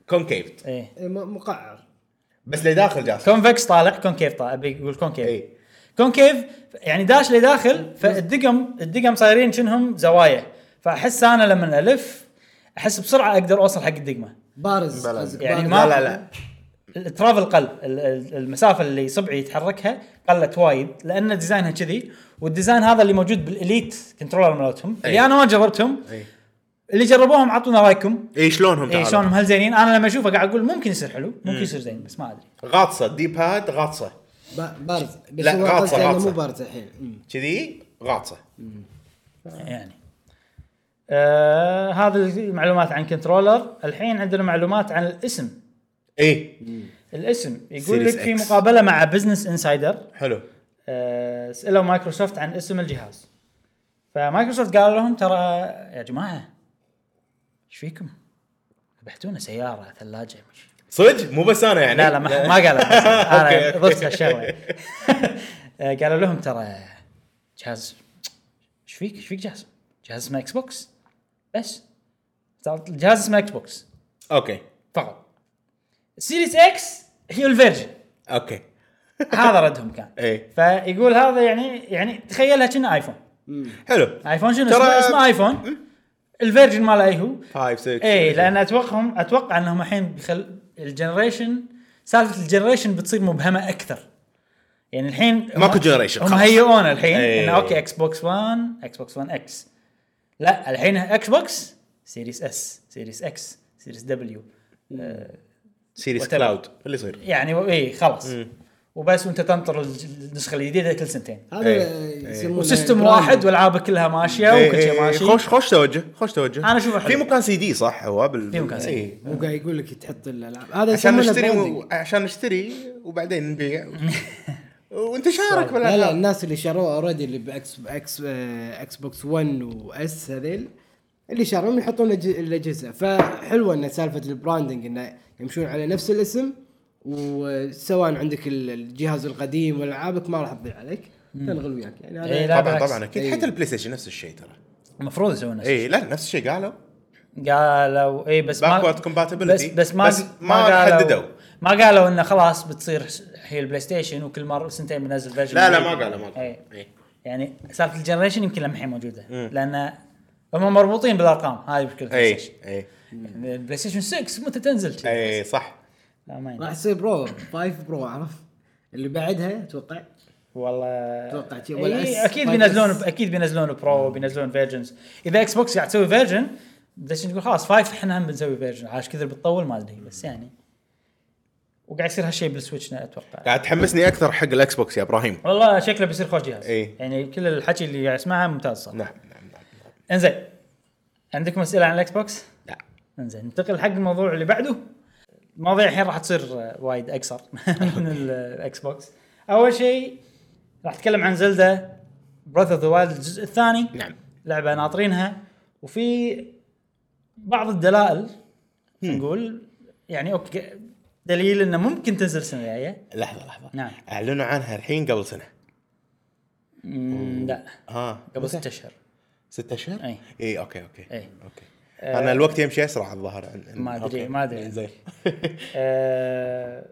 [SPEAKER 3] كونكيف
[SPEAKER 1] ايه
[SPEAKER 2] إيه، م- مقعر
[SPEAKER 3] بس لي داخل جاسم
[SPEAKER 1] كونفكس طالع كونكيف طالع ابي اقول كونكيف
[SPEAKER 3] اي
[SPEAKER 1] كونكيف يعني داش لداخل فالدقم الدقم صايرين شنهم زوايا فاحس انا لما الف احس بسرعه اقدر اوصل حق الدقمه
[SPEAKER 2] بارز
[SPEAKER 3] بلى.
[SPEAKER 2] قصدك
[SPEAKER 1] يعني
[SPEAKER 2] بارز.
[SPEAKER 1] ما-
[SPEAKER 3] لا لا لا
[SPEAKER 1] الترافل قل ال- ال- المسافه اللي صبعي يتحركها قلت وايد لان ديزاينها كذي والديزاين هذا اللي موجود بالاليت كنترولر مالتهم اللي
[SPEAKER 3] أي.
[SPEAKER 1] انا ما جربتهم
[SPEAKER 3] اي
[SPEAKER 1] اللي جربوهم عطونا رايكم
[SPEAKER 3] اي إيه، شلونهم
[SPEAKER 1] اي
[SPEAKER 3] تعال
[SPEAKER 1] إيه، شلونهم هل زينين انا لما اشوفه قاعد اقول ممكن يصير حلو
[SPEAKER 3] إيه.
[SPEAKER 1] ممكن يصير زين بس ما ادري
[SPEAKER 3] غاطسه الديب هاد غاطسه
[SPEAKER 2] ب- بارز بس
[SPEAKER 3] لا، إيه.
[SPEAKER 2] هو
[SPEAKER 3] غاطسة،
[SPEAKER 2] قصدي انه
[SPEAKER 3] غاطسة.
[SPEAKER 2] مو بارز الحين مم.
[SPEAKER 3] كذي غاطسه
[SPEAKER 1] يعني آه هذه المعلومات عن كنترولر الحين عندنا معلومات عن الاسم
[SPEAKER 3] اي
[SPEAKER 1] الاسم يقول لك
[SPEAKER 3] Series
[SPEAKER 1] في
[SPEAKER 3] X.
[SPEAKER 1] مقابله مع بزنس انسايدر
[SPEAKER 3] حلو
[SPEAKER 1] آه، سالوا مايكروسوفت عن اسم الجهاز فمايكروسوفت قال لهم ترى يا جماعه ايش فيكم؟ بحتونا سياره ثلاجه مش
[SPEAKER 3] صدق مو بس انا يعني
[SPEAKER 1] لا لا ما ما قالوا بس
[SPEAKER 3] أوكي،
[SPEAKER 1] انا
[SPEAKER 3] أوكي.
[SPEAKER 1] ضفت هالشغله آه، قالوا لهم ترى جهاز ايش فيك ايش فيك جهاز؟ جهاز اسمه اكس بوكس بس صار الجهاز اسمه اكس بوكس
[SPEAKER 3] اوكي
[SPEAKER 1] فقط سيريس اكس هي الفيرجن
[SPEAKER 3] اوكي
[SPEAKER 1] هذا ردهم كان
[SPEAKER 3] إيه.
[SPEAKER 1] فيقول هذا يعني يعني تخيلها كنا ايفون
[SPEAKER 3] حلو
[SPEAKER 1] ايفون شنو
[SPEAKER 3] ترى- إيه؟
[SPEAKER 1] اسمه اسمه ايفون الفيرجن ماله اي هو إيه،
[SPEAKER 3] 5 6
[SPEAKER 1] اي لان اتوقعهم اتوقع انهم الحين بيخل الجنريشن سالفه الجنريشن بتصير مبهمه اكثر يعني الحين هم-
[SPEAKER 3] ماكو generation،
[SPEAKER 1] هم
[SPEAKER 3] خلاص. إيه.
[SPEAKER 1] هيئونا الحين
[SPEAKER 3] إي.
[SPEAKER 1] انه اوكي اكس بوكس 1 اكس بوكس 1 اكس لا الحين اكس بوكس سيريس اس سيريس اكس سيريس دبليو
[SPEAKER 3] سيريس
[SPEAKER 1] whatever.
[SPEAKER 3] كلاود اللي يصير
[SPEAKER 1] يعني اي خلاص
[SPEAKER 3] إيه.
[SPEAKER 1] وبس وانت تنطر الج- النسخه الجديده كل سنتين
[SPEAKER 2] هذا
[SPEAKER 3] إيه.
[SPEAKER 2] يسمونه
[SPEAKER 1] وسيستم
[SPEAKER 2] branding.
[SPEAKER 1] واحد والعابه كلها ماشيه
[SPEAKER 3] إيه،
[SPEAKER 1] وكل
[SPEAKER 3] إيه،
[SPEAKER 1] شيء
[SPEAKER 3] إيه،
[SPEAKER 1] ماشي
[SPEAKER 3] خوش خوش توجه خوش توجه
[SPEAKER 1] أنا أشوفه حلو.
[SPEAKER 3] في مكان سي دي صح هو بال... إيه.
[SPEAKER 1] في مكان CD.
[SPEAKER 2] مو قاعد يقول لك تحط الالعاب هذا
[SPEAKER 3] عشان
[SPEAKER 2] يسمونه
[SPEAKER 3] نشتري
[SPEAKER 2] branding.
[SPEAKER 3] و... عشان نشتري وبعدين نبيع وانتشارك
[SPEAKER 2] لا لا
[SPEAKER 3] بالالعاب
[SPEAKER 2] الناس اللي شروه اوريدي اللي باكس باكس آه، اكس بوكس 1 واس هذيل اللي شاروهم يحطون الأج- الاجهزه فحلوه ان سالفه البراندنج انه يمشون على نفس الاسم وسواء عندك ال- الجهاز القديم ولا العابك ما راح تضيع عليك تنغل وياك يعني
[SPEAKER 1] إيه،
[SPEAKER 2] هذا
[SPEAKER 1] لا،
[SPEAKER 3] طبعا
[SPEAKER 1] بالعكس.
[SPEAKER 3] طبعا اكيد
[SPEAKER 2] إيه.
[SPEAKER 3] حتى البلاي ستيشن نفس الشيء ترى
[SPEAKER 1] المفروض يسوون نفس
[SPEAKER 3] اي لا نفس الشيء قالوا
[SPEAKER 1] قالوا اي إيه، بس ما
[SPEAKER 3] Backward compatibility.
[SPEAKER 1] بس بس ما
[SPEAKER 3] بس ما حددوا.
[SPEAKER 1] ما قالوا انه خلاص بتصير هي البلاي ستيشن وكل مره سنتين بنزل فيرجن
[SPEAKER 3] لا لا ما قالوا ما قالوا
[SPEAKER 1] إي.
[SPEAKER 3] إيه.
[SPEAKER 1] يعني سالفه الجنريشن يمكن لما الحين موجوده لان هم مربوطين بالارقام هاي مشكله البلاي
[SPEAKER 3] اي
[SPEAKER 1] ستيشن
[SPEAKER 3] اي
[SPEAKER 1] البلاي ستيشن 6 متى تنزل؟
[SPEAKER 3] اي إيه، صح
[SPEAKER 1] لا ما
[SPEAKER 2] راح
[SPEAKER 1] يندري.
[SPEAKER 2] يصير برو 5 برو عرفت اللي بعدها اتوقع
[SPEAKER 1] والله
[SPEAKER 2] أتوقع شي ولا
[SPEAKER 1] إي
[SPEAKER 2] S-
[SPEAKER 1] اكيد
[SPEAKER 2] ولا
[SPEAKER 1] إيه، بينزلون
[SPEAKER 2] S.
[SPEAKER 1] اكيد بينزلون برو بينزلون فيرجنز اذا اكس بوكس قاعد تسوي فيرجن بلاي ستيشن يقول خلاص فايف احنا هم بنسوي فيرجن عاش كثر بتطول ما ادري بس يعني وقاعد يصير هالشيء بالسويتش أنا اتوقع
[SPEAKER 3] قاعد تحمسني اكثر حق الاكس بوكس يا ابراهيم
[SPEAKER 1] والله شكله بيصير خوش جهاز
[SPEAKER 3] إي.
[SPEAKER 1] يعني كل الحكي اللي قاعد اسمعه ممتاز صراحه
[SPEAKER 3] نعم نعم نعم
[SPEAKER 1] انزين عندكم اسئله عن الاكس بوكس؟
[SPEAKER 3] لا
[SPEAKER 1] انزين ننتقل حق الموضوع اللي بعده المواضيع الحين راح تصير آه، وايد اقصر من الاكس بوكس اول شيء راح اتكلم عن زلدة براذر اوف ذا وايلد الجزء الثاني
[SPEAKER 3] نعم.
[SPEAKER 1] لعبه ناطرينها وفي بعض الدلائل نقول يعني اوكي دليل انه ممكن تنزل السنه الجايه
[SPEAKER 3] لحظه لحظه
[SPEAKER 1] نعم.
[SPEAKER 3] اعلنوا عنها الحين قبل سنه
[SPEAKER 1] مم، لا
[SPEAKER 3] ها
[SPEAKER 1] قبل إيه. ست اشهر
[SPEAKER 3] ست اشهر؟
[SPEAKER 1] أي.
[SPEAKER 3] اي اوكي اوكي
[SPEAKER 1] أي.
[SPEAKER 3] اوكي انا الوقت يمشي اسرع الظاهر عن- عن-
[SPEAKER 1] ما أدري-
[SPEAKER 3] أوكي. إيه،
[SPEAKER 1] ما أدري.
[SPEAKER 3] زين
[SPEAKER 1] آه،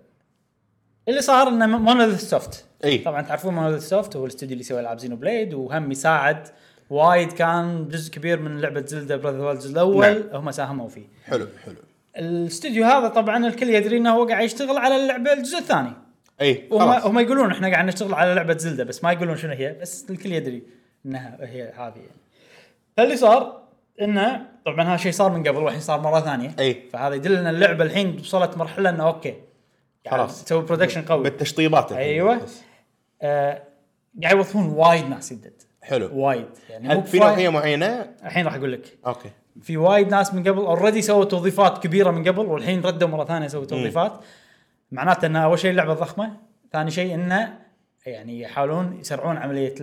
[SPEAKER 1] اللي صار انه مونوليث سوفت
[SPEAKER 3] إي.
[SPEAKER 1] طبعا تعرفون مونوليث سوفت هو الاستوديو اللي سوى العاب زينو بليد وهم يساعد وايد كان جزء كبير من لعبه زلدا براذر اوف ذا وايلد الجزء الاول هم ساهموا فيه
[SPEAKER 3] حلو حلو
[SPEAKER 1] الاستوديو هذا طبعا الكل يدري انه هو قاعد يشتغل على اللعبه الجزء الثاني
[SPEAKER 3] اي
[SPEAKER 1] وهم
[SPEAKER 3] إيه، خلاص
[SPEAKER 1] هم يقولون احنا قاعد نشتغل على لعبه زلدا بس ما يقولون شنو هي بس الكل يدري انها هي هذه يعني فاللي صار انه طبعا هذا شيء صار من قبل والحين صار مره ثانيه
[SPEAKER 3] أي.
[SPEAKER 1] فهذا يدل ان اللعبه الحين وصلت مرحله انه اوكي قاعد
[SPEAKER 3] خلاص.
[SPEAKER 1] يعني تسوي برودكشن قوي
[SPEAKER 3] بالتشطيبات الحين.
[SPEAKER 1] ايوه آه، قاعد يوظفون وايد ناس يدد
[SPEAKER 3] حلو
[SPEAKER 1] وايد يعني مو
[SPEAKER 3] هل في
[SPEAKER 1] بفراي-
[SPEAKER 3] نوعيه معينه
[SPEAKER 1] الحين راح اقول لك
[SPEAKER 3] اوكي
[SPEAKER 1] في وايد ناس من قبل اوريدي سووا توظيفات كبيره من قبل والحين ردوا مره ثانيه سووا توظيفات معناته انه اول شيء اللعبه ضخمه ثاني شيء انه يعني يحاولون يسرعون عمليه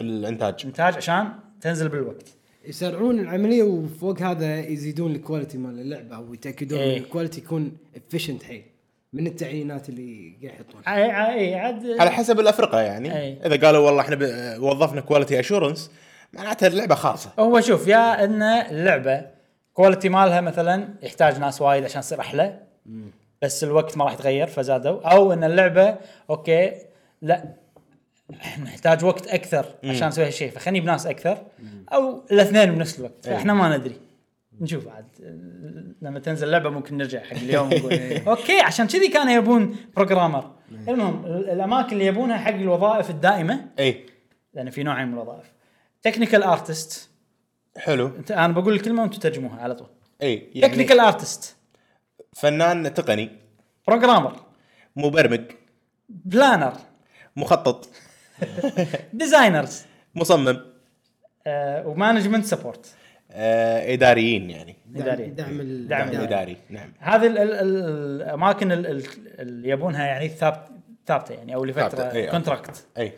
[SPEAKER 1] الانتاج
[SPEAKER 3] الانتاج
[SPEAKER 1] عشان تنزل بالوقت
[SPEAKER 2] يسرعون العمليه وفوق هذا يزيدون الكواليتي مال اللعبه ويتاكدون ان
[SPEAKER 1] إيه.
[SPEAKER 2] الكواليتي يكون افشنت حيل من التعيينات اللي قاعد يحطونها
[SPEAKER 1] اي اي عاد
[SPEAKER 3] على حسب الافرقه يعني
[SPEAKER 1] أي.
[SPEAKER 3] اذا قالوا والله احنا ب... وظفنا كواليتي اشورنس معناتها اللعبه خالصه
[SPEAKER 1] هو شوف يا ان اللعبه كواليتي مالها مثلا يحتاج ناس وايد عشان تصير احلى بس الوقت ما راح يتغير فزادوا او ان اللعبه اوكي لا احنا نحتاج وقت اكثر عشان نسوي هالشيء فخلني بناس اكثر او الاثنين بنفس الوقت فاحنا ما ندري نشوف عاد آه، لما تنزل اللعبه ممكن نرجع حق اليوم ونقول اوكي عشان كذي كانوا يبون بروجرامر المهم ال- الاماكن اللي يبونها حق الوظائف الدائمه
[SPEAKER 3] اي
[SPEAKER 1] لان في نوعين من الوظائف تكنيكال ارتست
[SPEAKER 3] حلو
[SPEAKER 1] انت انا بقول الكلمه وانتم تترجموها على طول
[SPEAKER 3] اي يعني
[SPEAKER 1] تكنيكال ارتست
[SPEAKER 3] فنان تقني
[SPEAKER 1] بروجرامر
[SPEAKER 3] مبرمج
[SPEAKER 1] بلانر
[SPEAKER 3] مخطط
[SPEAKER 1] ديزاينرز
[SPEAKER 3] مصمم
[SPEAKER 1] آه، ومانجمنت سبورت
[SPEAKER 3] آه اداريين يعني
[SPEAKER 1] إداريين.
[SPEAKER 2] دعم ال-
[SPEAKER 1] دعم
[SPEAKER 2] دعم.
[SPEAKER 1] الإداري.
[SPEAKER 3] اداري نعم
[SPEAKER 1] هذه ال- ال- ال- الاماكن ال- ال- اللي يبونها يعني ثابت ثابته يعني او
[SPEAKER 3] ثابتة، إي،
[SPEAKER 1] لفتره
[SPEAKER 3] آه.
[SPEAKER 1] كونتراكت
[SPEAKER 3] اي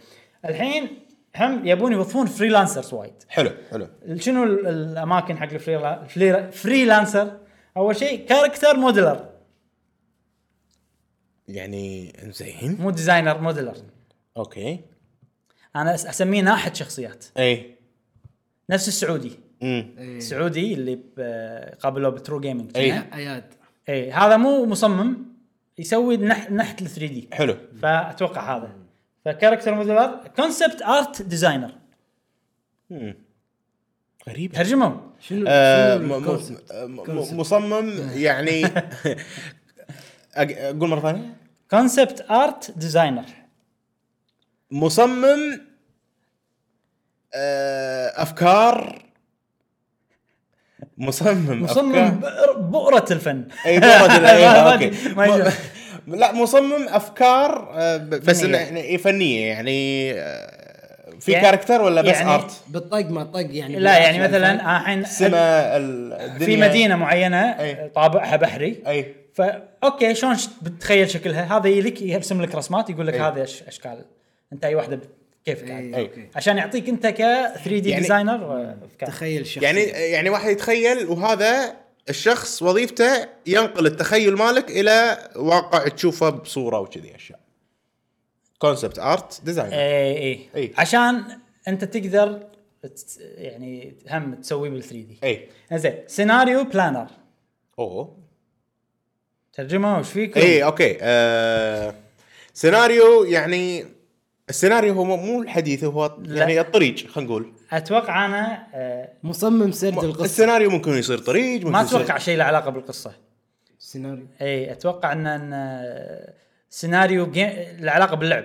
[SPEAKER 1] الحين هم يبون يوظفون فريلانسرز وايد
[SPEAKER 3] حلو حلو
[SPEAKER 1] شنو ال- الاماكن حق الفريلا- الفريلا- فريلانسر اول شيء كاركتر موديلر
[SPEAKER 3] يعني زين
[SPEAKER 1] مو ديزاينر موديلر
[SPEAKER 3] اوكي
[SPEAKER 1] انا أس- اسميه ناحيه شخصيات
[SPEAKER 3] اي
[SPEAKER 1] نفس السعودي
[SPEAKER 3] امم
[SPEAKER 2] إيه.
[SPEAKER 1] السعودي اللي ب- قابلوه بترو جيمنج
[SPEAKER 3] إي.
[SPEAKER 2] اياد
[SPEAKER 1] اي إيه، هذا مو مصمم يسوي نح- نحت ال 3 دي
[SPEAKER 3] حلو
[SPEAKER 1] فاتوقع هذا فكاركتر موديلر كونسبت ارت ديزاينر
[SPEAKER 3] امم غريب
[SPEAKER 1] ترجموا
[SPEAKER 2] شنو
[SPEAKER 3] آه،
[SPEAKER 2] شنو
[SPEAKER 3] م- م-
[SPEAKER 2] الكونسبت؟
[SPEAKER 3] آه، م-
[SPEAKER 2] كونسبت.
[SPEAKER 3] مصمم يعني أق- اقول مره ثانيه
[SPEAKER 1] كونسبت ارت ديزاينر
[SPEAKER 3] مصمم آه، افكار مصمم
[SPEAKER 1] مصمم
[SPEAKER 3] أفكار- إيه،
[SPEAKER 1] بئر- بؤره الفن
[SPEAKER 3] اي بورد ال- أي،
[SPEAKER 1] ما
[SPEAKER 3] اوكي
[SPEAKER 1] أدري- ما أدري.
[SPEAKER 3] م- لا مصمم افكار آه، ب- بس
[SPEAKER 1] فنية.
[SPEAKER 3] إنه- يعني إيه، فنيه يعني آه، في
[SPEAKER 1] يعني-
[SPEAKER 3] كاركتر ولا بس
[SPEAKER 1] يعني-
[SPEAKER 3] ارت؟
[SPEAKER 2] بالطق ما طق يعني
[SPEAKER 1] لا يعني
[SPEAKER 2] بالعكس
[SPEAKER 1] مثلا آه، الحين
[SPEAKER 3] سما
[SPEAKER 1] في
[SPEAKER 3] ال- الدنيا
[SPEAKER 1] مدينه معينه
[SPEAKER 3] أي.
[SPEAKER 1] طابعها بحري
[SPEAKER 3] اي
[SPEAKER 1] فا اوكي شلون ش- بتخيل شكلها هذا يجي لك يرسم لك رسمات يقول لك
[SPEAKER 3] أي.
[SPEAKER 1] هذه أش- اشكال انت اي واحده كيف
[SPEAKER 2] إيه،
[SPEAKER 1] قاعد
[SPEAKER 3] أي.
[SPEAKER 2] اوكي
[SPEAKER 1] عشان يعطيك انت ك 3 دي
[SPEAKER 3] يعني-
[SPEAKER 1] ديزاينر
[SPEAKER 2] تخيل شخص
[SPEAKER 3] يعني يعني واحد يتخيل وهذا الشخص وظيفته ينقل التخيل مالك الى واقع تشوفه بصوره وكذي اشياء كونسبت ارت
[SPEAKER 1] إيه.
[SPEAKER 3] ديزاين
[SPEAKER 1] اي اي
[SPEAKER 3] أي.
[SPEAKER 1] عشان انت تقدر تس- يعني هم تسوي بال 3 دي
[SPEAKER 3] اي
[SPEAKER 1] زين سيناريو بلانر
[SPEAKER 3] اوه
[SPEAKER 1] ترجمه وش فيكم؟
[SPEAKER 3] اي اوكي إيه، آه سيناريو يعني السيناريو هو مو- مو الحديث هو
[SPEAKER 1] لا.
[SPEAKER 3] يعني الطريق خلينا نقول
[SPEAKER 1] اتوقع انا آه،
[SPEAKER 2] مصمم سرد القصه
[SPEAKER 3] السيناريو ممكن يصير طريق ممكن
[SPEAKER 1] ما
[SPEAKER 3] يصير-
[SPEAKER 1] اتوقع شيء له إيه، علاقه بالقصه
[SPEAKER 2] سيناريو
[SPEAKER 1] اي اتوقع ان ان آه، سيناريو جي... له علاقه باللعب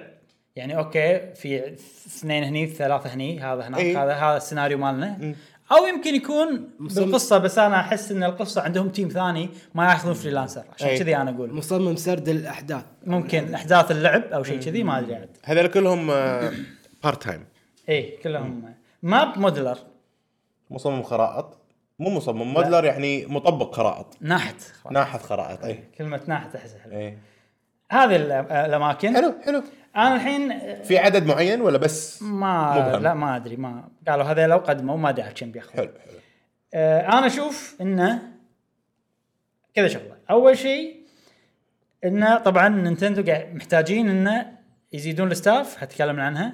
[SPEAKER 1] يعني اوكي في اثنين هني ثلاثه هني هذا هناك
[SPEAKER 3] إي.
[SPEAKER 1] هذا هذا السيناريو مالنا او يمكن يكون
[SPEAKER 2] مصمم.
[SPEAKER 1] بالقصه بس انا احس ان القصه عندهم تيم ثاني ما ياخذون فريلانسر عشان
[SPEAKER 3] إي.
[SPEAKER 1] كذي انا اقول
[SPEAKER 2] مصمم سرد الاحداث
[SPEAKER 1] ممكن احداث اللعب او شيء كذي ما ادري عاد
[SPEAKER 3] هذول كلهم آه، بارت تايم
[SPEAKER 1] اي كلهم ماب مودلر
[SPEAKER 3] مصمم خرائط مو مصمم مودلر يعني مطبق خرائط
[SPEAKER 1] ناحت خلاص.
[SPEAKER 3] ناحت خرائط اي
[SPEAKER 1] كلمه ناحت احسها حلوه
[SPEAKER 3] اي
[SPEAKER 1] هذه ال- الاماكن
[SPEAKER 3] حلو حلو
[SPEAKER 1] انا الحين آه،
[SPEAKER 3] في عدد معين ولا بس
[SPEAKER 1] ما
[SPEAKER 3] مبهم.
[SPEAKER 1] لا ما ادري ما قالوا هذا لو قدموا ما ادري عاد كم بياخذ
[SPEAKER 3] حلو حلو
[SPEAKER 1] آه، انا اشوف انه كذا شغله اول شيء انه طبعا نينتندو قاعد- محتاجين انه يزيدون الستاف هتكلم عنها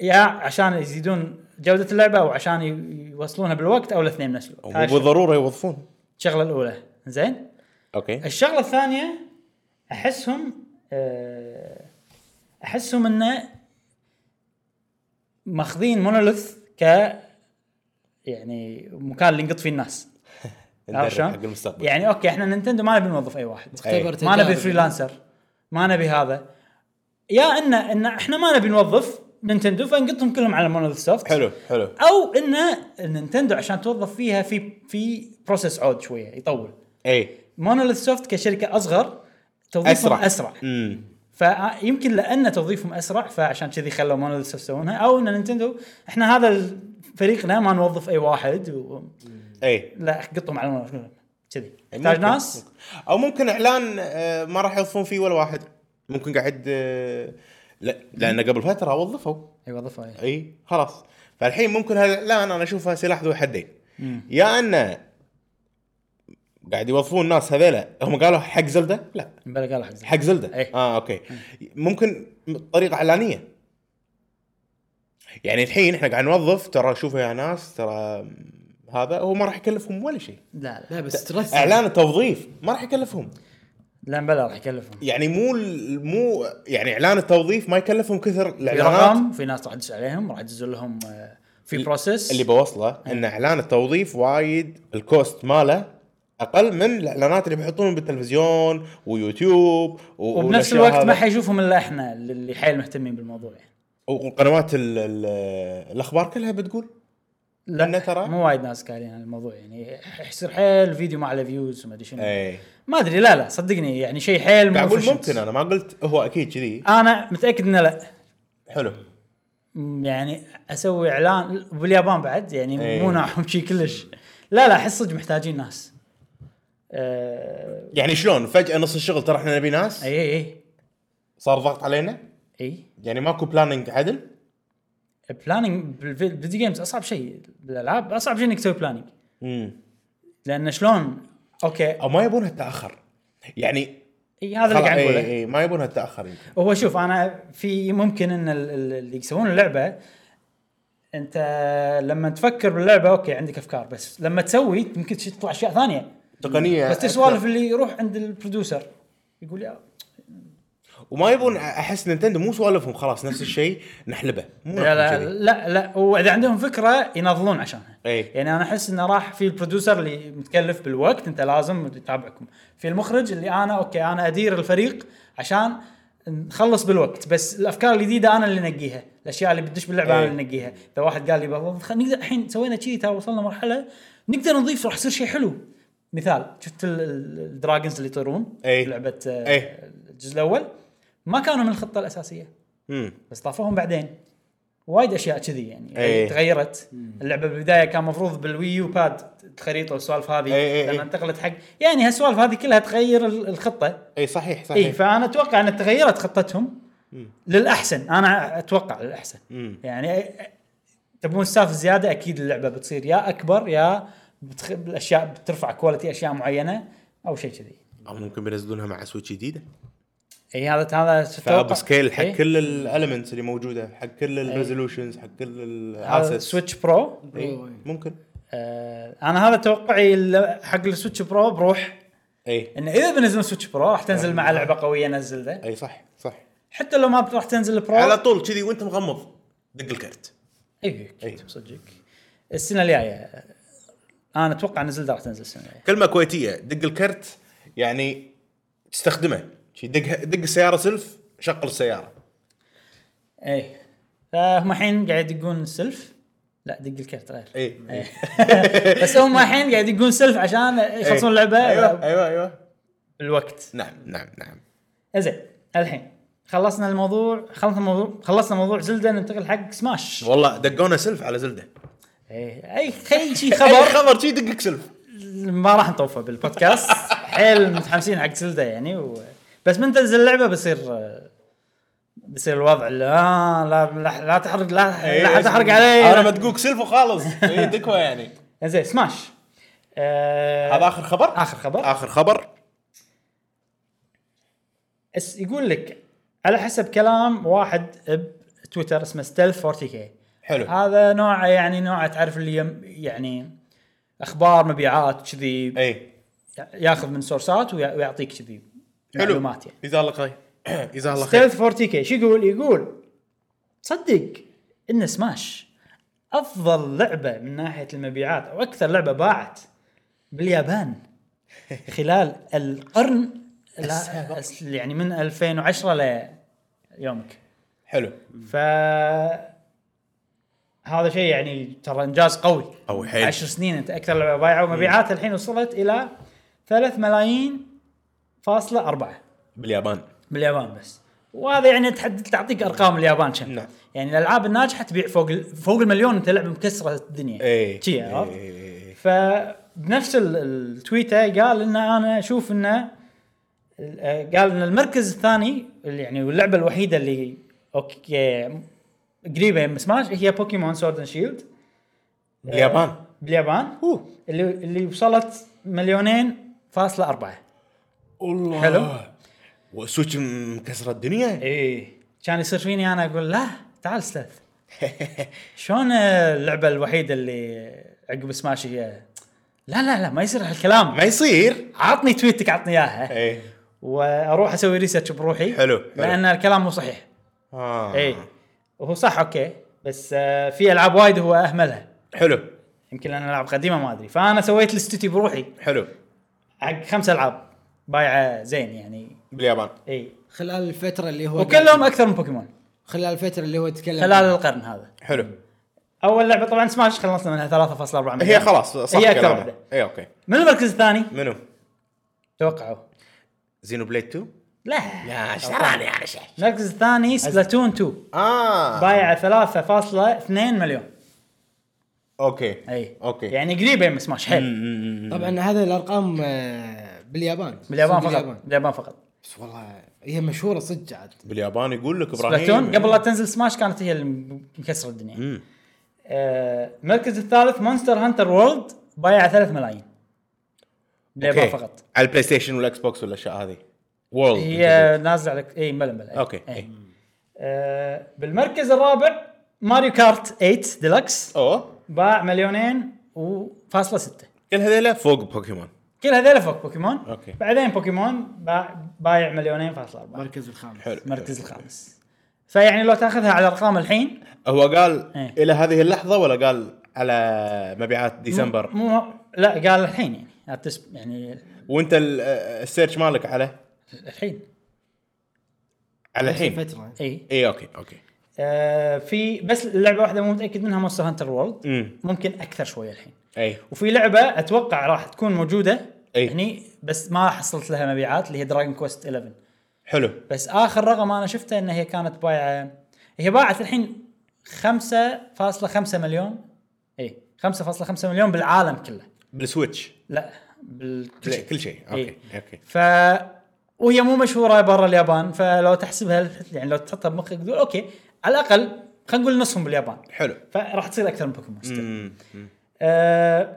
[SPEAKER 1] يا عشان يزيدون جوده اللعبه او عشان ي- يوصلونها بالوقت او الاثنين بنفس الوقت هاي
[SPEAKER 3] مو بالضروره يوظفون
[SPEAKER 1] الشغله الاولى زين
[SPEAKER 3] اوكي
[SPEAKER 1] الشغله الثانيه احسهم آه، احسهم انه ماخذين مونوليث ك يعني مكان اللي ينقط فيه الناس عرفت
[SPEAKER 3] ندرب
[SPEAKER 1] شلون؟
[SPEAKER 3] حق المستقبل
[SPEAKER 1] يعني اوكي احنا نينتندو ما نبي نوظف اي واحد
[SPEAKER 2] مختبر
[SPEAKER 3] إيه.
[SPEAKER 1] ما نبي
[SPEAKER 2] تجارب.
[SPEAKER 1] فريلانسر ما نبي هذا يا ان ان احنا ما نبي نوظف نينتندو فنقطهم كلهم على مونوليث سوفت
[SPEAKER 3] حلو حلو
[SPEAKER 1] او ان نينتندو عشان توظف فيها في في بروسيس عود شويه يطول
[SPEAKER 3] اي
[SPEAKER 1] مونوليث سوفت كشركه اصغر توظيفهم
[SPEAKER 3] أسرع.
[SPEAKER 1] اسرع, أسرع.
[SPEAKER 3] امم
[SPEAKER 1] فيمكن لان توظيفهم اسرع فعشان كذي خلوا مونوليث سوفت يسوونها او ان نينتندو احنا هذا ال- فريقنا ما نوظف اي واحد و...
[SPEAKER 3] اي
[SPEAKER 1] لا قطهم على مونوليث كذي نحتاج
[SPEAKER 3] إيه. يعني ممكن.
[SPEAKER 1] ناس
[SPEAKER 3] او ممكن اعلان آه، ما راح يوظفون فيه ولا واحد ممكن قاعد آه، لا لان قبل فتره وظفوا
[SPEAKER 1] اي وظفوا اي
[SPEAKER 3] اي خلاص فالحين ممكن هالاعلان انا اشوفها سلاح ذو حدين يا انه قاعد يوظفون ناس هذيلا هم قالوا حق زلده لا
[SPEAKER 1] بلا قال حق زين.
[SPEAKER 3] حق زلده
[SPEAKER 1] إيه.
[SPEAKER 3] اه اوكي ممكن طريقه اعلانيه يعني الحين احنا قاعد نوظف ترى شوفوا يا ناس ترى هذا هو ما راح يكلفهم ولا شيء
[SPEAKER 1] لا لا
[SPEAKER 2] لا بس ترسل
[SPEAKER 3] اعلان التوظيف ما راح يكلفهم
[SPEAKER 1] لا بلا راح يكلفهم
[SPEAKER 3] يعني مو ال- مو يعني اعلان التوظيف ما يكلفهم كثر
[SPEAKER 1] في
[SPEAKER 3] الاعلانات
[SPEAKER 1] رقم في ناس راح تدش عليهم راح يدزون لهم آه، في بروسيس
[SPEAKER 3] اللي بوصله ان اعلان التوظيف وايد الكوست ماله اقل من الاعلانات اللي بيحطون بالتلفزيون ويوتيوب و-
[SPEAKER 1] وبنفس
[SPEAKER 3] والأشياء
[SPEAKER 1] الوقت
[SPEAKER 3] هذا.
[SPEAKER 1] ما حيشوفهم الا احنا اللي حيل مهتمين بالموضوع يعني.
[SPEAKER 3] وقنوات ال ال الاخبار كلها بتقول
[SPEAKER 1] لا
[SPEAKER 3] إنه ترى-
[SPEAKER 1] مو وايد ناس قايلين عن الموضوع يعني يصير حيل فيديو ما على فيوز وما ادري شنو
[SPEAKER 3] اي
[SPEAKER 1] ما ادري لا لا صدقني يعني شيء حيل مو
[SPEAKER 3] إيه. قاعد اقول
[SPEAKER 1] efficient.
[SPEAKER 3] ممكن انا ما قلت هو اكيد كذي
[SPEAKER 1] انا متاكد انه لا
[SPEAKER 3] حلو
[SPEAKER 1] م- يعني اسوي اعلان باليابان بعد يعني
[SPEAKER 3] إيه.
[SPEAKER 1] مو ناعهم شيء كلش لا لا احس صدق محتاجين ناس آه، إيه،
[SPEAKER 3] يعني شلون فجاه نص الشغل ترى احنا نبي ناس
[SPEAKER 1] اي اي اي
[SPEAKER 3] صار ضغط علينا
[SPEAKER 1] اي
[SPEAKER 3] يعني ماكو بلاننج عدل
[SPEAKER 1] البلاننج بالفيديو جيمز اصعب شيء بالالعاب اصعب شيء انك تسوي بلاننج
[SPEAKER 3] امم
[SPEAKER 1] لان شلون اوكي
[SPEAKER 3] او ما يبونها تاخر يعني
[SPEAKER 1] اي إيه، هذا اللي قاعد
[SPEAKER 3] خلاص، إيه،
[SPEAKER 1] اقوله
[SPEAKER 3] إي- إي، ما يبونها تاخر يمكن
[SPEAKER 1] هو شوف انا في ممكن ان ال- ال- اللي يسوون اللعبه انت لما تفكر باللعبه اوكي عندك افكار بس لما تسوي يمكن شي تطلع اشياء ثانيه
[SPEAKER 3] تقنيه
[SPEAKER 1] بس السوالف اللي يروح عند البروديوسر يقول يا
[SPEAKER 3] وما يبون احس نينتندو مو سوالفهم خلاص نفس الشيء نحلبه مو
[SPEAKER 1] لا
[SPEAKER 3] نحن
[SPEAKER 1] لا
[SPEAKER 3] كذي.
[SPEAKER 1] لا لا واذا عندهم فكره يناضلون عشانها
[SPEAKER 3] إيه.
[SPEAKER 1] يعني انا احس انه راح في البروديوسر اللي متكلف بالوقت انت لازم يتابعكم في المخرج اللي انا اوكي انا ادير الفريق عشان نخلص بالوقت بس الافكار الجديده انا اللي نقيها الاشياء اللي بتدش باللعبه انا
[SPEAKER 3] إيه.
[SPEAKER 1] اللي نقيها اذا واحد قال لي والله خل- نقدر الحين سوينا شيء ترى وصلنا مرحله نقدر نضيف راح يصير شيء حلو مثال شفت ال- ال- الدراجونز اللي يطيرون
[SPEAKER 3] إيه.
[SPEAKER 1] لعبه آه،
[SPEAKER 3] إيه.
[SPEAKER 1] الجزء الاول ما كانوا من الخطه الاساسيه
[SPEAKER 3] مم.
[SPEAKER 1] بس ضافوهم بعدين وايد اشياء كذي يعني
[SPEAKER 3] إيه.
[SPEAKER 1] تغيرت اللعبه بالبدايه كان مفروض بالويو باد الخريطه والسوالف هذه
[SPEAKER 3] إيه، إيه، إيه.
[SPEAKER 1] لما انتقلت حق يعني هالسوالف هذه كلها تغير ال- إيه، الخطه
[SPEAKER 3] اي إيه، صحيح صحيح
[SPEAKER 1] اي فانا اتوقع ان تغيرت خطتهم للاحسن انا اتوقع للاحسن
[SPEAKER 3] مم.
[SPEAKER 1] يعني أ- أ- تبون ستاف زياده اكيد اللعبه بتصير يا اكبر يا بتخ... الاشياء بترفع كواليتي اشياء معينه او شيء كذي
[SPEAKER 3] او ممكن بينزلونها مع سويتش جديده
[SPEAKER 1] اي هذا هذا
[SPEAKER 3] فاب سكيل حق
[SPEAKER 1] إيه.
[SPEAKER 3] كل الالمنتس اللي موجوده حق كل الريزولوشنز حق كل
[SPEAKER 1] هذا
[SPEAKER 3] الاسس
[SPEAKER 1] سويتش برو
[SPEAKER 3] ممكن
[SPEAKER 1] آه، انا هذا توقعي ال- حق السويتش برو بروح
[SPEAKER 3] اي
[SPEAKER 1] انه اذا بنزلون سويتش برو راح تنزل مع لعبه قويه نزل ذا
[SPEAKER 3] اي إيه، صح صح
[SPEAKER 1] حتى لو ما بت- راح تنزل برو إيه،
[SPEAKER 3] على طول كذي وانت مغمض دق الكرت
[SPEAKER 1] اي
[SPEAKER 3] أي.
[SPEAKER 1] أكيد، صدقك السنه الجايه آه، انا اتوقع ان زلده راح تنزل السنه الجايه
[SPEAKER 3] كلمه كويتيه دق الكرت يعني تستخدمه شي دق دق السياره سلف شغل السياره
[SPEAKER 1] اي إيه. فهم الحين قاعد يدقون السلف لا دق الكرت غير
[SPEAKER 3] اي
[SPEAKER 1] إيه. بس هم الحين قاعد يدقون سلف عشان يخلصون اللعبه
[SPEAKER 3] ايوه ايوه ايوه
[SPEAKER 1] بالوقت
[SPEAKER 3] نعم نعم نعم
[SPEAKER 1] زين الحين خلصنا الموضوع خلصنا موضوع خلصنا موضوع زلده ننتقل حق سماش
[SPEAKER 3] والله دقونا سلف على زلده
[SPEAKER 1] ايه اي خلي شي
[SPEAKER 3] خبر
[SPEAKER 1] خبر
[SPEAKER 3] خبر شي دقك سلف
[SPEAKER 1] ما راح نطوفه بالبودكاست حيل متحمسين حق سلدا يعني و... بس من تنزل اللعبه بيصير بيصير الوضع لا لا لا, لا تحرق لا
[SPEAKER 3] إيه،
[SPEAKER 1] لا
[SPEAKER 3] أيوة.
[SPEAKER 1] تحرق
[SPEAKER 3] انا
[SPEAKER 1] علي
[SPEAKER 3] مدقوق سلف وخالص اي دكوه يعني
[SPEAKER 1] زين سماش آه
[SPEAKER 3] هذا اخر خبر
[SPEAKER 1] اخر خبر
[SPEAKER 3] اخر خبر
[SPEAKER 1] اس يقول لك على حسب كلام واحد بتويتر اسمه ستيلث 40 كي
[SPEAKER 3] حلو.
[SPEAKER 1] هذا نوع يعني نوع تعرف اللي يم- يعني اخبار مبيعات كذي
[SPEAKER 3] اي
[SPEAKER 1] ياخذ من سورسات ويع- ويعطيك كذي
[SPEAKER 3] حلو.
[SPEAKER 1] معلومات يعني
[SPEAKER 3] جزاه الله خير جزاه الله خير
[SPEAKER 1] ستيلث 40 كي شو يقول؟ يقول تصدق ان سماش افضل لعبه من ناحيه المبيعات او اكثر لعبه باعت باليابان خلال القرن لا-
[SPEAKER 3] السابق.
[SPEAKER 1] أس- يعني من 2010 ليومك
[SPEAKER 3] حلو
[SPEAKER 1] ف هذا شيء يعني ترى انجاز قوي
[SPEAKER 3] أو حيل. إيه.
[SPEAKER 1] عشر سنين انت اكثر لعبه بايعه ومبيعاتها الحين وصلت الى 3 ملايين فاصلة أربعة
[SPEAKER 3] باليابان
[SPEAKER 1] باليابان بس وهذا يعني تحد تعطيك ارقام اليابان كم
[SPEAKER 3] نعم.
[SPEAKER 1] يعني الالعاب الناجحه تبيع فوق ال- فوق المليون انت لعبه مكسره الدنيا
[SPEAKER 3] اي
[SPEAKER 1] شي عرفت؟
[SPEAKER 3] إيه. إي.
[SPEAKER 1] فبنفس ال- التويته قال ان انا اشوف انه ال- آه، قال ان المركز الثاني اللي يعني اللعبه الوحيده اللي اوكي قريبه من سماش هي بوكيمون سورد اند شيلد
[SPEAKER 3] باليابان
[SPEAKER 1] باليابان
[SPEAKER 3] أوه.
[SPEAKER 1] اللي اللي وصلت مليونين فاصلة أربعة
[SPEAKER 3] والله
[SPEAKER 1] حلو.
[SPEAKER 3] والسويتش مكسره الدنيا
[SPEAKER 1] ايه كان يصير فيني انا اقول لا تعال استاذ شلون اللعبه الوحيده اللي عقب سماش هي لا لا لا ما يصير هالكلام
[SPEAKER 3] ما يصير
[SPEAKER 1] عطني تويتك عطني اياها
[SPEAKER 3] اي
[SPEAKER 1] واروح اسوي ريسيرش بروحي
[SPEAKER 3] إيه. حلو، حلو.
[SPEAKER 1] آه. لان الكلام مو صحيح
[SPEAKER 3] اه
[SPEAKER 1] اي إيه. وهو صح اوكي بس آه، في العاب وايد هو اهملها
[SPEAKER 3] حلو
[SPEAKER 1] يمكن لان العاب قديمه ما ادري فانا سويت الاستوديو بروحي
[SPEAKER 3] حلو
[SPEAKER 1] حق خمس العاب بايعه زين يعني
[SPEAKER 3] باليابان
[SPEAKER 1] اي
[SPEAKER 2] خلال الفتره اللي هو
[SPEAKER 1] وكلهم اكثر من بوكيمون
[SPEAKER 2] خلال الفتره اللي هو تكلم
[SPEAKER 1] خلال القرن هذا
[SPEAKER 3] حلو
[SPEAKER 1] آه. اول لعبه طبعا سماش خلصنا منها 3.4 مليون
[SPEAKER 3] هي خلاص صح
[SPEAKER 1] هي اكثر
[SPEAKER 3] كلامك.
[SPEAKER 1] واحده
[SPEAKER 3] اي اوكي
[SPEAKER 1] من المركز الثاني
[SPEAKER 3] منو؟
[SPEAKER 1] توقعوا
[SPEAKER 3] زينو بليد 2
[SPEAKER 1] لا
[SPEAKER 3] لا ايش دراني انا شيء
[SPEAKER 1] المركز الثاني سبلاتون 2
[SPEAKER 3] اه
[SPEAKER 1] بايعه 3.2 مليون
[SPEAKER 3] اوكي
[SPEAKER 1] اي
[SPEAKER 3] اوكي
[SPEAKER 1] يعني قريبه من سماش حيل
[SPEAKER 2] طبعا هذه الارقام آه، باليابان
[SPEAKER 1] باليابان
[SPEAKER 2] باليابان.
[SPEAKER 1] فقط باليابان فقط
[SPEAKER 2] بس والله هي مشهوره صدق عاد
[SPEAKER 3] باليابان يقول لك ابراهيم
[SPEAKER 1] سبلاتون قبل لا تنزل سماش كانت هي اللي مكسره الدنيا
[SPEAKER 3] مم.
[SPEAKER 1] آه، المركز الثالث مونستر هانتر وورلد بايعه 3 ملايين باليابان
[SPEAKER 3] أوكي.
[SPEAKER 1] فقط
[SPEAKER 3] على البلاي ستيشن والاكس بوكس والاشياء هذه وورلد
[SPEAKER 1] هي نازله على اي ملا ملا
[SPEAKER 3] اوكي
[SPEAKER 1] أي.
[SPEAKER 3] اي
[SPEAKER 1] آه، بالمركز الرابع ماريو كارت 8 ديلكس
[SPEAKER 3] اوه
[SPEAKER 1] باع مليونين وفاصلة ستة
[SPEAKER 3] كل هذيلا فوق بوكيمون
[SPEAKER 1] كل هذول فوق بوكيمون
[SPEAKER 3] أوكي.
[SPEAKER 1] بعدين بوكيمون باع بايع مليونين فاصلة أربعة
[SPEAKER 2] المركز الخامس
[SPEAKER 3] حلو
[SPEAKER 1] المركز الخامس فيعني لو تاخذها على ارقام الحين
[SPEAKER 3] هو قال
[SPEAKER 1] إيه.
[SPEAKER 3] الى هذه اللحظه ولا قال على مبيعات ديسمبر
[SPEAKER 1] مو مو- لا قال الحين يعني لا تس- يعني
[SPEAKER 3] وانت ال- آه، السيرش مالك على
[SPEAKER 1] الحين
[SPEAKER 3] على
[SPEAKER 2] نفس
[SPEAKER 3] الحين إيه،
[SPEAKER 2] الفتره
[SPEAKER 1] اي
[SPEAKER 3] اي اوكي اوكي
[SPEAKER 1] آه في بس لعبه واحده مو متاكد منها مونستر هانتر وورلد
[SPEAKER 3] امم
[SPEAKER 1] ممكن اكثر شويه الحين
[SPEAKER 3] اي
[SPEAKER 1] وفي لعبه اتوقع راح تكون موجوده
[SPEAKER 3] أي.
[SPEAKER 1] هني بس ما حصلت لها مبيعات اللي هي دراجون كوست 11
[SPEAKER 3] حلو
[SPEAKER 1] بس اخر رقم انا شفته ان هي كانت بايعه هي باعت الحين 5.5 مليون اي 5.5 مليون بالعالم كله
[SPEAKER 3] بالسويتش
[SPEAKER 1] لا بال
[SPEAKER 3] كل شيء كل شيء اوكي اوكي
[SPEAKER 1] ف وهي مو مشهوره برا اليابان فلو تحسبها يعني لو تحطها بمخك تقول اوكي على الاقل خلينا نقول نصهم باليابان
[SPEAKER 3] حلو
[SPEAKER 1] فراح تصير اكثر من بوكيمون still.
[SPEAKER 3] امم
[SPEAKER 1] آه،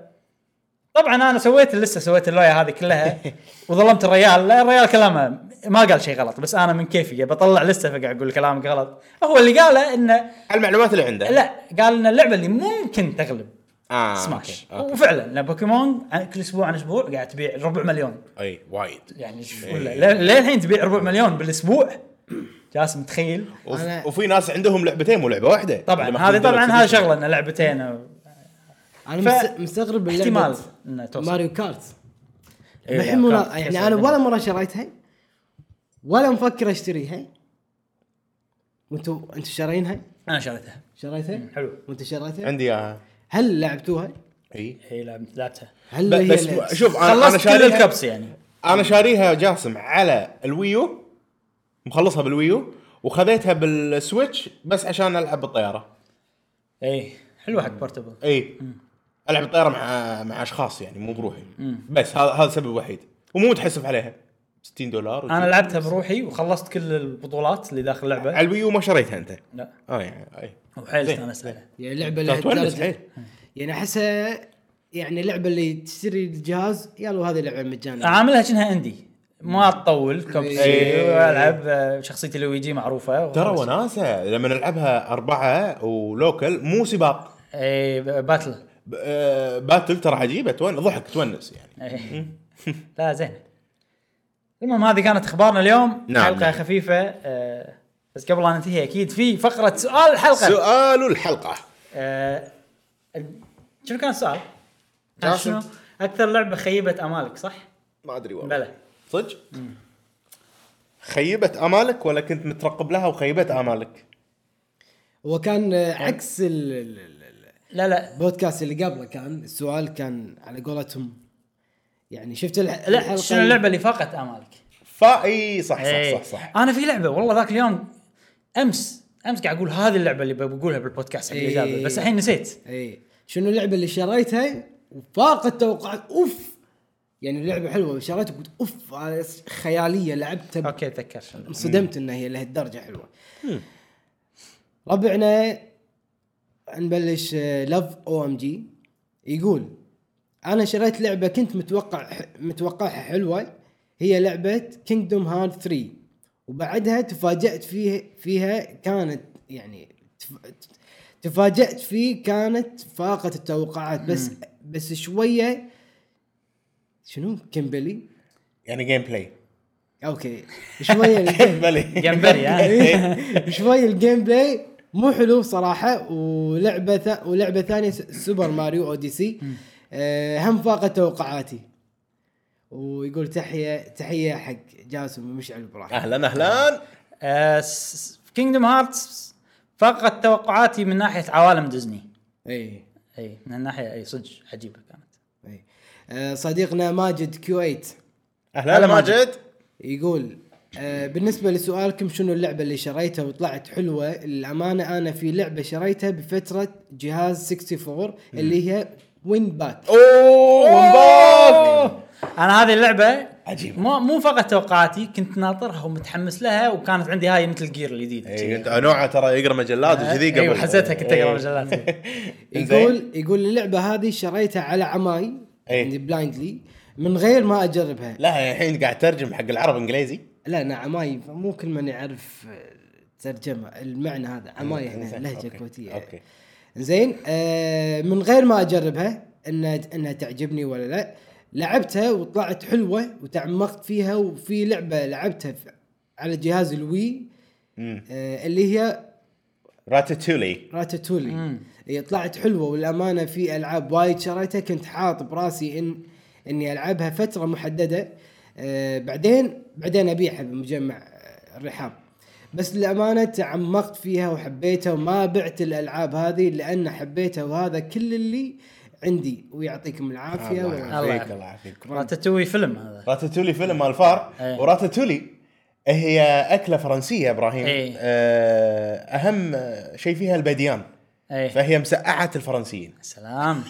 [SPEAKER 1] طبعا انا سويت لسه سويت اللويا هذه كلها وظلمت الريال لا الريال كلامه ما قال شيء غلط بس انا من كيفي بطلع لسه فقاعد اقول كلامك غلط هو اللي قاله انه
[SPEAKER 3] المعلومات اللي عنده
[SPEAKER 1] لا قال ان اللعبه اللي ممكن تغلب
[SPEAKER 3] آه
[SPEAKER 1] سماش
[SPEAKER 3] أوكي. أوكي.
[SPEAKER 1] وفعلا لأن بوكيمون عن- كل اسبوع عن اسبوع قاعد تبيع ربع مليون
[SPEAKER 3] اي إيه، وايد
[SPEAKER 1] يعني شو- لا- ليه الحين تبيع ربع مليون بالاسبوع جاسم متخيل
[SPEAKER 3] وف...
[SPEAKER 2] أنا-
[SPEAKER 3] وفي ناس عندهم لعبتين مو لعبه واحده
[SPEAKER 1] طبعا
[SPEAKER 3] اللي
[SPEAKER 1] هذه
[SPEAKER 3] ماخذين
[SPEAKER 1] طبعا
[SPEAKER 3] deluxe
[SPEAKER 1] هذه
[SPEAKER 3] edition.
[SPEAKER 1] شغله ان لعبتين أو-
[SPEAKER 2] انا
[SPEAKER 1] ف-
[SPEAKER 2] مس- مستغرب
[SPEAKER 1] احتمال
[SPEAKER 2] اللعبة
[SPEAKER 1] انها توصل
[SPEAKER 2] ماريو كارت
[SPEAKER 1] إيه،
[SPEAKER 2] الحين مو-
[SPEAKER 1] كارت.
[SPEAKER 2] يعني انا ولا مره شريتها ولا مفكر اشتريها وانتوا انتوا شارينها؟
[SPEAKER 1] انا شريتها
[SPEAKER 2] شريتها؟
[SPEAKER 1] حلو
[SPEAKER 2] وانتوا شريتها؟
[SPEAKER 3] عندي إيه. اياها
[SPEAKER 2] هل لعبتوها؟
[SPEAKER 3] اي
[SPEAKER 1] هي لعبت- إيه، لعبتها
[SPEAKER 2] هل
[SPEAKER 3] ب-
[SPEAKER 2] هي
[SPEAKER 3] بس
[SPEAKER 2] لعبة؟
[SPEAKER 3] شوف انا انا
[SPEAKER 1] خلصت كل
[SPEAKER 3] شاريها
[SPEAKER 1] الكبس يعني
[SPEAKER 3] انا شاريها جاسم على الويو مخلصها بالويو وخذيتها بالسويتش بس عشان العب بالطياره
[SPEAKER 1] اي حلوه حق بورتبل
[SPEAKER 3] اي العب بالطياره مع مع اشخاص يعني مو بروحي بس هذا هذا السبب الوحيد ومو متحسف عليها 60 دولار
[SPEAKER 1] انا
[SPEAKER 3] وشي.
[SPEAKER 1] لعبتها بروحي وخلصت كل البطولات اللي داخل اللعبه
[SPEAKER 3] على الويو ما شريتها انت
[SPEAKER 1] لا
[SPEAKER 3] اه يعني اي
[SPEAKER 1] وحيل
[SPEAKER 3] زين،
[SPEAKER 1] استانست عليها
[SPEAKER 2] يعني لعبه
[SPEAKER 3] لا تونس
[SPEAKER 2] لهالدرجة؟
[SPEAKER 1] إيه.
[SPEAKER 3] حيل
[SPEAKER 2] يعني احسها يعني لعبه اللي تشتري الجهاز يلا هذه لعبه مجانيه
[SPEAKER 1] عاملها كأنها عندي ما تطول كوبسي
[SPEAKER 3] إي.
[SPEAKER 1] والعب آه، شخصيتي لويجي معروفه
[SPEAKER 3] إيه. ترى وناسه لما نلعبها اربعه ولوكل مو سباق
[SPEAKER 1] اي إيه، ب- باتل
[SPEAKER 3] ب- آه، باتل ترى عجيبه تون ضحك تونس يعني
[SPEAKER 1] إي. إيه. لا زين المهم هذه كانت اخبارنا اليوم
[SPEAKER 3] نعم،
[SPEAKER 1] حلقه
[SPEAKER 3] نعم.
[SPEAKER 1] خفيفه آه، بس قبل لا ننتهي اكيد في فقره سؤال الحلقه
[SPEAKER 3] سؤال الحلقه
[SPEAKER 1] آه، شنو كان السؤال؟ آه،
[SPEAKER 3] جاسم.
[SPEAKER 1] شنو؟ اكثر لعبه خيبت امالك صح؟
[SPEAKER 3] ما ادري والله
[SPEAKER 1] بلى
[SPEAKER 3] صدق؟ خيبت امالك ولا كنت مترقب لها وخيبت امالك؟
[SPEAKER 2] وكان آه،
[SPEAKER 1] طيب.
[SPEAKER 2] عكس ال- ال- ال- ال-
[SPEAKER 1] لا لا
[SPEAKER 2] البودكاست اللي قبله كان السؤال كان على قولتهم يعني شفت الح-
[SPEAKER 1] لا شنو اللعبه اللي فاقت امالك؟
[SPEAKER 3] فاي صح صح
[SPEAKER 1] إيه.
[SPEAKER 3] صح صح
[SPEAKER 1] انا في لعبه والله ذاك اليوم امس امس قاعد اقول هذه اللعبه اللي بقولها بالبودكاست حق
[SPEAKER 2] إيه.
[SPEAKER 1] الاجابه بس الحين نسيت
[SPEAKER 2] اي إيه. شنو اللعبه اللي شريتها وفاقت توقعات اوف يعني لعبه حلوه وشريتها قلت اوف أنا خياليه لعبتها ب-
[SPEAKER 1] اوكي اتذكر شنو.
[SPEAKER 2] انصدمت انها هي لهالدرجه حلوه ربعنا نبلش آه، لاف او ام جي يقول انا شريت لعبه كنت متوقع متوقعها حلوه هي لعبه كينجدوم هارت 3 وبعدها تفاجات فيه فيها كانت يعني تف- تفاجات فيه كانت فاقت التوقعات بس بس شويه شنو كيمبلي
[SPEAKER 3] يعني جيم بلاي
[SPEAKER 2] اوكي شويه
[SPEAKER 3] بلي
[SPEAKER 1] إيه. جمبري ها؟
[SPEAKER 2] إيه. شوي الجيم بلاي مو حلو صراحه ولعبه ث... ولعبه ثانيه س- سوبر ماريو اوديسي آه، هم فاقت توقعاتي ويقول تحيه تحيه حق جاسم ومشعل ابراهيم
[SPEAKER 3] اهلا اهلا
[SPEAKER 1] آه، كينجدم هارتس فاقت توقعاتي من ناحيه عوالم ديزني
[SPEAKER 2] اي
[SPEAKER 1] اي من الناحيه اي صدق عجيبه كانت
[SPEAKER 2] اي آه، صديقنا ماجد كويت
[SPEAKER 3] اهلا
[SPEAKER 1] هلا
[SPEAKER 3] ماجد
[SPEAKER 2] يقول آه، بالنسبة لسؤالكم شنو اللعبة اللي شريتها وطلعت حلوة للأمانة أنا في لعبة شريتها بفترة جهاز 64 اللي هي وين باك
[SPEAKER 3] اوه مبارك
[SPEAKER 1] انا هذه اللعبه
[SPEAKER 3] عجيبة.
[SPEAKER 1] مو مو فقط توقعاتي كنت ناطرها ومتحمس لها وكانت عندي هاي مثل جير الجديده
[SPEAKER 3] إيه، انت نوعه ترى يقرا مجلات وكذي قبل
[SPEAKER 1] ايوه حزتها كنت اقرا
[SPEAKER 3] إيه.
[SPEAKER 1] مجلات
[SPEAKER 3] إنزين.
[SPEAKER 2] يقول يقول اللعبة هذه شريتها على عماي
[SPEAKER 3] إيه.
[SPEAKER 2] يعني بلايندلي من غير ما أجربها
[SPEAKER 3] لا الحين قاعد ترجم حق العرب انجليزي
[SPEAKER 2] لا أنا عماي مو كل من يعرف آه، ترجمة المعنى هذا عماي هنا
[SPEAKER 3] إيه، إنزين،
[SPEAKER 2] لهجة
[SPEAKER 3] أوكي،
[SPEAKER 2] كويتية
[SPEAKER 3] اوكي
[SPEAKER 2] زين آه من غير ما اجربها انها انها تعجبني ولا لا لعبتها وطلعت حلوه وتعمقت فيها وفي لعبه لعبتها في على جهاز الوي
[SPEAKER 3] مم.
[SPEAKER 2] آه اللي هي
[SPEAKER 3] راتاتولي
[SPEAKER 2] راتاتولي هي طلعت حلوه والامانه في العاب وايد شريتها كنت حاط براسي ان اني العبها فتره محدده آه بعدين بعدين ابيعها بمجمع آه، الرحاب بس للامانه تعمقت فيها وحبيتها وما بعت الالعاب هذه لان حبيتها وهذا كل اللي عندي ويعطيكم العافيه
[SPEAKER 3] الله
[SPEAKER 2] والعافية.
[SPEAKER 3] يعافيك
[SPEAKER 1] يعافيك.
[SPEAKER 3] الله يعافيك
[SPEAKER 1] راتاتوي فيلم هذا
[SPEAKER 3] راتاتولي فيلم مال فار
[SPEAKER 1] إيه.
[SPEAKER 3] وراتاتولي هي اكله فرنسيه ابراهيم
[SPEAKER 1] إيه.
[SPEAKER 3] آه، اهم شيء فيها البديان
[SPEAKER 1] إيه. اي
[SPEAKER 3] فهي مسقعه الفرنسيين
[SPEAKER 1] سلام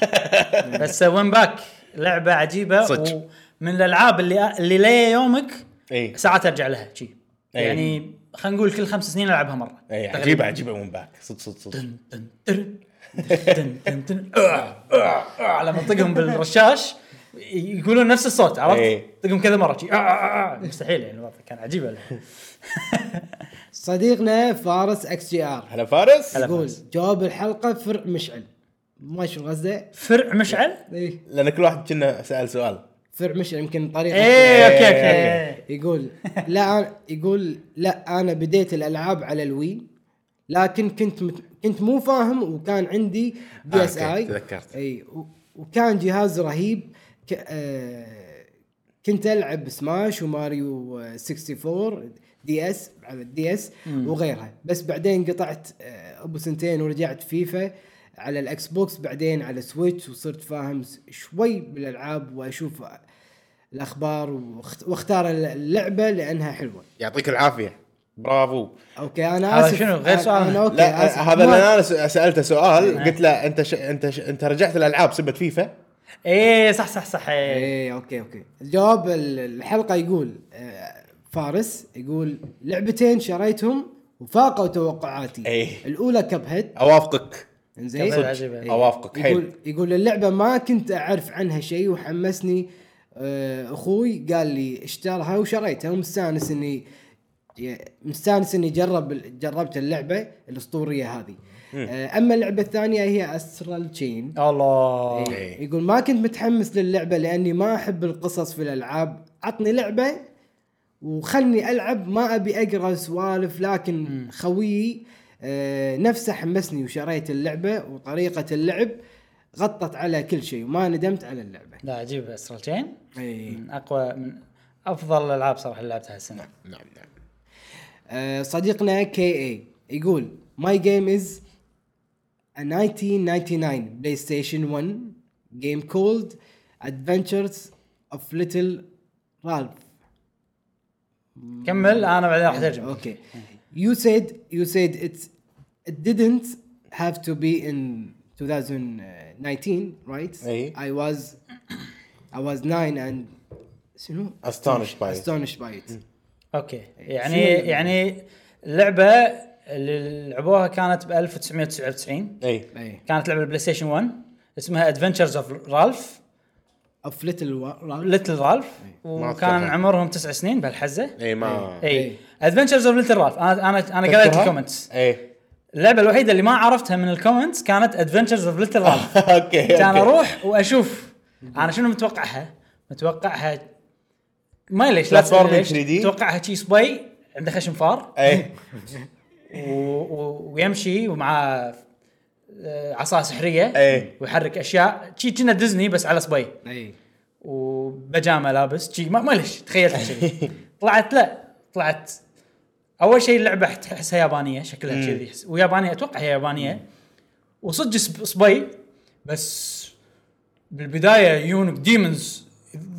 [SPEAKER 1] بس وين باك لعبه عجيبه
[SPEAKER 3] صدق.
[SPEAKER 1] ومن الالعاب اللي اللي لي يومك
[SPEAKER 3] اي
[SPEAKER 1] ساعات ارجع لها شي
[SPEAKER 3] إي.
[SPEAKER 1] يعني خلينا نقول كل خمس سنين العبها مره
[SPEAKER 3] اي
[SPEAKER 1] تقريباً.
[SPEAKER 3] عجيبه عجيبه وين باك صدق صدق صدق
[SPEAKER 1] دن دن دن دن دن دن آه، آه، آه، لما تطقهم بالرشاش يقولون نفس الصوت عرفت؟
[SPEAKER 3] إيه.
[SPEAKER 1] تطقهم كذا مره شي، آه، آه، آه، مستحيل يعني الوضع كان عجيب
[SPEAKER 2] صديقنا فارس اكس جي ار
[SPEAKER 3] هلا فارس
[SPEAKER 1] هلا.
[SPEAKER 2] يقول
[SPEAKER 1] فارس.
[SPEAKER 2] جواب الحلقه فرع مشعل ما شو قصده؟
[SPEAKER 1] فرع مشعل؟
[SPEAKER 2] ايه
[SPEAKER 3] لان كل واحد كنا سال سؤال
[SPEAKER 2] فرع مشعل يمكن طريقه
[SPEAKER 1] ايه اوكي
[SPEAKER 3] إيه،
[SPEAKER 1] اوكي
[SPEAKER 2] يقول لا أنا يقول لا انا بديت الالعاب على الوي لكن كنت مت... كنت مو فاهم وكان عندي بي اس
[SPEAKER 3] آه،
[SPEAKER 2] اي
[SPEAKER 3] أوكي، تذكرت.
[SPEAKER 2] اي و... وكان جهاز رهيب ك... آه... كنت العب سماش وماريو آه، 64 دي اس على الدي اس وغيرها بس بعدين قطعت آه، ابو سنتين ورجعت فيفا على الاكس بوكس بعدين على سويتش وصرت فاهم س- شوي بالالعاب واشوف الاخبار واخت- واختار اللعبه لانها حلوه
[SPEAKER 3] يعطيك العافيه برافو
[SPEAKER 2] اوكي انا
[SPEAKER 1] هذا
[SPEAKER 2] اسف
[SPEAKER 1] شنو؟ غير
[SPEAKER 2] أنا-
[SPEAKER 1] سؤال.
[SPEAKER 2] انا اوكي
[SPEAKER 3] لا
[SPEAKER 2] آسف.
[SPEAKER 3] هذا
[SPEAKER 2] ما- نعم.
[SPEAKER 3] اللي انا س- سالته سؤال قلت له انت ش... انت ش... انت رجعت الالعاب سبت فيفا
[SPEAKER 1] ايه صح صح صح إيه.
[SPEAKER 2] ايه اوكي اوكي الجواب ال- الحلقه يقول آه، فارس يقول لعبتين شريتهم وفاقوا توقعاتي
[SPEAKER 3] إيه.
[SPEAKER 2] الاولى كب هيد
[SPEAKER 3] اوافقك
[SPEAKER 2] انزين
[SPEAKER 1] كبهد عجيبة.
[SPEAKER 2] إيه.
[SPEAKER 3] أوافقك، حلو.
[SPEAKER 2] يقول يقول اللعبه ما كنت اعرف عنها شيء وحمسني آه، اخوي قال لي اشترها وشريتها ومستانس اني ي- مستانس اني جرب جربت اللعبه الاسطوريه هذه آه، اما اللعبه الثانيه هي استرال تشين
[SPEAKER 1] الله
[SPEAKER 3] إيه.
[SPEAKER 2] يقول ما كنت متحمس للعبه لاني ما احب القصص في الالعاب عطني لعبه وخلني العب ما ابي اقرا سوالف لكن خويي آه، نفسه حمسني وشريت اللعبه وطريقه اللعب غطت على كل شيء وما ندمت على اللعبه
[SPEAKER 1] لا عجيب استرال تشين
[SPEAKER 3] إيه.
[SPEAKER 2] اي
[SPEAKER 1] من اقوى من افضل الالعاب صراحه اللي لعبتها السنه
[SPEAKER 3] نعم نعم
[SPEAKER 2] آه، صديقنا كي اي يقول ماي جيم از 1999 بلاي ستيشن 1 جيم كولد ادفنتشرز اوف ليتل رالف
[SPEAKER 1] كمل انا بعدين راح
[SPEAKER 3] إيه.
[SPEAKER 1] اترجم
[SPEAKER 2] Okay. You said you said it's it didn't have to be in 2019, right?
[SPEAKER 3] Eh.
[SPEAKER 2] I was I was nine and شنو?
[SPEAKER 3] Astonished by it.
[SPEAKER 2] astonished by it.
[SPEAKER 1] اوكي
[SPEAKER 3] إيه.
[SPEAKER 1] يعني
[SPEAKER 2] شنو اللعبة؟
[SPEAKER 1] يعني اللعبه اللي لعبوها كانت ب 1999
[SPEAKER 3] اي
[SPEAKER 2] اي
[SPEAKER 1] كانت لعبه البلاي ستيشن 1 اسمها ادفنتشرز اوف رالف
[SPEAKER 2] اوف ليتل رالف
[SPEAKER 1] ليتل رالف
[SPEAKER 3] إيه، ما
[SPEAKER 1] وكان
[SPEAKER 3] أذكرها.
[SPEAKER 1] عمرهم تسع سنين بهالحزه
[SPEAKER 3] اي إيه، ما
[SPEAKER 1] اي
[SPEAKER 2] إي.
[SPEAKER 1] ادفنتشرز اوف ليتل رالف انا انا انا قريت الكومنتس
[SPEAKER 3] اي
[SPEAKER 1] اللعبه الوحيده اللي ما عرفتها من الكومنتس كانت ادفنتشرز اوف ليتل رالف
[SPEAKER 3] اوكي
[SPEAKER 1] كان
[SPEAKER 3] أوكي.
[SPEAKER 1] اروح واشوف انا شنو متوقعها؟ متوقعها ما ليش لا
[SPEAKER 3] Platforming
[SPEAKER 1] تسألني ليش
[SPEAKER 3] 3D. إيه،
[SPEAKER 1] متوقعها شي صبي عنده خشم فار
[SPEAKER 3] اي
[SPEAKER 1] و- و- ويمشي ومعاه آه، عصا سحريه
[SPEAKER 3] إيه.
[SPEAKER 1] ويحرك اشياء شي كنا ديزني بس على صبي
[SPEAKER 2] اي
[SPEAKER 1] وبجامه لابس شي ما ما ليش تخيلت كذي طلعت لا طلعت اول شيء اللعبه تحسها يابانيه شكلها
[SPEAKER 3] مم.
[SPEAKER 1] كذي ويابانيه اتوقع هي يابانيه وصدق سب- صبي بس بالبدايه يجونك ديمونز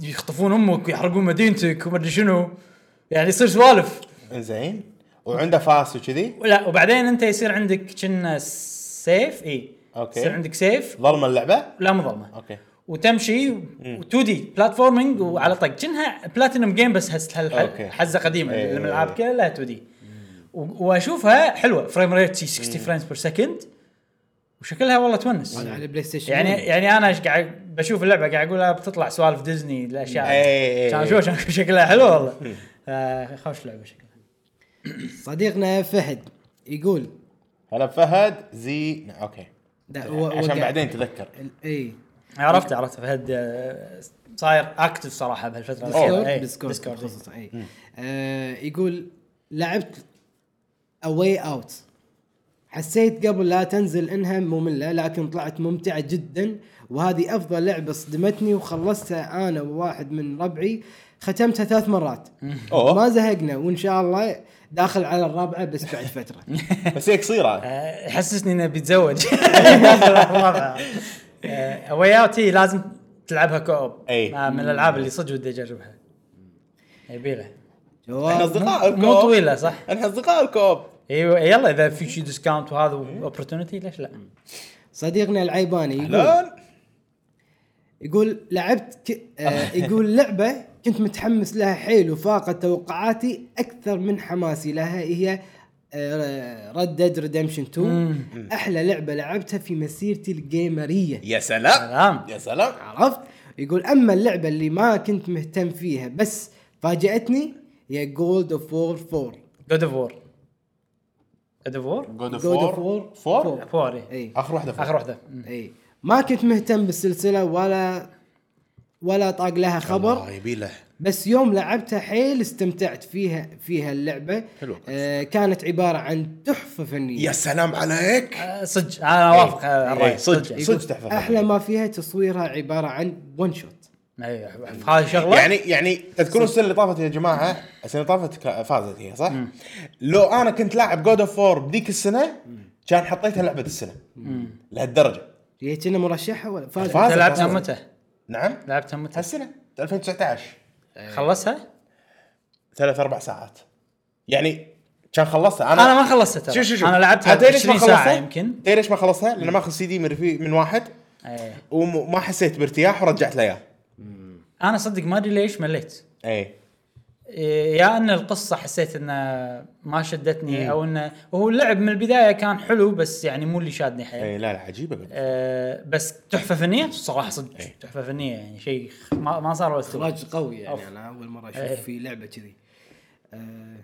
[SPEAKER 1] يخطفون امك ويحرقون مدينتك ومدري شنو يعني يصير سوالف
[SPEAKER 3] زين وعنده فاس وكذي
[SPEAKER 1] لا وبعدين انت يصير عندك كنا سيف اي
[SPEAKER 3] أوكي.
[SPEAKER 1] يصير عندك سيف
[SPEAKER 3] ظلمه اللعبه
[SPEAKER 1] لا مظلمه
[SPEAKER 3] اوكي
[SPEAKER 1] وتمشي و2 دي بلاتفورمينج وعلى طق كأنها بلاتينوم جيم بس هس
[SPEAKER 3] أوكي.
[SPEAKER 1] هالح- حزه قديمه
[SPEAKER 3] إيه.
[SPEAKER 1] من الالعاب كلها 2 دي واشوفها حلوه فريم ريت 60 فريمز بير سكند وشكلها والله تونس
[SPEAKER 2] هذا على بلاي ستيشن
[SPEAKER 1] يعني
[SPEAKER 2] واحد.
[SPEAKER 1] يعني انا إيش قاعد بشوف اللعبه قاعد اقول آه، بتطلع سوالف ديزني الاشياء
[SPEAKER 3] إيه.
[SPEAKER 1] كان شو كان شكلها حلو والله آه، خوش لعبه شكلها
[SPEAKER 2] صديقنا فهد يقول
[SPEAKER 3] هلا فهد زي اوكي
[SPEAKER 2] لا، هو- هو
[SPEAKER 3] عشان
[SPEAKER 2] قاعد-
[SPEAKER 3] بعدين تذكر
[SPEAKER 2] اي
[SPEAKER 1] عرفت عرفت فهد آه، صاير اكتف صراحه بهالفتره الأخيرة. إيه،
[SPEAKER 2] ديسكورد ديسكورد
[SPEAKER 1] ديسكورد
[SPEAKER 2] خصوصا اي آه، يقول لعبت اواي اوت حسيت قبل لا تنزل انها ممله لكن طلعت ممتعه جدا وهذه افضل لعبه صدمتني وخلصتها انا وواحد من ربعي ختمتها ثلاث مرات
[SPEAKER 3] أوه.
[SPEAKER 2] ما زهقنا وان شاء الله داخل على الرابعه بس بعد فتره
[SPEAKER 3] بس هي قصيره
[SPEAKER 1] آه، يحسسني انه بيتزوج واي اوت هي لازم تلعبها كوب
[SPEAKER 3] أي.
[SPEAKER 1] آه، من الالعاب اللي صدق ودي اجربها يبيلها
[SPEAKER 3] احنا
[SPEAKER 2] جواب
[SPEAKER 3] اصدقاء الكوب
[SPEAKER 1] مو طويله صح
[SPEAKER 3] احنا اصدقاء الكوب
[SPEAKER 1] ايوه يلا اذا في شي ديسكاونت وهذا اوبورتونيتي ليش لا
[SPEAKER 2] صديقنا العيباني يقول
[SPEAKER 3] لون
[SPEAKER 2] يقول لعبت ك... آه يقول لعبه كنت متحمس لها حيل وفاقت توقعاتي اكثر من حماسي لها هي آه، ريد ديد ريدمشن 2 احلى لعبه لعبتها في مسيرتي الجيمريه
[SPEAKER 3] يا سلام
[SPEAKER 1] سلام
[SPEAKER 3] يا سلام
[SPEAKER 2] عرفت يقول اما اللعبه اللي ما كنت مهتم فيها بس فاجاتني هي جولد اوف وور 4
[SPEAKER 1] جود اوف وور جود اوف وور
[SPEAKER 3] جود
[SPEAKER 2] God of War.
[SPEAKER 3] فور
[SPEAKER 1] فور إي.
[SPEAKER 2] اي
[SPEAKER 3] اخر واحده
[SPEAKER 1] اخر واحده
[SPEAKER 2] اي ما كنت مهتم بالسلسله ولا ولا طاق لها خبر
[SPEAKER 3] يبي له
[SPEAKER 2] بس يوم لعبتها حيل استمتعت فيها فيها اللعبه
[SPEAKER 3] حلو.
[SPEAKER 2] آه كانت عباره عن تحفه فنيه
[SPEAKER 3] يا سلام عليك
[SPEAKER 1] آه، صدق انا اوافق آه، الراي
[SPEAKER 3] إي، صدق
[SPEAKER 1] يعني.
[SPEAKER 3] صدق تحفه
[SPEAKER 2] احلى ما فيها تصويرها عباره عن ون شوت
[SPEAKER 1] إي، هذه شغله
[SPEAKER 3] يعني يعني تذكرون السنه اللي طافت يا جماعه السنه اللي طافت كا- فازت هي صح؟ لو انا كنت لاعب جود اوف وور بديك السنه كان حطيتها لعبه السنه لهالدرجه
[SPEAKER 2] هي كنا مرشحه ولا فازت
[SPEAKER 3] فازت.
[SPEAKER 1] انت لعبتها
[SPEAKER 3] فازت.
[SPEAKER 1] متى؟
[SPEAKER 3] نعم
[SPEAKER 1] لعبتها متى؟
[SPEAKER 3] هالسنه 2019
[SPEAKER 1] خلصها؟
[SPEAKER 3] ثلاث اربع ساعات يعني كان خلصتها انا
[SPEAKER 1] انا ما خلصتها ترى.
[SPEAKER 3] شو شو شو
[SPEAKER 1] انا لعبتها
[SPEAKER 3] تدري ليش ما
[SPEAKER 1] 20 ساعه
[SPEAKER 3] خلصتها؟
[SPEAKER 1] يمكن
[SPEAKER 3] تدري ليش ما خلصتها؟ لان ماخذ سي دي من رفي- من واحد
[SPEAKER 1] إي.
[SPEAKER 3] وما حسيت بارتياح ورجعت له اياه
[SPEAKER 1] انا صدق ما ادري ليش مليت
[SPEAKER 3] اي
[SPEAKER 1] إيه، يا ان القصه حسيت انها ما
[SPEAKER 3] إيه.
[SPEAKER 1] شدتني او انه هو اللعب من البدايه كان حلو بس يعني مو اللي شادني حيل
[SPEAKER 3] اي إيه، لا لا عجيبه
[SPEAKER 1] أه بس تحفه فنيه صراحه صدق
[SPEAKER 3] إيه.
[SPEAKER 1] تحفه فنيه يعني شيء خ- ما, ما صار ولا
[SPEAKER 2] اخراج قوي يعني
[SPEAKER 1] أوف.
[SPEAKER 2] انا اول مره
[SPEAKER 1] إيه.
[SPEAKER 2] اشوف في لعبه كذي آه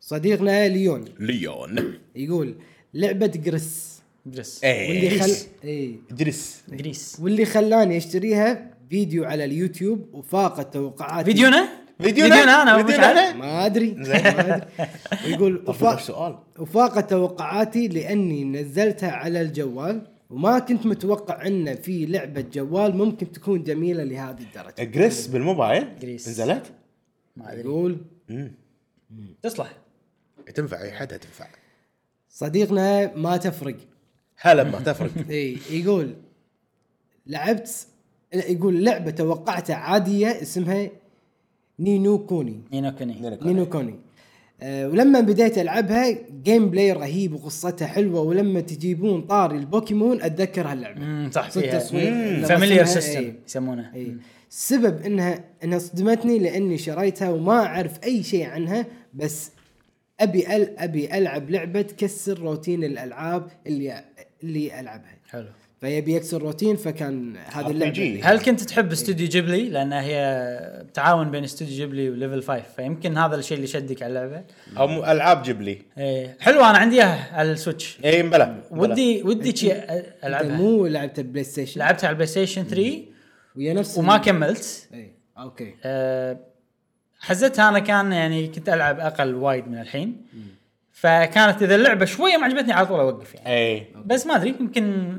[SPEAKER 2] صديقنا ليون
[SPEAKER 3] ليون
[SPEAKER 2] يقول لعبه جريس
[SPEAKER 1] جريس
[SPEAKER 3] إيه.
[SPEAKER 2] واللي
[SPEAKER 3] اي
[SPEAKER 2] خل اي
[SPEAKER 3] درس
[SPEAKER 1] جريس
[SPEAKER 2] واللي خلاني اشتريها فيديو على اليوتيوب وفاقت توقعاتي
[SPEAKER 1] فيديونا
[SPEAKER 3] فيديونا؟
[SPEAKER 1] انا مش
[SPEAKER 3] فيديونا
[SPEAKER 1] عارف.
[SPEAKER 3] أنا؟
[SPEAKER 2] ما ادري ما ادري ويقول
[SPEAKER 3] طب
[SPEAKER 2] وفا-
[SPEAKER 3] سؤال
[SPEAKER 2] وفاقت توقعاتي لاني نزلتها على الجوال وما كنت متوقع ان في لعبه جوال ممكن تكون جميله لهذه الدرجه
[SPEAKER 3] جريس بالموبايل
[SPEAKER 1] جريس.
[SPEAKER 3] نزلت
[SPEAKER 1] ما ادري
[SPEAKER 2] يقول
[SPEAKER 1] تصلح
[SPEAKER 3] تنفع اي حد تنفع
[SPEAKER 2] صديقنا ما تفرق
[SPEAKER 3] هلا ما تفرق
[SPEAKER 2] اي يقول لعبت يقول لعبه توقعتها عاديه اسمها نينو كوني
[SPEAKER 1] نينو كوني
[SPEAKER 2] نينو كوني أه ولما بديت العبها جيم بلاي رهيب وقصتها حلوه ولما تجيبون طاري البوكيمون اتذكر هاللعبه
[SPEAKER 1] مم، صح
[SPEAKER 2] صوت
[SPEAKER 1] فيها
[SPEAKER 2] تصوير. إيه. لما
[SPEAKER 1] فاميليار
[SPEAKER 2] اسمها-
[SPEAKER 1] سيستم
[SPEAKER 2] إي.
[SPEAKER 1] يسمونه
[SPEAKER 2] اي السبب انها انها صدمتني لاني شريتها وما اعرف اي شيء عنها بس ابي أل ابي العب لعبه تكسر روتين الالعاب اللي اللي العبها
[SPEAKER 1] حلو
[SPEAKER 2] فيبي يكسر روتين فكان هذه
[SPEAKER 3] RPG.
[SPEAKER 2] اللعبه اللي-
[SPEAKER 1] هل كنت تحب استوديو جيبلي لانها هي تعاون بين استوديو جيبلي وليفل 5 فيمكن هذا الشيء اللي شدك على اللعبه
[SPEAKER 3] او م- العاب جيب لي
[SPEAKER 1] إيه، حلوه انا عندي إياها على السويتش
[SPEAKER 3] اي إيه، بلا
[SPEAKER 1] ودي ودي شي أ-
[SPEAKER 2] أنت
[SPEAKER 1] العبها
[SPEAKER 2] مو لعبت بلاي ستيشن
[SPEAKER 1] لعبتها على البلاي ستيشن 3
[SPEAKER 2] ويا نفس إيه.
[SPEAKER 1] وما كملت إيه،
[SPEAKER 2] اي اوكي
[SPEAKER 1] أه، حزتها انا كان يعني كنت العب اقل وايد من الحين فكانت اذا اللعبه شويه ما عجبتني على طول اوقف يعني
[SPEAKER 3] اي
[SPEAKER 1] بس ما ادري يمكن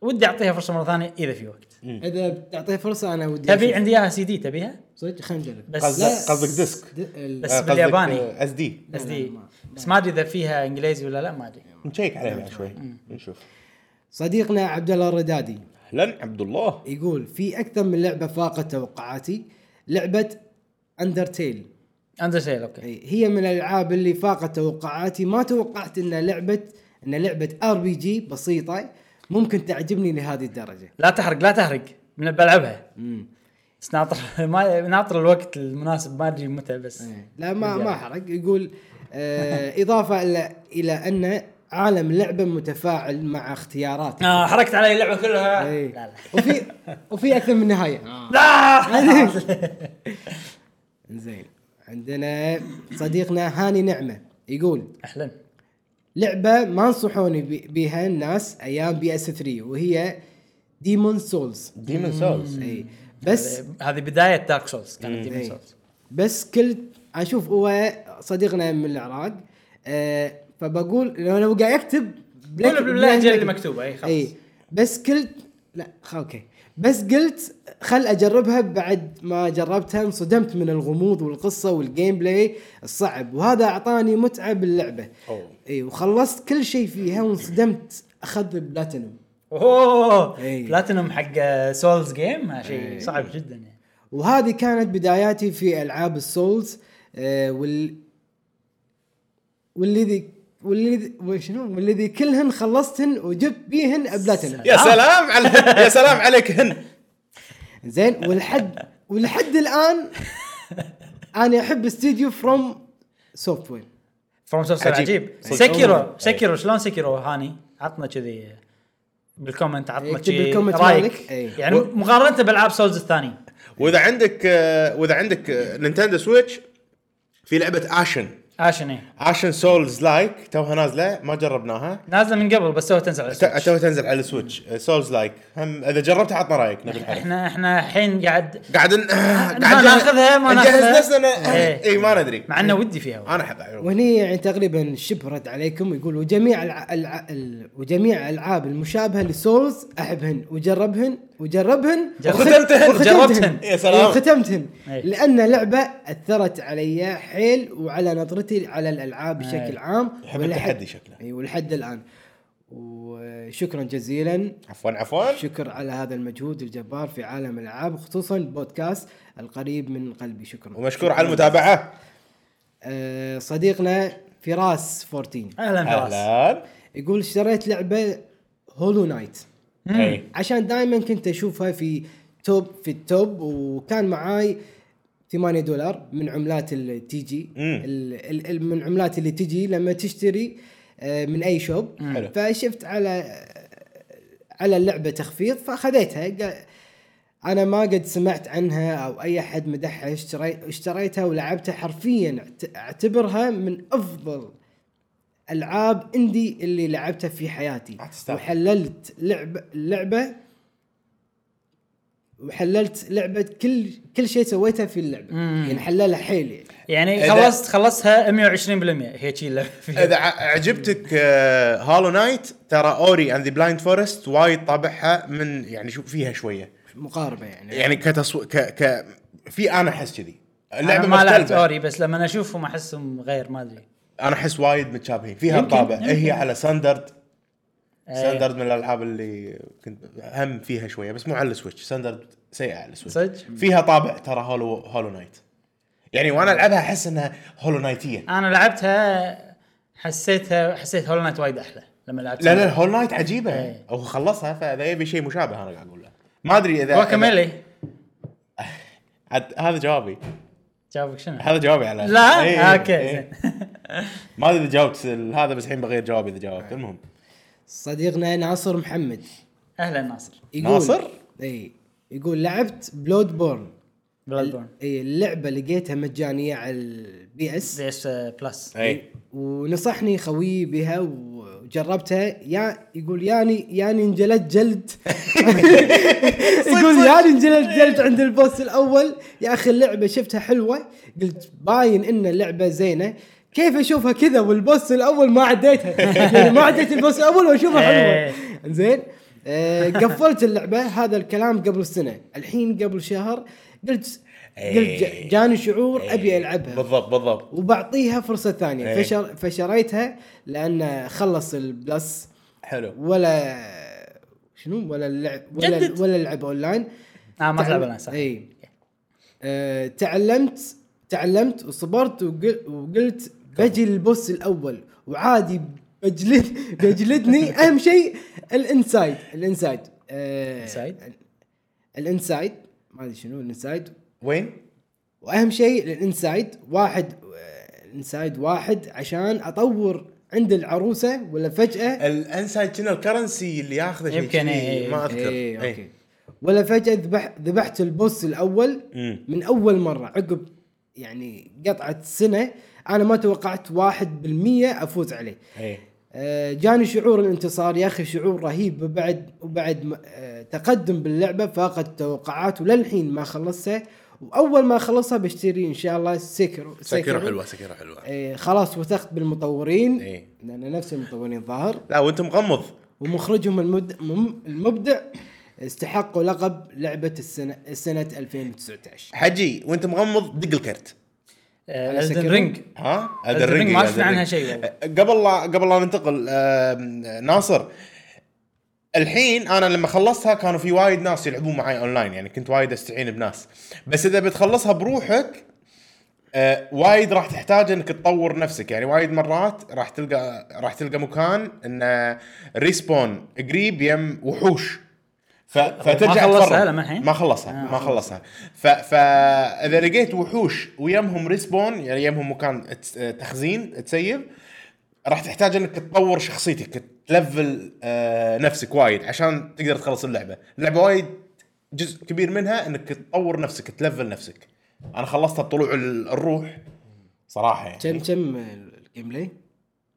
[SPEAKER 1] ودي اعطيها فرصه مره ثانيه اذا في وقت
[SPEAKER 2] اذا بتعطيه فرصه انا ودي
[SPEAKER 1] تبي
[SPEAKER 2] أشوف.
[SPEAKER 1] عندي اياها سي دي تبيها
[SPEAKER 2] صدق خلينا نجرب
[SPEAKER 1] بس
[SPEAKER 3] قصدك-
[SPEAKER 1] لا-
[SPEAKER 3] قصدك ديسك.
[SPEAKER 2] د- ال-
[SPEAKER 1] بس بالياباني.
[SPEAKER 3] اس دي
[SPEAKER 1] بس دي
[SPEAKER 2] ما-
[SPEAKER 1] بس ما ادري اذا فيها انجليزي ولا لا ما ادري
[SPEAKER 3] نشيك عليه بعد شوي نشوف
[SPEAKER 2] صديقنا عبد الله الردادي
[SPEAKER 3] اهلا عبد الله
[SPEAKER 2] يقول في اكثر من لعبه فاقت توقعاتي لعبه اندرتيل
[SPEAKER 1] اندرتيل اوكي
[SPEAKER 2] هي من الالعاب اللي فاقت توقعاتي ما توقعت ان لعبه ان لعبه ار بي جي بسيطه ممكن تعجبني لهذه الدرجه
[SPEAKER 1] لا تحرق لا تحرق من بلعبها
[SPEAKER 2] مم.
[SPEAKER 1] بس ناطر ما ناطر الوقت المناسب ما ادري متى بس
[SPEAKER 2] لا ما ما حرق يقول آه اضافه الى الى ان عالم اللعبه متفاعل مع اختياراتك
[SPEAKER 1] آه حركت علي اللعبه كلها
[SPEAKER 2] إيه.
[SPEAKER 1] لا لا
[SPEAKER 2] وفي وفي اكثر من نهايه
[SPEAKER 1] لا
[SPEAKER 2] زين عندنا صديقنا هاني نعمه يقول
[SPEAKER 1] احلم
[SPEAKER 2] لعبه ما نصحوني بي- بيها الناس ايام بي اس 3 وهي ديمون سولز
[SPEAKER 3] ديمون سولز
[SPEAKER 2] اي بس
[SPEAKER 1] هذه- هذه بدايه دارك سولز كانت
[SPEAKER 2] إيه.
[SPEAKER 1] ديمون سولز
[SPEAKER 2] بس كل اشوف هو صديقنا من العراق آه فبقول لو لو قاعد يكتب
[SPEAKER 1] قول باللهجه اللي مكتوبه اي خلاص
[SPEAKER 2] اي إيه. بس قلت لا خ- اوكي بس قلت خل اجربها بعد ما جربتها انصدمت من الغموض والقصه والجيم بلاي الصعب وهذا اعطاني متعه باللعبه
[SPEAKER 3] أوه.
[SPEAKER 2] اي إيه، وخلصت كل شيء فيها وانصدمت اخذ البلاتينوم
[SPEAKER 1] اوه
[SPEAKER 2] إيه.
[SPEAKER 1] بلاتينوم حق سولز جيم شيء صعب جدا يعني
[SPEAKER 2] وهذه كانت بداياتي في العاب السولز آه، وال والذي والذي وشنو والذي كلهن خلصتهن وجبت بيهن بلاتينوم
[SPEAKER 1] آه.
[SPEAKER 3] يا سلام على يا سلام عليك هن
[SPEAKER 2] زين والحد ولحد الان انا احب استديو فروم سوفت وير
[SPEAKER 1] فروم سورس
[SPEAKER 3] عجيب.
[SPEAKER 1] عجيب
[SPEAKER 3] صدق. إيه.
[SPEAKER 1] سكرو
[SPEAKER 3] أوه.
[SPEAKER 1] سكرو شلون سكرو هاني عطنا كذي بالكومنت عطنا
[SPEAKER 2] اكتب
[SPEAKER 1] كذي
[SPEAKER 2] إيه، بالكومنت
[SPEAKER 1] رايك
[SPEAKER 2] مالك. إيه.
[SPEAKER 1] يعني مقارنه بالعاب سولز الثانيه
[SPEAKER 3] واذا عندك آه، واذا عندك آه، نينتندو سويتش في لعبه اشن
[SPEAKER 1] عشان إيه.
[SPEAKER 3] اشن سولز لايك توها نازله ما جربناها
[SPEAKER 1] نازله من قبل بس تو تنزل على
[SPEAKER 3] ت-
[SPEAKER 1] السويتش.
[SPEAKER 3] توها تنزل على السويتش سولز لايك هم اذا جربتها عطنا رايك نبي الحين
[SPEAKER 1] احنا احنا الحين قاعد
[SPEAKER 3] قاعد ن- قاعد
[SPEAKER 1] ناخذها، ما ناخذها.
[SPEAKER 3] نجهز نفسنا
[SPEAKER 1] إيه.
[SPEAKER 3] اي ما ندري
[SPEAKER 1] مع انه ودي فيها
[SPEAKER 3] انا احب أعرف.
[SPEAKER 2] وهني يعني تقريبا شبرت عليكم يقول وجميع الع... الع... ال... وجميع الالعاب المشابهه لسولز احبهن وجربهن وجربهن
[SPEAKER 1] جرب-
[SPEAKER 2] وخت-
[SPEAKER 3] وختمتهن،
[SPEAKER 1] جربتهن.
[SPEAKER 3] يا سلام. إيه.
[SPEAKER 2] وختمتهن
[SPEAKER 1] أي.
[SPEAKER 2] لان لعبه اثرت علي حيل وعلى نظرتي على الالعاب
[SPEAKER 1] أي.
[SPEAKER 3] إيه.
[SPEAKER 2] بشكل عام
[SPEAKER 3] يحب
[SPEAKER 2] ولحد-
[SPEAKER 3] التحدي شكله.
[SPEAKER 2] اي ولحد الان وشكرا جزيلا
[SPEAKER 3] عفوا عفوا
[SPEAKER 2] شكر على هذا المجهود الجبار في عالم الالعاب خصوصا بودكاست القريب من قلبي شكرا
[SPEAKER 3] ومشكور على المتابعه
[SPEAKER 2] آه، صديقنا فراس 14
[SPEAKER 1] اهلا فراس
[SPEAKER 3] اهلا
[SPEAKER 2] يقول اشتريت لعبه هولو نايت
[SPEAKER 3] إي.
[SPEAKER 2] عشان دائما كنت اشوفها في توب في التوب وكان معاي 8 دولار من عملات اللي تيجي
[SPEAKER 3] مم.
[SPEAKER 2] ال- ال- ال- من عملات اللي تجي لما تشتري آه، من اي شوب
[SPEAKER 3] حلو.
[SPEAKER 2] فشفت على على اللعبه تخفيض فاخذتها قا- انا ما قد سمعت عنها او اي احد مدحها اشتري اشتريتها ولعبتها حرفيا اعت- اعتبرها من افضل العاب اندي اللي لعبتها في حياتي
[SPEAKER 3] ما تستاهل.
[SPEAKER 2] وحللت لعبه لعبه وحللت لعبه كل كل شيء سويته في اللعبه يعني حللها حيل يعني.
[SPEAKER 1] يعني
[SPEAKER 3] إذا-
[SPEAKER 1] خلصت خلصتها 120% هي شي اللعبه فيها
[SPEAKER 3] اذا ع- عجبتك آه، هالو نايت ترى اوري اند ذا بلايند فورست وايد طابعها من يعني شو فيها شويه
[SPEAKER 2] مقاربه يعني
[SPEAKER 3] يعني كتصوير ك ك في انا احس كذي
[SPEAKER 1] انا
[SPEAKER 3] اللعبه
[SPEAKER 1] ما لعبت
[SPEAKER 3] مختلفه
[SPEAKER 1] اوري بس لما اشوفهم احسهم غير ما ادري
[SPEAKER 3] انا احس وايد متشابهين فيها
[SPEAKER 1] يمكن-
[SPEAKER 3] الطابع
[SPEAKER 1] يمكن.
[SPEAKER 3] هي على ساندرد
[SPEAKER 1] إيه.
[SPEAKER 3] ساندرد من الالعاب اللي كنت هم فيها شويه بس مو على السويتش ساندرد سيئه على السويتش
[SPEAKER 1] صدق؟
[SPEAKER 3] فيها طابع ترى هولو هولو نايت يعني وانا العبها احس انها هولو نايتيه
[SPEAKER 1] انا لعبتها حسيتها حسيت هول نايت وايد احلى لما لعبت
[SPEAKER 3] لا لا هول نايت عجيبه
[SPEAKER 1] إيه.
[SPEAKER 3] هو خلصها فاذا يبي شيء مشابه انا قاعد اقول له ما ادري اذا إذا-
[SPEAKER 1] جواكاميلي
[SPEAKER 3] عاد- هذا جوابي
[SPEAKER 1] جاوبك شنو؟
[SPEAKER 3] هذا جوابي على
[SPEAKER 1] لا
[SPEAKER 3] إيه، إيه،
[SPEAKER 1] اوكي
[SPEAKER 3] إيه.
[SPEAKER 1] زين
[SPEAKER 3] ما ادري اذا جاوبت ال- هذا بس الحين بغير جوابي اذا جاوبت المهم
[SPEAKER 2] صديقنا ناصر محمد
[SPEAKER 1] اهلا ناصر
[SPEAKER 2] يقول
[SPEAKER 3] ناصر؟
[SPEAKER 2] اي يقول لعبت بلود بورن
[SPEAKER 1] بلاد بورن
[SPEAKER 2] اي اللعبه لقيتها مجانيه على البي اس
[SPEAKER 1] دي اس آه، بلس إيه.
[SPEAKER 3] اي
[SPEAKER 2] ونصحني خويي بها وجربتها يا يقول ياني ياني انجلت جلد يقول ياني انجلت جلد عند البوس الاول يا اخي اللعبه شفتها حلوه قلت باين ان اللعبه زينه كيف اشوفها كذا والبوس الاول ما عديتها يعني ما عديت البوس الاول واشوفها
[SPEAKER 1] إيه.
[SPEAKER 2] حلوه زين آه، قفلت اللعبه هذا الكلام قبل سنه الحين قبل شهر قلت قلت
[SPEAKER 3] إيه.
[SPEAKER 2] جاني شعور ابي العبها
[SPEAKER 3] بالضبط بالضبط
[SPEAKER 2] وبعطيها فرصه ثانيه
[SPEAKER 3] إيه.
[SPEAKER 2] فشر فشريتها لان خلص البلس
[SPEAKER 3] حلو
[SPEAKER 2] ولا شنو ولا اللعب
[SPEAKER 1] جدد.
[SPEAKER 2] ولا ولا اللعب اونلاين
[SPEAKER 1] اه ما
[SPEAKER 2] تعل-
[SPEAKER 1] تلعب انا صح
[SPEAKER 3] إيه.
[SPEAKER 2] اي آه تعلمت تعلمت وصبرت وقل- وقلت بجي للبوس الاول وعادي بجلد بجلدني اهم شيء الانسايد الانسايد آه
[SPEAKER 1] Inside؟
[SPEAKER 2] الانسايد ما ادري شنو الانسايد
[SPEAKER 3] وين؟
[SPEAKER 2] واهم شيء الانسايد واحد آه، الانسايد واحد عشان اطور عند العروسه ولا فجاه
[SPEAKER 3] الانسايد شنو الكرنسي اللي ياخذه شيء
[SPEAKER 1] يمكن،
[SPEAKER 3] كذي،
[SPEAKER 1] إيه.
[SPEAKER 3] ما اذكر
[SPEAKER 2] ايه
[SPEAKER 3] إيه.
[SPEAKER 2] اوكي ولا فجاه ذبح ذبحت البوس الاول
[SPEAKER 3] مم.
[SPEAKER 2] من اول مره عقب يعني قطعه سنه انا ما توقعت 1% افوز عليه
[SPEAKER 3] إيه.
[SPEAKER 2] آه، جاني شعور الانتصار يا اخي شعور رهيب وبعد وبعد ما- آه، تقدم باللعبه فاقت التوقعات وللحين ما خلصتها واول ما اخلصها بشتري ان شاء الله سكر
[SPEAKER 3] سكيرو حلوه سكيرو حلوه
[SPEAKER 2] آه، خلاص وثقت بالمطورين
[SPEAKER 3] إيه.
[SPEAKER 2] لان نفس المطورين ظاهر
[SPEAKER 3] لا وانت مغمض
[SPEAKER 2] ومخرجهم المد... مم- المبدع استحقوا لقب لعبة السنة سنة 2019
[SPEAKER 3] حجي وانت مغمض دق الكرت
[SPEAKER 1] الدن
[SPEAKER 2] سكيرو.
[SPEAKER 1] رينج
[SPEAKER 3] ها
[SPEAKER 1] Elden Ring ما
[SPEAKER 3] يا
[SPEAKER 1] شفنا
[SPEAKER 3] Elden
[SPEAKER 1] عنها
[SPEAKER 3] Ring.
[SPEAKER 1] شيء والله.
[SPEAKER 3] قبل لا قبل لا ننتقل آم، ناصر الحين انا لما خلصتها كانوا في وايد ناس يلعبون معي اونلاين يعني كنت وايد استعين بناس بس اذا بتخلصها بروحك آه، وايد راح تحتاج انك تطور نفسك يعني وايد مرات راح تلقى راح تلقى مكان انه ريسبون قريب يم وحوش ف... فترجع
[SPEAKER 1] ما خلصها
[SPEAKER 3] تفرغ.
[SPEAKER 1] لما الحين؟
[SPEAKER 3] ما خلصها
[SPEAKER 1] آه،
[SPEAKER 3] ما خلصها ف... فاذا لقيت وحوش ويمهم ريسبون يعني يمهم مكان تس- تخزين تسيب راح تحتاج انك تطور شخصيتك تلفل آه، نفسك وايد عشان تقدر تخلص اللعبه اللعبه وايد جزء كبير منها انك تطور نفسك تلفل نفسك انا خلصتها بطلوع ال- الروح صراحه يعني
[SPEAKER 2] كم كم الجيم بلاي؟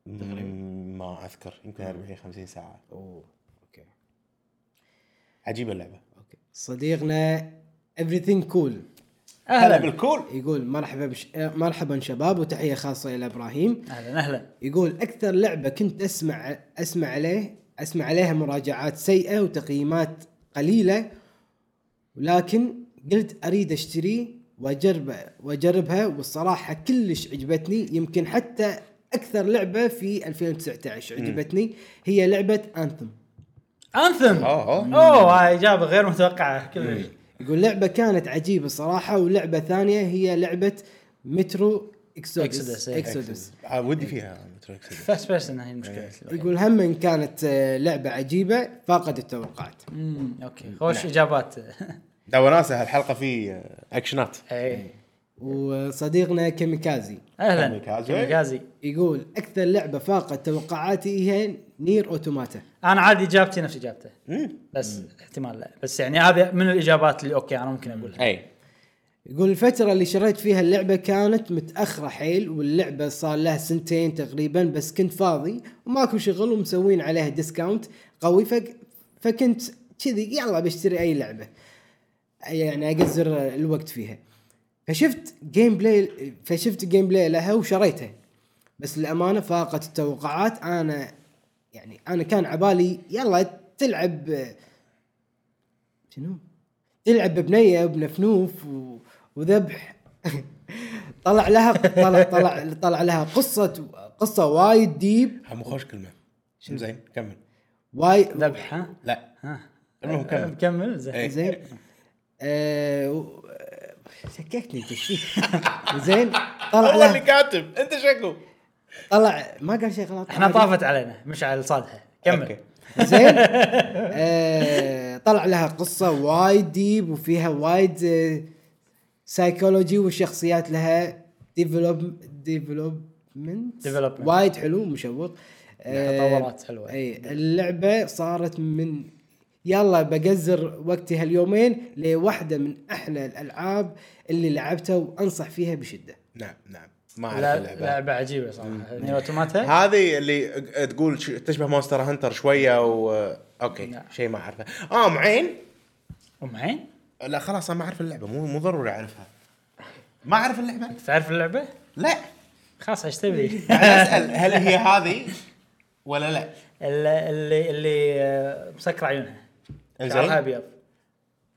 [SPEAKER 3] مم، ما اذكر يمكن 40 50 ساعه
[SPEAKER 2] اوه اوكي
[SPEAKER 3] عجيبه اللعبه
[SPEAKER 2] اوكي صديقنا everything cool
[SPEAKER 3] هلا
[SPEAKER 1] اهلا
[SPEAKER 3] بالكول
[SPEAKER 2] يقول مرحبا بش... آه، مرحبا شباب وتحية خاصة إلى إبراهيم
[SPEAKER 1] اهلا اهلا
[SPEAKER 2] يقول أكثر لعبة كنت أسمع أسمع عليه أسمع عليها مراجعات سيئة وتقييمات قليلة ولكن قلت اريد اشتري واجربه واجربها والصراحه كلش عجبتني يمكن حتى اكثر لعبه في 2019 عجبتني هي لعبه انثم
[SPEAKER 1] انثم
[SPEAKER 3] اه اه
[SPEAKER 1] اوه هاي اجابه غير متوقعه كلش
[SPEAKER 3] إيه.
[SPEAKER 2] يقول لعبه كانت عجيبه صراحه ولعبه ثانيه هي لعبه مترو
[SPEAKER 1] Exodus،
[SPEAKER 2] اكسودس
[SPEAKER 1] إيه.
[SPEAKER 2] اكسودس
[SPEAKER 3] آه، ودي فيها مترو إكسيدس.
[SPEAKER 1] فيرست بيرسون هي المشكله
[SPEAKER 3] إيه.
[SPEAKER 2] يقول هم إن كانت آه، لعبه عجيبه فاقد التوقعات
[SPEAKER 1] امم
[SPEAKER 3] إيه.
[SPEAKER 1] اوكي
[SPEAKER 3] نعم.
[SPEAKER 1] خوش إيه. اجابات
[SPEAKER 3] دا وناسه هالحلقه في آه، اكشنات
[SPEAKER 1] اي
[SPEAKER 3] إيه.
[SPEAKER 2] وصديقنا كيميكازي
[SPEAKER 1] اهلا
[SPEAKER 3] كاميكازي.
[SPEAKER 1] كاميكازي
[SPEAKER 2] يقول اكثر لعبه فاقت توقعاتي هي نير اوتوماتا
[SPEAKER 1] انا عادي اجابتي نفس اجابته
[SPEAKER 3] مم.
[SPEAKER 1] بس احتمال لا بس يعني هذا من الاجابات اللي اوكي انا ممكن اقولها
[SPEAKER 3] اي
[SPEAKER 2] يقول الفترة اللي شريت فيها اللعبة كانت متأخرة حيل واللعبة صار لها سنتين تقريبا بس كنت فاضي وماكو شغل ومسوين عليها ديسكاونت قوي فك فكنت كذي يلا بشتري أي لعبة يعني أقزر الوقت فيها فشفت جيم بلاي فشفت جيم بلاي لها وشريتها بس للأمانة فاقت التوقعات أنا يعني أنا كان عبالي يلا تلعب شنو تلعب ببنيه وبنفنوف و... وذبح طلع لها طلع طلع طلع لها قصه قصه وايد ديب
[SPEAKER 3] هم خوش كلمه شنو زين كمل
[SPEAKER 2] وايد
[SPEAKER 1] ذبح ها
[SPEAKER 3] لا
[SPEAKER 1] ها
[SPEAKER 3] المهم كمل
[SPEAKER 1] مكمل زين
[SPEAKER 3] إيه.
[SPEAKER 2] زين آه... و- سكتني إنت إيش فيك؟ زين طلع
[SPEAKER 3] هو اللي
[SPEAKER 2] لها
[SPEAKER 3] كاتب انت شكو
[SPEAKER 2] طلع ما قال شيء غلط
[SPEAKER 1] احنا طافت علينا مش على صالحه كمل
[SPEAKER 3] أوكي.
[SPEAKER 2] زين آه... طلع لها قصه وايد ديب وفيها وايد آه... سايكولوجي والشخصيات لها ديفلوب ديفلوبمنت
[SPEAKER 1] Development.
[SPEAKER 2] وايد حلو مشوق آه،
[SPEAKER 1] تطورات حلوه
[SPEAKER 2] اي اللعبه صارت من يلا بقزر وقتي هاليومين لواحده من احلى الالعاب اللي لعبتها وانصح فيها بشده
[SPEAKER 3] نعم نعم ما
[SPEAKER 1] لا-
[SPEAKER 3] اعرف اللعبه
[SPEAKER 1] لعبه عجيبه صراحه نير اوتوماتا
[SPEAKER 3] هذه اللي تقول ش- تشبه مونستر هانتر شويه و اوكي
[SPEAKER 1] لا.
[SPEAKER 3] شيء ما اعرفه اه معين
[SPEAKER 1] ام عين
[SPEAKER 3] لا خلاص انا ما اعرف اللعبه مو مو ضروري اعرفها ما اعرف اللعبه
[SPEAKER 1] تعرف اللعبه؟
[SPEAKER 3] لا
[SPEAKER 1] خلاص ايش تبي؟
[SPEAKER 3] قاعد اسال هل هي هذه ولا لا؟
[SPEAKER 1] اللي اللي, اللي آه، مسكر عيونها شعرها
[SPEAKER 3] زين
[SPEAKER 1] ابيض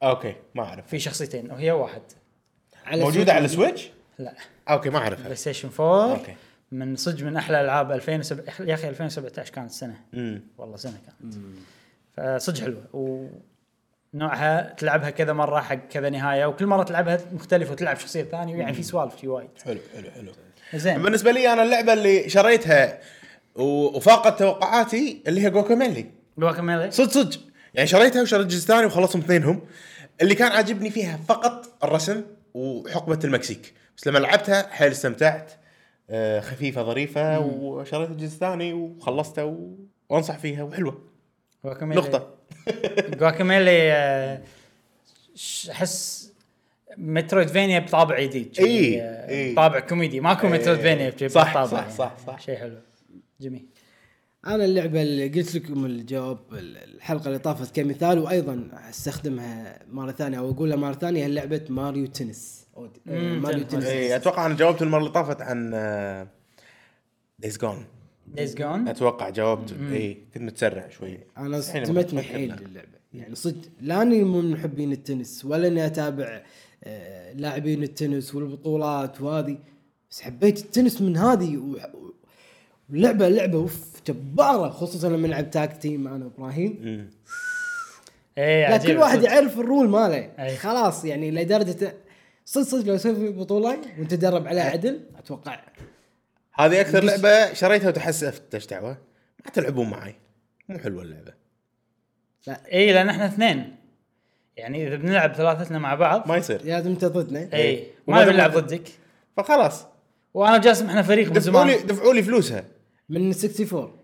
[SPEAKER 3] اوكي ما اعرف
[SPEAKER 1] في شخصيتين وهي واحد
[SPEAKER 2] على
[SPEAKER 3] موجوده على
[SPEAKER 2] سويتش.
[SPEAKER 3] السويتش؟
[SPEAKER 1] لا
[SPEAKER 3] اوكي ما اعرفها
[SPEAKER 1] بلاي ستيشن 4
[SPEAKER 3] أوكي.
[SPEAKER 1] من صدق من احلى العاب 2007 يا اخي 2017 كانت سنه
[SPEAKER 3] امم
[SPEAKER 1] والله سنه كانت فصدق حلوه ونوعها تلعبها كذا مره حق كذا نهايه وكل مره تلعبها مختلفه وتلعب شخصيه ثانيه يعني في سوالف في وايد
[SPEAKER 3] حلو حلو حلو
[SPEAKER 1] زين
[SPEAKER 3] بالنسبه يعني لي انا اللعبه اللي شريتها و- وفاقت توقعاتي اللي هي جوكاميلي
[SPEAKER 1] جواكاميلي
[SPEAKER 3] صدق صدق يعني شريتها وشريت الجزء الثاني وخلصتهم اثنينهم اللي كان عاجبني فيها فقط الرسم وحقبه المكسيك بس لما لعبتها حيل استمتعت آه، خفيفه ظريفه وشريت الجزء الثاني وخلصته و... وانصح فيها وحلوه
[SPEAKER 1] جواكاميلي
[SPEAKER 3] نقطه
[SPEAKER 1] جواكاميلي آه، ش- احس مترويدفينيا بطابع جديد شي،
[SPEAKER 3] إي،
[SPEAKER 1] آه،
[SPEAKER 3] إي.
[SPEAKER 1] طابع كوميدي ماكو
[SPEAKER 3] إي.
[SPEAKER 1] مترويدفينيا بشي
[SPEAKER 3] صح،
[SPEAKER 1] بالطابع
[SPEAKER 3] صح،
[SPEAKER 1] يعني.
[SPEAKER 3] صح، صح.
[SPEAKER 1] شيء حلو جميل
[SPEAKER 2] انا اللعبه اللي قلت لكم الجواب الحلقه اللي طافت كمثال وايضا استخدمها مره ثانيه او اقولها مره ثانيه هي لعبه ماريو تنس أو د- آه،
[SPEAKER 1] مم،
[SPEAKER 2] ماريو
[SPEAKER 1] تنس.
[SPEAKER 3] اي
[SPEAKER 2] تنس
[SPEAKER 3] اتوقع انا إيه، جاوبت المره اللي طافت عن آه، دايز جون
[SPEAKER 1] دايز جون
[SPEAKER 3] اتوقع جاوبت اي كنت متسرع شوي
[SPEAKER 2] انا
[SPEAKER 3] الحين
[SPEAKER 2] صدمتني
[SPEAKER 3] بفكر
[SPEAKER 2] حيل
[SPEAKER 3] لها.
[SPEAKER 2] اللعبه يعني صدق لا اني من محبين التنس ولا اني اتابع آه، لاعبين التنس والبطولات وهذه بس حبيت التنس من هذه و... و- ولعبه لعبه اوف جباره خصوصا لما نلعب تاك تيم انا وابراهيم
[SPEAKER 3] مم.
[SPEAKER 1] اي
[SPEAKER 2] لا
[SPEAKER 1] عجيب،
[SPEAKER 2] كل واحد
[SPEAKER 1] صدق.
[SPEAKER 2] يعرف الرول ماله
[SPEAKER 1] أي.
[SPEAKER 2] خلاص يعني لدرجه صدق صدق لو يصير في بطوله وانت تدرب عليها عدل اتوقع
[SPEAKER 3] هذه
[SPEAKER 2] بس-
[SPEAKER 3] اكثر لعبه شريتها وتحسفت ايش دعوه ما تلعبون معي مو حلوه اللعبه
[SPEAKER 1] اي لان احنا اثنين يعني اذا بنلعب ثلاثتنا مع بعض
[SPEAKER 3] ما يصير
[SPEAKER 2] لازم انت ضدنا
[SPEAKER 1] اي ما
[SPEAKER 3] وما
[SPEAKER 1] بنلعب
[SPEAKER 3] دام-
[SPEAKER 1] ضدك
[SPEAKER 3] فخلاص
[SPEAKER 1] وانا وجاسم احنا فريق من
[SPEAKER 3] دفعوا لي
[SPEAKER 1] زمان
[SPEAKER 3] دفعوا لي فلوسها
[SPEAKER 2] من 64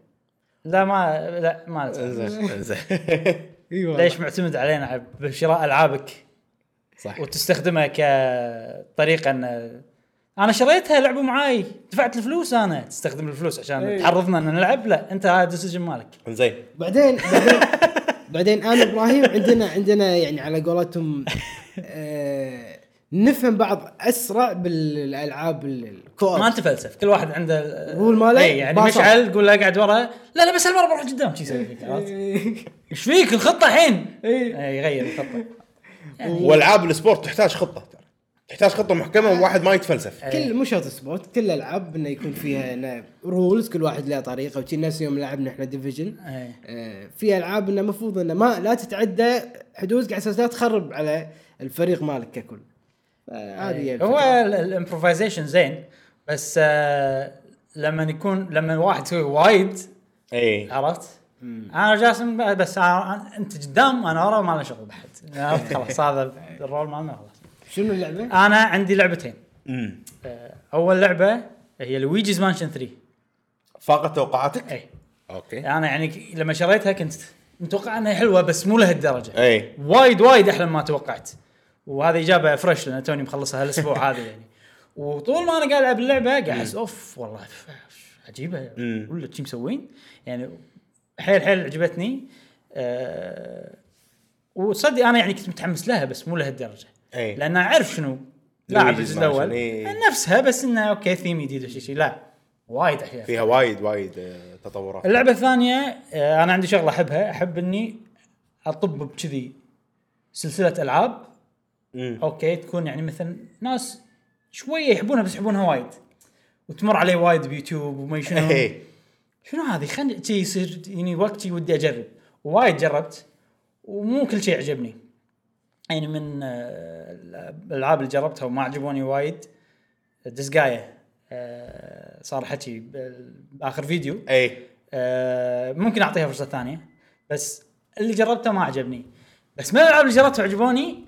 [SPEAKER 1] لا ما لا ما نتعب.
[SPEAKER 3] انزين انزين
[SPEAKER 2] ايوه
[SPEAKER 1] ليش معتمد علينا عب- بشراء العابك
[SPEAKER 3] صح
[SPEAKER 1] وتستخدمها كطريقه ان انا شريتها لعبوا معاي دفعت الفلوس انا تستخدم الفلوس عشان
[SPEAKER 2] إي.
[SPEAKER 1] تعرضنا ان نلعب لا انت هذا الديسيجن مالك
[SPEAKER 3] انزين
[SPEAKER 2] بعدين بعدين, بعدين انا وابراهيم عندنا عندنا يعني على قولتهم آه نفهم بعض اسرع بالالعاب ال- الكوب
[SPEAKER 1] ما تفلسف كل واحد عنده
[SPEAKER 2] قول مالك،
[SPEAKER 1] إي، يعني
[SPEAKER 2] باصر.
[SPEAKER 1] مشعل قول له اقعد ورا لا لا بس هالمره بروح قدام شو يسوي فيك
[SPEAKER 2] إيه.
[SPEAKER 1] عرفت؟ ايش فيك الخطه الحين
[SPEAKER 2] إي.
[SPEAKER 1] إي، يغير الخطه
[SPEAKER 3] والعاب السبورت تحتاج خطه ترى تحتاج خطه محكمه وواحد ما يتفلسف
[SPEAKER 2] كل مو شرط سبورت كل الالعاب انه يكون فيها إنه رولز كل واحد له طريقه وشي نفس يوم لعبنا احنا ديفيجن
[SPEAKER 1] إي.
[SPEAKER 2] آه، في العاب انه المفروض انه ما لا تتعدى حدودك على اساس لا تخرب على الفريق مالك ككل. آه، هذه هي الفكرة.
[SPEAKER 1] إيه، هو الامبروفيزيشن زين بس آه لما يكون لما واحد يسوي وايد
[SPEAKER 3] اي
[SPEAKER 1] عرفت؟ انا جاسم ب- بس أنا- انت قدام انا ورا ما له شغل بحد عرفت؟ خلاص هذا الرول مالنا خلاص
[SPEAKER 2] شنو اللعبه؟
[SPEAKER 1] انا عندي لعبتين
[SPEAKER 3] امم
[SPEAKER 1] آه، اول لعبه هي لويجيز مانشن 3
[SPEAKER 3] فاقت توقعاتك
[SPEAKER 1] اي
[SPEAKER 3] اوكي
[SPEAKER 1] انا إيه. يعني ك- لما شريتها كنت متوقع انها حلوه بس مو لهالدرجه
[SPEAKER 3] اي
[SPEAKER 1] وايد وايد احلى مما توقعت وهذه اجابه فريش لان توني مخلصها هالاسبوع هذا يعني وطول ما انا قاعد العب اللعبه قاعد احس اوف والله ف- عجيبه
[SPEAKER 3] مم.
[SPEAKER 1] ولا شي مسوين يعني حيل حيل عجبتني أه وصدق انا يعني كنت متحمس لها بس مو لهالدرجه
[SPEAKER 3] اي
[SPEAKER 1] لان اعرف شنو لاعب الجزء
[SPEAKER 3] Luigi's Mansion،
[SPEAKER 1] الاول
[SPEAKER 3] إي.
[SPEAKER 1] نفسها بس انه اوكي ثيم جديد وشي شي لا وايد احياء
[SPEAKER 3] فيها وايد وايد آه، تطورات
[SPEAKER 1] اللعبه الثانيه آه، انا عندي شغله احبها احب اني اطب بكذي سلسله العاب
[SPEAKER 3] مم.
[SPEAKER 1] اوكي تكون يعني مثلا ناس شويه يحبونها بس يحبونها وايد وتمر علي وايد بيوتيوب وما شنو
[SPEAKER 3] اي
[SPEAKER 1] شنو هذه خلني شي يصير يعني وقت شي ودي اجرب وايد جربت ومو كل شيء عجبني يعني من آه، الالعاب اللي جربتها وما عجبوني وايد دسقايه آه، صار حكي بال- باخر فيديو
[SPEAKER 3] اي
[SPEAKER 1] آه، ممكن اعطيها فرصه ثانيه بس اللي جربته ما عجبني بس من الالعاب اللي جربتها عجبوني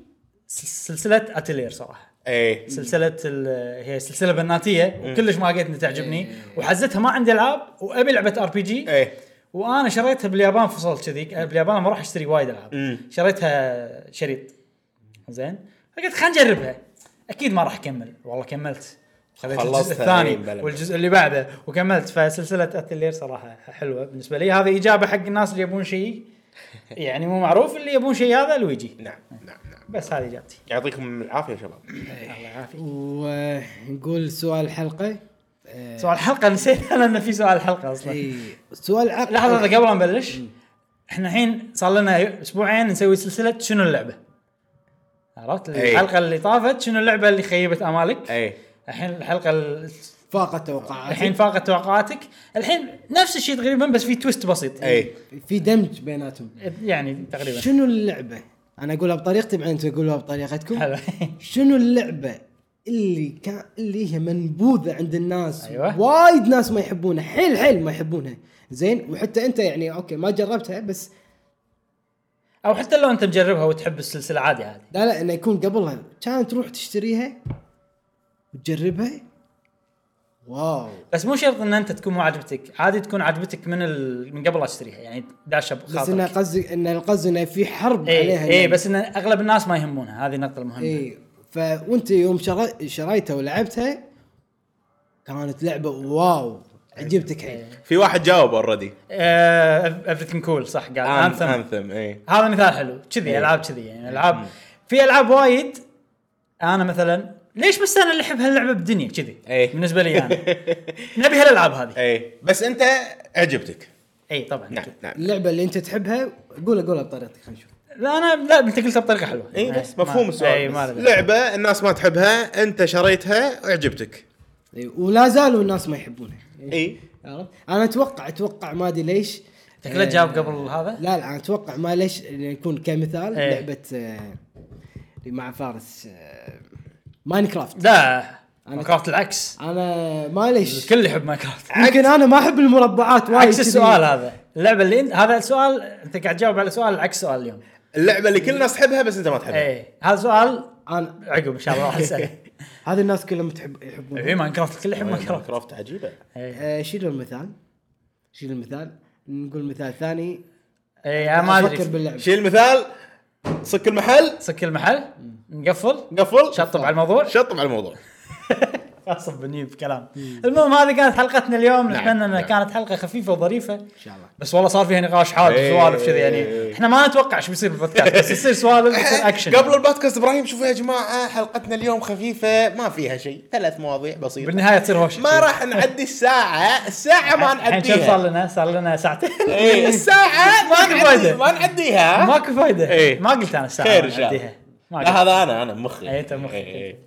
[SPEAKER 1] سل- سلسله اتلير صراحه
[SPEAKER 3] اي
[SPEAKER 1] سلسله ال- هي سلسله بناتيه وكلش ما قد تعجبني وحزتها ما عندي العاب وابي لعبه ار بي جي
[SPEAKER 3] اي
[SPEAKER 1] وانا شريتها باليابان فصلت كذي باليابان ما راح اشتري وايد العاب
[SPEAKER 3] مم.
[SPEAKER 1] شريتها شريط زين فقلت خلينا نجربها اكيد ما راح اكمل والله كملت خذيت الجزء
[SPEAKER 3] خلصتها، إي،
[SPEAKER 1] الثاني
[SPEAKER 3] بلا.
[SPEAKER 1] والجزء اللي بعده وكملت فسلسله اتلير صراحه حلوه بالنسبه لي هذه اجابه حق الناس اللي يبون شيء يعني مو معروف اللي يبون شيء هذا لويجي
[SPEAKER 3] نعم نعم نعم
[SPEAKER 1] بس هذه اجابتي
[SPEAKER 3] يعطيكم العافيه يا شباب
[SPEAKER 1] الله يعافيك
[SPEAKER 2] ونقول سؤال الحلقه آه،
[SPEAKER 3] إيه.
[SPEAKER 1] سؤال الحلقه نسيت انا انه في سؤال الحلقه اصلا
[SPEAKER 2] اي سؤال عقل
[SPEAKER 1] لحظه لحظه قبل ما نبلش احنا الحين صار لنا اسبوعين نسوي سلسله شنو اللعبه عرفت
[SPEAKER 3] إي.
[SPEAKER 1] الحلقه اللي طافت شنو اللعبه اللي خيبت امالك
[SPEAKER 3] اي
[SPEAKER 1] الحين الحلقه ال-
[SPEAKER 2] فاقت توقعات
[SPEAKER 1] الحين فاقت توقعاتك الحين نفس الشيء تقريبا بس في تويست بسيط
[SPEAKER 3] اي
[SPEAKER 2] في دمج بيناتهم
[SPEAKER 1] يعني تقريبا
[SPEAKER 2] شنو اللعبه؟ انا اقولها بطريقتي بعدين تقولوها بطريقتكم
[SPEAKER 1] حلو
[SPEAKER 2] شنو اللعبه اللي كان اللي هي منبوذه عند الناس
[SPEAKER 1] أيوة.
[SPEAKER 2] وايد ناس ما يحبونها حيل حيل ما يحبونها زين وحتى انت يعني اوكي ما جربتها بس
[SPEAKER 1] او حتى لو انت مجربها وتحب السلسله عادي عادي
[SPEAKER 2] لا لا انه يكون قبلها كان تروح تشتريها وتجربها واو
[SPEAKER 1] بس مو شرط ان انت تكون مو عجبتك عادي تكون عجبتك من ال... من قبل لا تشتريها يعني داشه
[SPEAKER 2] بس انه
[SPEAKER 1] بخاطرك
[SPEAKER 2] قصدي ان القصد انه في حرب
[SPEAKER 1] اي
[SPEAKER 2] عليها يعني.
[SPEAKER 1] اي إيه، بس ان اغلب الناس ما يهمونها هذه النقطه المهمه
[SPEAKER 2] اي فوانت يوم شري- شريتها ولعبتها كانت لعبه واو عجبتك حيل
[SPEAKER 1] إيه.
[SPEAKER 3] في واحد جاوب اوريدي
[SPEAKER 1] آه، ايفريثينج كول صح قال
[SPEAKER 3] آه،
[SPEAKER 1] انثم
[SPEAKER 3] انثم اي
[SPEAKER 1] هذا مثال حلو كذي
[SPEAKER 3] إيه.
[SPEAKER 1] العاب كذي يعني العاب في العاب وايد انا مثلا ليش بس انا اللي احب هاللعبه بالدنيا كذي
[SPEAKER 3] إي.
[SPEAKER 1] بالنسبه لي انا نبي هالالعاب هذه
[SPEAKER 3] اي بس انت عجبتك
[SPEAKER 1] اي طبعا
[SPEAKER 3] إيه. نعم نعم
[SPEAKER 2] اللعبه اللي انت تحبها قولها قولها بطريقتك خلينا نشوف
[SPEAKER 1] لا انا لا انت قلتها بطريقه حلوه
[SPEAKER 3] اي إيه، بس
[SPEAKER 1] ما-
[SPEAKER 3] مفهوم
[SPEAKER 1] اي
[SPEAKER 3] السؤال
[SPEAKER 1] ما
[SPEAKER 3] بس.
[SPEAKER 1] له داعي.
[SPEAKER 3] لعبه الناس ما تحبها انت شريتها وعجبتك
[SPEAKER 2] إي، إيه، ولا زالوا الناس ما يحبونها
[SPEAKER 3] اي
[SPEAKER 2] عرفت؟ انا اتوقع اتوقع ما ادري ليش
[SPEAKER 1] شكله
[SPEAKER 2] آه،
[SPEAKER 1] جاب قبل هذا
[SPEAKER 2] لا لا انا اتوقع ما ليش إنه يكون كمثال
[SPEAKER 1] إيه.
[SPEAKER 2] لعبه آه، اللي مع فارس آه، ماينكرافت
[SPEAKER 1] لا ماينكرافت العكس
[SPEAKER 2] انا ما ليش
[SPEAKER 1] الكل يحب ماينكرافت
[SPEAKER 2] يمكن انا ما احب المربعات وايد
[SPEAKER 1] عكس
[SPEAKER 2] كذي.
[SPEAKER 1] السؤال هذا اللعبه اللي انت هذا السؤال انت قاعد تجاوب على سؤال عكس سؤال اليوم
[SPEAKER 3] اللعبه اللي كل الناس تحبها بس انت ما تحبها
[SPEAKER 1] اي هذا سؤال
[SPEAKER 2] انا
[SPEAKER 1] عقب ان شاء الله راح اساله
[SPEAKER 2] هذه الناس كلهم تحب يحبون
[SPEAKER 1] اي ماينكرافت الكل
[SPEAKER 3] إيه.
[SPEAKER 1] يحب ماينكرافت
[SPEAKER 3] ماينكرافت عجيبه
[SPEAKER 1] اي
[SPEAKER 2] آه، شيلوا المثال شيلوا المثال نقول مثال ثاني
[SPEAKER 1] إي، إيه، أنا ما
[SPEAKER 2] افكر
[SPEAKER 1] ادري
[SPEAKER 2] باللعب
[SPEAKER 3] شيل المثال صك المحل
[SPEAKER 1] سك المحل نقفل
[SPEAKER 3] قفل
[SPEAKER 1] شطب على الموضوع
[SPEAKER 3] شطب على الموضوع
[SPEAKER 1] خاصة بنيب كلام المهم هذه كانت حلقتنا اليوم نتمنى انها
[SPEAKER 3] نعم.
[SPEAKER 1] كانت حلقه خفيفه وظريفه
[SPEAKER 2] ان شاء الله
[SPEAKER 1] بس والله صار فيها نقاش حاد
[SPEAKER 3] إيه.
[SPEAKER 1] وسوالف كذي يعني احنا ما نتوقع ايش بيصير بالبودكاست بس يصير سوالف يصير اكشن
[SPEAKER 3] إيه. قبل البودكاست ابراهيم شوفوا يا جماعه حلقتنا اليوم خفيفه ما فيها شيء ثلاث مواضيع بسيطه
[SPEAKER 1] بالنهايه تصير هوشه
[SPEAKER 3] ما راح نعدي الساعه الساعه ما
[SPEAKER 1] الحين كم صار
[SPEAKER 3] نعديها
[SPEAKER 1] لنا؟ صار لنا ساعتين
[SPEAKER 3] إيه، الساعه ما
[SPEAKER 1] ماكو فايدة.
[SPEAKER 3] نعدي ما نعديها
[SPEAKER 1] ماكو فايده
[SPEAKER 3] إيه.
[SPEAKER 1] ما قلت انا الساعه
[SPEAKER 3] خير إن شاء الله.
[SPEAKER 1] أديها. ما قلت.
[SPEAKER 3] لا هذا انا انا مخي
[SPEAKER 1] إيه، أنت مخك.
[SPEAKER 3] إيه، إيه.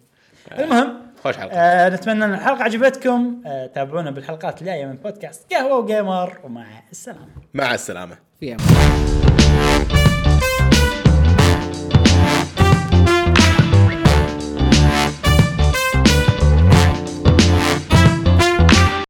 [SPEAKER 1] المهم
[SPEAKER 3] خوش حلقه
[SPEAKER 1] آه نتمنى ان الحلقه عجبتكم آه تابعونا بالحلقات الجايه من بودكاست قهوه وجيمر ومع السلامه
[SPEAKER 3] مع السلامه
[SPEAKER 2] في أمان.